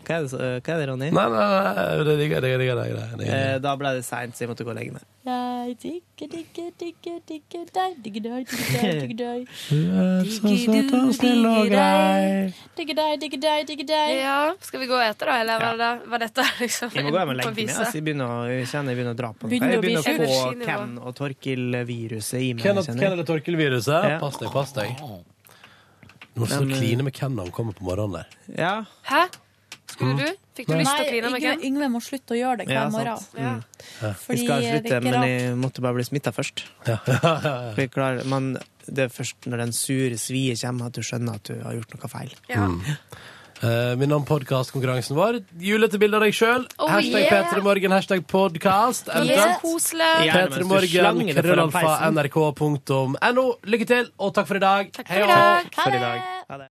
Speaker 5: Hva er det, så- eh, hva er det Ronny?
Speaker 1: Nei, nei, nei, det digger jeg, digger jeg, digger jeg, digger jeg, digger jeg.
Speaker 5: Eh, Da ble det seint, så jeg måtte gå og legge meg.
Speaker 11: Nei, digge, digge, digge, digge deg, digge deg, digge deg, digge deg.
Speaker 1: Du er så søt og snill og grei.
Speaker 11: Digge deg, digge deg, digge deg.
Speaker 13: Ja, skal vi gå etter, da? Eller var, det, var dette liksom
Speaker 5: Jeg må gå hjem og
Speaker 13: på
Speaker 5: legge meg.
Speaker 13: vise?
Speaker 5: ass. Jeg, begynner, å- jeg kjenner jeg begynner å dra på noe.
Speaker 13: Begynner
Speaker 5: Jeg
Speaker 13: å bli
Speaker 5: begynner å få
Speaker 13: energinivå.
Speaker 5: Ken og Torkil-viruset i meg.
Speaker 1: Ken og-
Speaker 5: kjenner jeg.
Speaker 1: Ken eller Torkil-viruset?
Speaker 5: Ja.
Speaker 1: Pass deg, pass deg. Du må stå
Speaker 5: Men,
Speaker 1: og kline med Ken når han kommer på morgenen der.
Speaker 5: Ja.
Speaker 13: Hæ?
Speaker 5: Mm.
Speaker 13: Skulle du? Fikk du
Speaker 1: Nei.
Speaker 13: lyst til å kline med
Speaker 11: Yngve,
Speaker 13: Ken?
Speaker 11: Yngve må slutte å gjøre det hver
Speaker 5: Ja,
Speaker 11: morgen.
Speaker 5: sant. Mm.
Speaker 11: Fordi
Speaker 5: jeg skal
Speaker 11: det er
Speaker 5: slutte,
Speaker 11: ikke
Speaker 5: men
Speaker 11: rart.
Speaker 5: jeg måtte bare bli smitta først. For jeg klarer, man, det er først når den sure svie kommer, at du skjønner at du har gjort noe feil.
Speaker 1: Mm. Eh, Minn om podkastkonkurransen vår. Julete bilde av deg sjøl.
Speaker 13: Oh,
Speaker 1: hashtag
Speaker 13: yeah.
Speaker 1: P3morgen, hashtag podkast.
Speaker 13: Det er så koselig.
Speaker 5: Gjerne mens du
Speaker 1: P3morgen,
Speaker 5: slanger det foran
Speaker 1: krøllalfa, nrk.no. Lykke til, og takk for i dag.
Speaker 13: for i dag.
Speaker 1: og hå.
Speaker 13: Ha det.